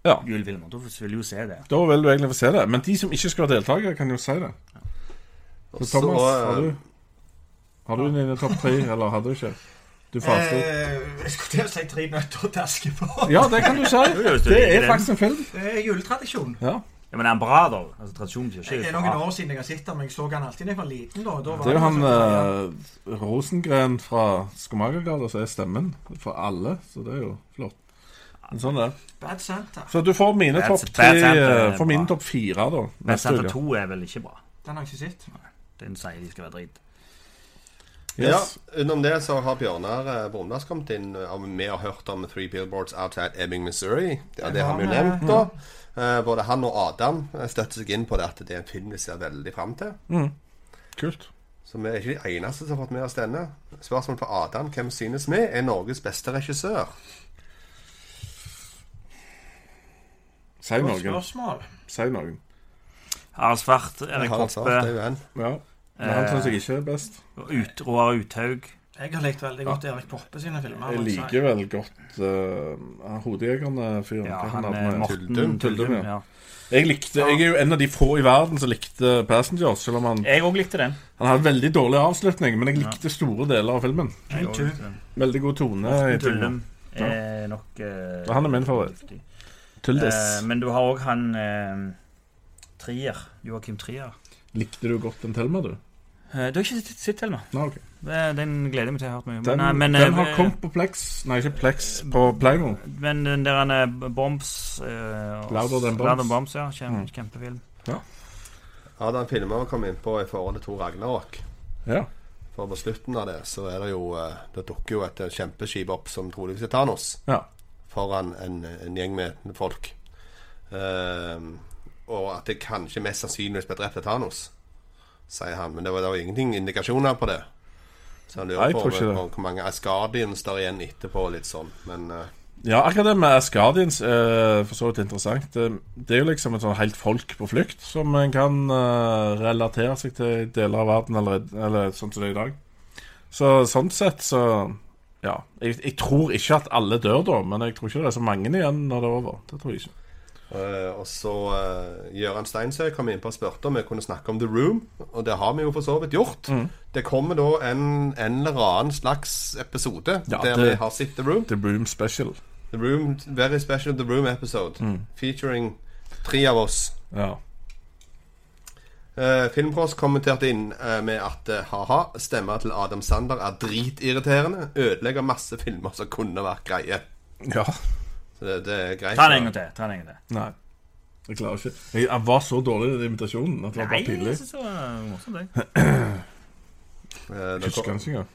[SPEAKER 2] Ja.
[SPEAKER 3] julefilmer. Da vil jo se det.
[SPEAKER 2] Da vil du egentlig få se det. Men de som ikke skal være deltakere, kan jo si det. Så
[SPEAKER 4] Så,
[SPEAKER 2] Thomas, har
[SPEAKER 4] eh,
[SPEAKER 2] du Har du dine topp tre, eller har du ikke? Du faste.
[SPEAKER 5] Eh, Jeg skulle til å si Tre nøtter til Askepott.
[SPEAKER 2] Ja, det kan du si.
[SPEAKER 3] jo, hvis du
[SPEAKER 2] Det
[SPEAKER 3] liker
[SPEAKER 2] er
[SPEAKER 3] den.
[SPEAKER 2] faktisk en film.
[SPEAKER 5] Det er Eh, juletradisjon.
[SPEAKER 2] Ja.
[SPEAKER 3] Ja, men er han bra, da? Altså, Tradisjonen betyr
[SPEAKER 5] Det
[SPEAKER 3] ikke
[SPEAKER 5] er noen år siden jeg har sett ham. Jeg så han alltid da jeg var liten. da, da var
[SPEAKER 2] Det er jo han
[SPEAKER 5] sånn-
[SPEAKER 2] eh, Rosengren fra Skomagergata som er stemmen for alle, så det er jo flott. Men sånn er det.
[SPEAKER 5] Bad Santa.
[SPEAKER 2] Så du får mine
[SPEAKER 3] Bad-
[SPEAKER 2] topp
[SPEAKER 3] Bad
[SPEAKER 2] tre
[SPEAKER 3] Santa
[SPEAKER 2] eh,
[SPEAKER 3] er
[SPEAKER 2] Får mine
[SPEAKER 3] bra.
[SPEAKER 2] topp fire, da.
[SPEAKER 3] Bad
[SPEAKER 2] Neste
[SPEAKER 3] Santa
[SPEAKER 2] uke.
[SPEAKER 3] 2 er vel ikke bra.
[SPEAKER 5] Den har jeg ikke sett.
[SPEAKER 3] Den sier de skal være drit.
[SPEAKER 2] Yes.
[SPEAKER 4] Ja, Utenom det så har Bjørnar eh, Brumlebass kommet inn. eh, og Vi har hørt om Three Billboards Outside Ebbing, Missouri. Ja, det har vi jo nevnt, da. Eh, både han og Adam eh, støtter seg inn på det at det er en film vi ser veldig fram til.
[SPEAKER 2] Kult.
[SPEAKER 4] Så vi er ikke de eneste som har fått med oss denne. Spørsmål for Adam. Hvem synes vi er Norges beste regissør?
[SPEAKER 2] Si
[SPEAKER 5] Godt
[SPEAKER 2] noen.
[SPEAKER 5] spørsmål.
[SPEAKER 2] Si noen.
[SPEAKER 3] Harald Svart, Erik
[SPEAKER 4] Harald Svart
[SPEAKER 3] Hoppe,
[SPEAKER 4] er jo en.
[SPEAKER 2] Ja. Men han syns jeg ikke er best.
[SPEAKER 3] ut, Roar Uthaug
[SPEAKER 5] Jeg har likt veldig godt Erik Poppe sine filmer.
[SPEAKER 2] Jeg
[SPEAKER 5] altså. må jeg si.
[SPEAKER 2] liker vel godt uh, Hodejegerne-fyren.
[SPEAKER 3] Ja,
[SPEAKER 2] Hva
[SPEAKER 3] han
[SPEAKER 2] hadde
[SPEAKER 3] er
[SPEAKER 2] med?
[SPEAKER 3] Morten
[SPEAKER 4] Tuldum,
[SPEAKER 2] Tuldum,
[SPEAKER 3] Tuldum.
[SPEAKER 2] ja.
[SPEAKER 3] ja.
[SPEAKER 2] Jeg likte, jeg er jo en av de få i verden som likte Passengers. Selv om han,
[SPEAKER 3] Jeg òg likte den.
[SPEAKER 2] han hadde veldig dårlig avslutning, men jeg likte store deler av filmen.
[SPEAKER 3] Jeg
[SPEAKER 5] Tuldum.
[SPEAKER 3] også likte den.
[SPEAKER 2] Veldig god tone. i filmen.
[SPEAKER 3] Tuldum er nok eh,
[SPEAKER 2] Han er min favoritt.
[SPEAKER 3] viktig.
[SPEAKER 2] Tuldis.
[SPEAKER 3] Eh, men du har òg han eh, Trier. Joakim Trier.
[SPEAKER 2] Likte du godt den Thelma, du?
[SPEAKER 3] Eh, du har ikke sett- sett Thelma.
[SPEAKER 2] Nei, ok.
[SPEAKER 3] Det- Den gleder jeg meg til. Jeg har hørt mye om.
[SPEAKER 2] Den,
[SPEAKER 3] Men, eh, men,
[SPEAKER 2] den
[SPEAKER 3] eh,
[SPEAKER 2] har kommet på Plex. Nei, ikke Plex, på Playmo.
[SPEAKER 3] Men den der han er Bombs eh, og-
[SPEAKER 2] Louder Than Bombs.
[SPEAKER 3] Louder Than Bombs, ja. Kjempe, Kjempefilm.
[SPEAKER 4] Adam filmer vi kom inn på i forhold til Tor Ragnarok.
[SPEAKER 2] Ja.
[SPEAKER 4] For på slutten av det så er det jo eh, Det dukker jo et eh, kjempeskip opp som troligvis er Thanos.
[SPEAKER 2] ja.
[SPEAKER 4] Foran en, en gjeng med folk. Ehm, og at det kanskje mest sannsynligvis ble drept av Thanos, sier han. Men det var, det var ingenting indikasjoner på det. Så han
[SPEAKER 2] Nei,
[SPEAKER 4] lurer
[SPEAKER 2] jeg
[SPEAKER 4] på
[SPEAKER 2] tror ikke
[SPEAKER 4] hvor- hvor mange Asgardians der er igjen etterpå, litt sånn. Men eh,
[SPEAKER 2] Ja, akkurat det med Asgardians er for så vidt interessant. Det, det er jo liksom et sånn helt folk på flukt som en kan eh, relatere seg til i deler av verden, eller, eller sånn som det er i dag. Så sånn sett så Ja. Jeg, jeg tror ikke at alle dør da, men jeg tror ikke det er så mange igjen når det er over. Det tror jeg ikke.
[SPEAKER 4] Eh, og så uh, Gøran Steinsøy kom inn på og spurte om vi kunne snakke om The Room. Og det har vi jo for så vidt gjort.
[SPEAKER 2] Mm.
[SPEAKER 4] Det kommer da en, en eller annen slags episode
[SPEAKER 2] Ja,
[SPEAKER 4] der
[SPEAKER 2] det-
[SPEAKER 4] vi har sett The Room.
[SPEAKER 2] The Room Special.
[SPEAKER 4] The Room, Very special The Room episode.
[SPEAKER 2] Mm.
[SPEAKER 4] Featuring tre av oss.
[SPEAKER 2] Ja.
[SPEAKER 4] Uh, Filmprost kommenterte inn eh, med at eh, ha-ha, stemma til Adam Sander er dritirriterende. Ødelegger masse filmer som kunne vært greie.
[SPEAKER 2] Ja.
[SPEAKER 4] Så det, det er greit.
[SPEAKER 3] Ta den en gang til. ta den en gang til
[SPEAKER 2] Nei. Jeg klarer ikke. Jeg, jeg var så dårlig i den invitasjonen at det var
[SPEAKER 3] Nei,
[SPEAKER 2] bare pinlig.
[SPEAKER 3] jeg synes det var morsomt, jeg.
[SPEAKER 4] Eh,
[SPEAKER 2] Jeg
[SPEAKER 4] Det
[SPEAKER 2] Husker
[SPEAKER 4] kom-
[SPEAKER 2] han ikke engang.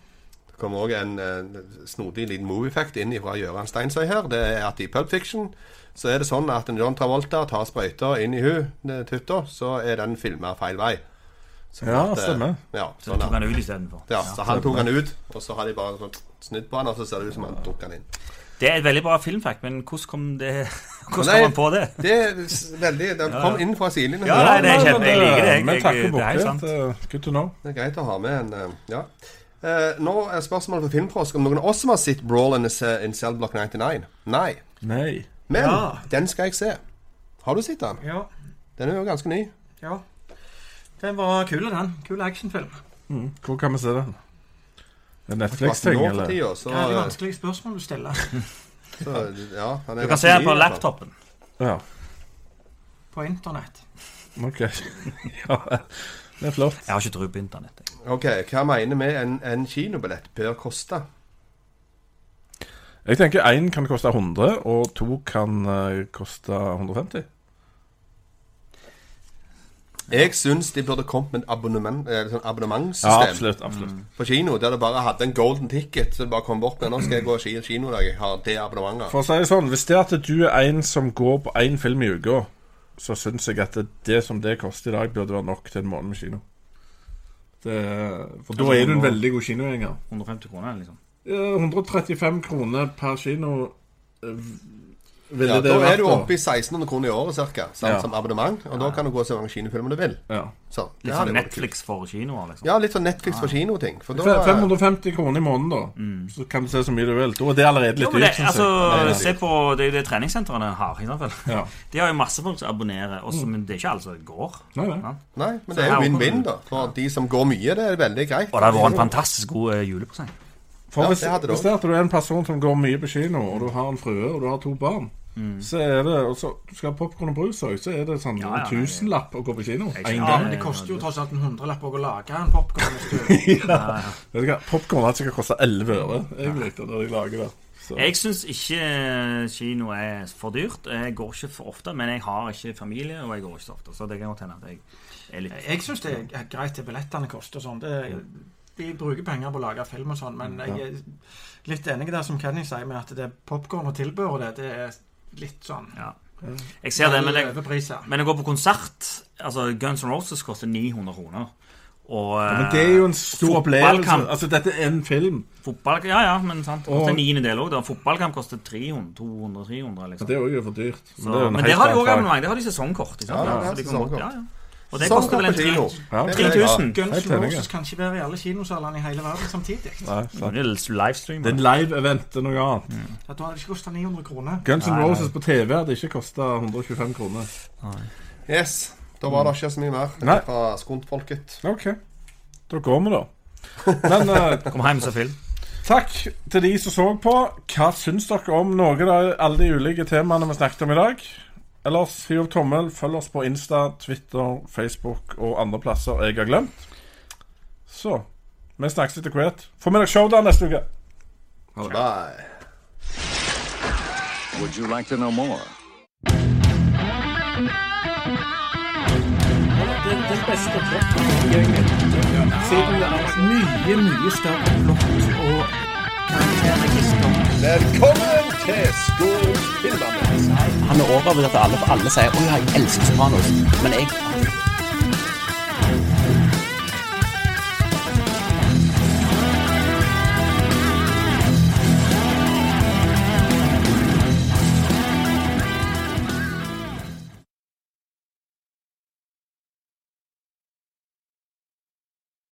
[SPEAKER 4] det kommer òg en eh, snodig liten moviefact inn fra Gøran Steinsøy her. Det er at i Pulp Fiction så er det sånn at en John Travolta tar sprøyter inn i hun eh, tutta, så er den filma feil vei. Sånn
[SPEAKER 2] Ja,
[SPEAKER 4] at, eh,
[SPEAKER 2] stemmer.
[SPEAKER 4] Ja,
[SPEAKER 3] Så
[SPEAKER 4] sånn
[SPEAKER 3] tok
[SPEAKER 4] at,
[SPEAKER 3] han det ut istedenfor.
[SPEAKER 4] ja, så han tok han ut, og så har de bare sånn snudd på han, og så ser det ut som han tok han inn.
[SPEAKER 3] Det er et veldig bra filmfact, men hvordan kom det Hvordan
[SPEAKER 4] Nei.
[SPEAKER 3] kom han på det?
[SPEAKER 4] Det er s- veldig Den kom inn fra sidelinjen.
[SPEAKER 3] Ja, nei, det er
[SPEAKER 2] men
[SPEAKER 3] kjempe- jeg liker det, jeg-
[SPEAKER 2] Vi
[SPEAKER 3] jeg-
[SPEAKER 2] takker
[SPEAKER 3] det er helt sant.
[SPEAKER 2] borti. Good to know.
[SPEAKER 4] Det er greit å ha med en eh, Ja. Eh, nå er spørsmålet på Filmfrosk om noen av oss som har sett Brawl in, the- in Cell Block 99. Nei.
[SPEAKER 2] Nei.
[SPEAKER 4] Men
[SPEAKER 5] Ja.
[SPEAKER 4] den skal jeg se. Har du sett den?
[SPEAKER 5] Ja,
[SPEAKER 4] Den er jo ganske ny.
[SPEAKER 5] ja. Den var kul, den. Kul actionfilm.
[SPEAKER 2] Mm. Hvor kan vi se den? Er det
[SPEAKER 4] Akkurat
[SPEAKER 2] Netflix-ting,
[SPEAKER 4] nå for
[SPEAKER 2] eller?
[SPEAKER 4] tida,
[SPEAKER 5] Det er de
[SPEAKER 4] så,
[SPEAKER 5] vanskelige spørsmål du stiller.
[SPEAKER 4] så ja, han er
[SPEAKER 3] Du
[SPEAKER 4] ganske
[SPEAKER 3] kan se den
[SPEAKER 4] ny,
[SPEAKER 3] på
[SPEAKER 4] i hvert fall.
[SPEAKER 3] laptopen.
[SPEAKER 2] Ja,
[SPEAKER 5] På internett.
[SPEAKER 2] OK. ja, det er flott.
[SPEAKER 3] Jeg har ikke tro på internett. jeg.
[SPEAKER 4] OK, hva mener vi en, en kinobillett bør koste?
[SPEAKER 2] Jeg tenker én kan koste 100, og to kan eh, koste 150.
[SPEAKER 4] Jeg syns de burde kommet med et abonnement, eh, sånn
[SPEAKER 2] Ja,
[SPEAKER 4] abonnementssystem
[SPEAKER 2] absolutt.
[SPEAKER 3] Mm.
[SPEAKER 2] absolutt.
[SPEAKER 4] på kino, der du bare hadde en golden ticket. Så du bare kom bort med Nå skal jeg gå og ki- kino i dag. Jeg har det abonnementet.
[SPEAKER 2] For å si det sånn, Hvis det er at du er en som går på én film i uka, så syns jeg at det, det som det koster i dag, burde være nok til en måned med kino. Det, for da er du en veldig god kinogjenger.
[SPEAKER 3] 150 kroner, liksom.
[SPEAKER 2] Eh, 135 kroner per kino eh, ville
[SPEAKER 4] Ja,
[SPEAKER 2] det
[SPEAKER 4] da
[SPEAKER 2] vært.
[SPEAKER 4] er du oppe i 1600 kroner i året cirka, sant,
[SPEAKER 2] Ja.
[SPEAKER 4] som abonnement. Og da kan du gå og se hvor mange kinofilmer du vil.
[SPEAKER 2] Ja.
[SPEAKER 4] Så, det
[SPEAKER 3] Litt
[SPEAKER 4] hadde
[SPEAKER 3] sånn
[SPEAKER 4] vært kult.
[SPEAKER 3] Netflix for kinoer, liksom.
[SPEAKER 4] Ja, litt sånn Netflix for kinoting. For da, Mm.
[SPEAKER 2] Fe- 550 kroner i måneden, da. Så kan du se så mye du vil. Da er det allerede
[SPEAKER 3] Jo,
[SPEAKER 2] litt
[SPEAKER 3] men det,
[SPEAKER 2] dyrt, syns
[SPEAKER 3] altså,
[SPEAKER 4] Nei, nei.
[SPEAKER 3] se på det, det treningssentrene har. Ikke sant, vel?
[SPEAKER 2] jeg. Ja.
[SPEAKER 3] De har jo masse folk som abonnerer, også, men det er ikke alle som går.
[SPEAKER 2] Nei, nei.
[SPEAKER 3] Ja.
[SPEAKER 4] Nei, men det er jo
[SPEAKER 3] her-
[SPEAKER 4] win-win, da. For de som går mye, det er veldig greit.
[SPEAKER 3] Og det har vært en fantastisk god eh, julepresang.
[SPEAKER 2] For
[SPEAKER 4] Ja,
[SPEAKER 2] hvis,
[SPEAKER 4] det hadde det
[SPEAKER 2] hvis det er at du er en person som går mye på kino, og du har en frue og du har to barn Så er det, og så du skal ha popkorn og brus òg, så er det sånn
[SPEAKER 3] Mm. Ja, ja,
[SPEAKER 2] en
[SPEAKER 3] nei.
[SPEAKER 2] tusenlapp å gå på kino.
[SPEAKER 3] Jeg-
[SPEAKER 2] Én
[SPEAKER 3] ja,
[SPEAKER 5] Ja,
[SPEAKER 2] gang.
[SPEAKER 5] men det koster jo tross alt en hundrelapp å lage en popkorn.
[SPEAKER 2] Vet du hva, Popkorn hadde sikkert kosta 11 øre egentlig, når de lager det. Så.
[SPEAKER 3] Jeg syns ikke eh, kino er for dyrt. Jeg går ikke for ofte, men jeg har ikke familie, og jeg går ikke så ofte. Så det kan godt hende at jeg er litt
[SPEAKER 5] Jeg syns det er greit det billettene koster og sånn. Det- De bruker penger på å lage film og sånn, men jeg er litt enig der som Kenny sier med at det er popkorn og tilbehør og det. Det er litt sånn
[SPEAKER 3] Ja. Jeg ser det, men jeg,
[SPEAKER 5] overpriser.
[SPEAKER 3] men jeg går på konsert. Altså, Guns N' Roses koster 900 kroner. Og eh,
[SPEAKER 2] Men det er jo en stor opplevelse.
[SPEAKER 3] Fotballkamp.
[SPEAKER 2] Altså, dette er en film.
[SPEAKER 3] fotball, Ja, ja, men sant. Det koster
[SPEAKER 2] Og-
[SPEAKER 3] en niendedel òg. Fotballkamp koster 300, 200, 300, liksom.
[SPEAKER 2] Det er jo for dyrt. det er
[SPEAKER 3] Så,
[SPEAKER 2] jo en
[SPEAKER 3] men
[SPEAKER 2] helt
[SPEAKER 3] det har de
[SPEAKER 2] annen
[SPEAKER 3] òg
[SPEAKER 2] sak.
[SPEAKER 3] abonnement. Det har de sesongkort. Ikke sant?
[SPEAKER 4] Ja, ja,
[SPEAKER 3] Så de kan
[SPEAKER 4] sesongkort.
[SPEAKER 3] godt- ja, ja. Og det
[SPEAKER 4] Sånn
[SPEAKER 3] koster vel en
[SPEAKER 4] på kino.
[SPEAKER 3] 3000.
[SPEAKER 2] Ja.
[SPEAKER 4] Det er greit.
[SPEAKER 3] 3000.
[SPEAKER 5] Guns
[SPEAKER 2] Helt
[SPEAKER 5] N'
[SPEAKER 2] enig,
[SPEAKER 5] Roses kan ikke være i alle kinosalene i hele verden samtidig.
[SPEAKER 2] Nei, sant.
[SPEAKER 3] Det er livestream.
[SPEAKER 2] Det er en live-event det er noe annet.
[SPEAKER 5] Ja, Da hadde det ikke kosta 900 kroner.
[SPEAKER 2] Guns N'
[SPEAKER 3] Mm. Nei, nei.
[SPEAKER 2] Roses på TV hadde ikke kosta 125 kroner.
[SPEAKER 4] Yes. Da var det ikke så mye mer
[SPEAKER 2] Nei.
[SPEAKER 4] fra Skuntfolket.
[SPEAKER 2] OK. Da går vi, da. Men eh,
[SPEAKER 3] Kom hjem og se film.
[SPEAKER 2] Takk til de som så på. Hva syns dere om noen av alle de ulike temaene vi snakket om i dag? Ellers hiv opp tommel, følg oss på Insta, Twitter, Facebook og andre plasser jeg har glemt. Så vi snakkes etter hvert. Få med dere showdown neste uke.
[SPEAKER 4] Bye.
[SPEAKER 1] Would you like to know more?
[SPEAKER 5] Mye, mye større flott og karakterregister.
[SPEAKER 4] Velkommen til Skuntfilmen.
[SPEAKER 6] Han er overbevist at alle, alle sier 'Å ja, jeg elsker Sopranos', men jeg